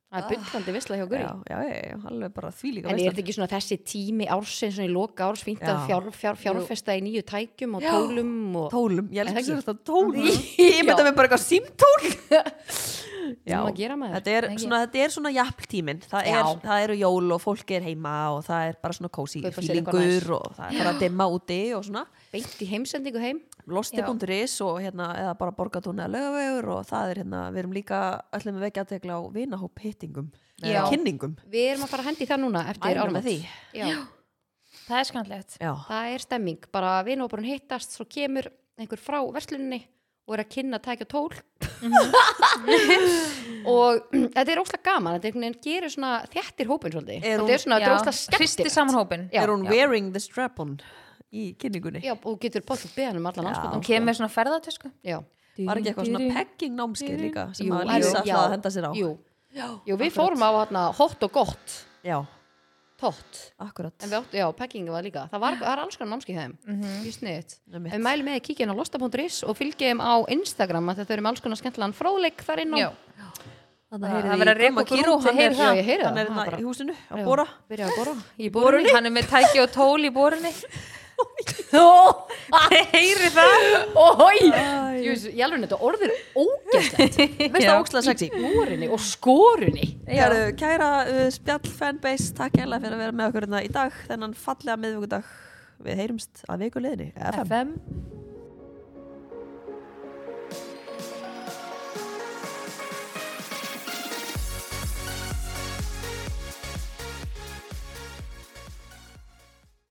[SPEAKER 2] það er byllandi vissla hjá
[SPEAKER 1] já,
[SPEAKER 2] Guri
[SPEAKER 1] já, já, já, alveg bara því líka
[SPEAKER 2] en er þetta ekki svona þessi tími ársinn svona í loka árs fínt að
[SPEAKER 1] Já.
[SPEAKER 2] fjár, fjár, fjárfesta í nýju tækjum og
[SPEAKER 1] Já.
[SPEAKER 2] tólum og
[SPEAKER 1] tólum, ég
[SPEAKER 2] Er það
[SPEAKER 1] elsku
[SPEAKER 2] ekki?
[SPEAKER 1] sér þetta tólum
[SPEAKER 2] Já.
[SPEAKER 1] ég mynda mér bara eitthvað símtól
[SPEAKER 2] um að gera maður
[SPEAKER 1] þetta er
[SPEAKER 3] Ekki.
[SPEAKER 1] svona, þetta er svona jafntímin það, er,
[SPEAKER 2] Já.
[SPEAKER 1] það eru jól og fólk er heima og það er bara svona kósi
[SPEAKER 2] Kaupa sér eitthvað
[SPEAKER 1] fílingur og það er bara að dimma úti og svona
[SPEAKER 2] beint í heimsendingu heim
[SPEAKER 1] losti.is og hérna eða bara borgatún eða lögavegur og það er hérna, við erum líka ætlum að vekja aðtegla á vinahóp hittingum
[SPEAKER 3] Já.
[SPEAKER 1] kynningum,
[SPEAKER 2] við erum að fara að hendi í það núna eftir
[SPEAKER 1] Mælum með
[SPEAKER 2] áramót
[SPEAKER 1] því.
[SPEAKER 2] Já.
[SPEAKER 3] Það er skanlegt
[SPEAKER 1] já,
[SPEAKER 2] það er stemming, bara vinahópurinn hittast svo kemur einhver frá versluninni og er að kynna að tækja tól
[SPEAKER 1] Mhm.
[SPEAKER 2] og þetta er óslega gaman, þetta er einhvern veginn gerir svona þjættir hópin svolítið
[SPEAKER 1] Er hún-
[SPEAKER 2] þetta er svona, þetta er óslega
[SPEAKER 3] Hristi
[SPEAKER 2] skemmtilegt
[SPEAKER 3] saman hópin
[SPEAKER 2] Já,
[SPEAKER 1] er hún
[SPEAKER 2] já.
[SPEAKER 1] wearing the strap-on í kynningunni
[SPEAKER 2] já, og þú getur bótt að beða hann um allan
[SPEAKER 1] Já.
[SPEAKER 2] anskotan
[SPEAKER 3] Hún kemur með svona ferðatösku
[SPEAKER 2] já,
[SPEAKER 1] var ekki eitthvað svona pegging námskeið líka sem
[SPEAKER 2] Jú,
[SPEAKER 1] að lýsa
[SPEAKER 2] já.
[SPEAKER 1] alltaf að henda sér á
[SPEAKER 2] jú, jú við fórum á hana, hot og gott
[SPEAKER 1] já,
[SPEAKER 2] tótt,
[SPEAKER 1] akkurat
[SPEAKER 2] en við áttu, já, packing var líka það var, það er alls konar námskið þeim mm -hmm. ég sniðið,
[SPEAKER 1] Einmitt.
[SPEAKER 2] við mælum með að kíkja inn á losta.is og fylgja þeim á Instagram að þetta er um alls konar skemmtilegan fróðleik þar inn á
[SPEAKER 3] Já
[SPEAKER 1] Þannig
[SPEAKER 3] Það-
[SPEAKER 1] heyrið
[SPEAKER 3] það
[SPEAKER 1] þið
[SPEAKER 3] verður að
[SPEAKER 1] í Gumma
[SPEAKER 3] reka okkur
[SPEAKER 1] Kíró,
[SPEAKER 3] út, ég
[SPEAKER 1] hann er,
[SPEAKER 2] Já, ég heyri
[SPEAKER 3] heyri það.
[SPEAKER 1] hann
[SPEAKER 2] það,
[SPEAKER 1] er hérna
[SPEAKER 2] það bara-
[SPEAKER 1] í húsinu að
[SPEAKER 2] Já.
[SPEAKER 1] bóra
[SPEAKER 2] byrja að bora í borunni
[SPEAKER 3] Borunni Hann er með tæki og tól í borunni Heyri það
[SPEAKER 2] Óhói Ég alveg þetta orð er ógæslegt
[SPEAKER 1] veist það ókslega sexy
[SPEAKER 2] Búrinni og skorunni
[SPEAKER 1] Heru, kæra uh, spjall fanbase takk hérlega fyrir að vera með okkur hérna í dag þennan fallega miðvikudag við heyrumst að viku liðinni FM.
[SPEAKER 3] FM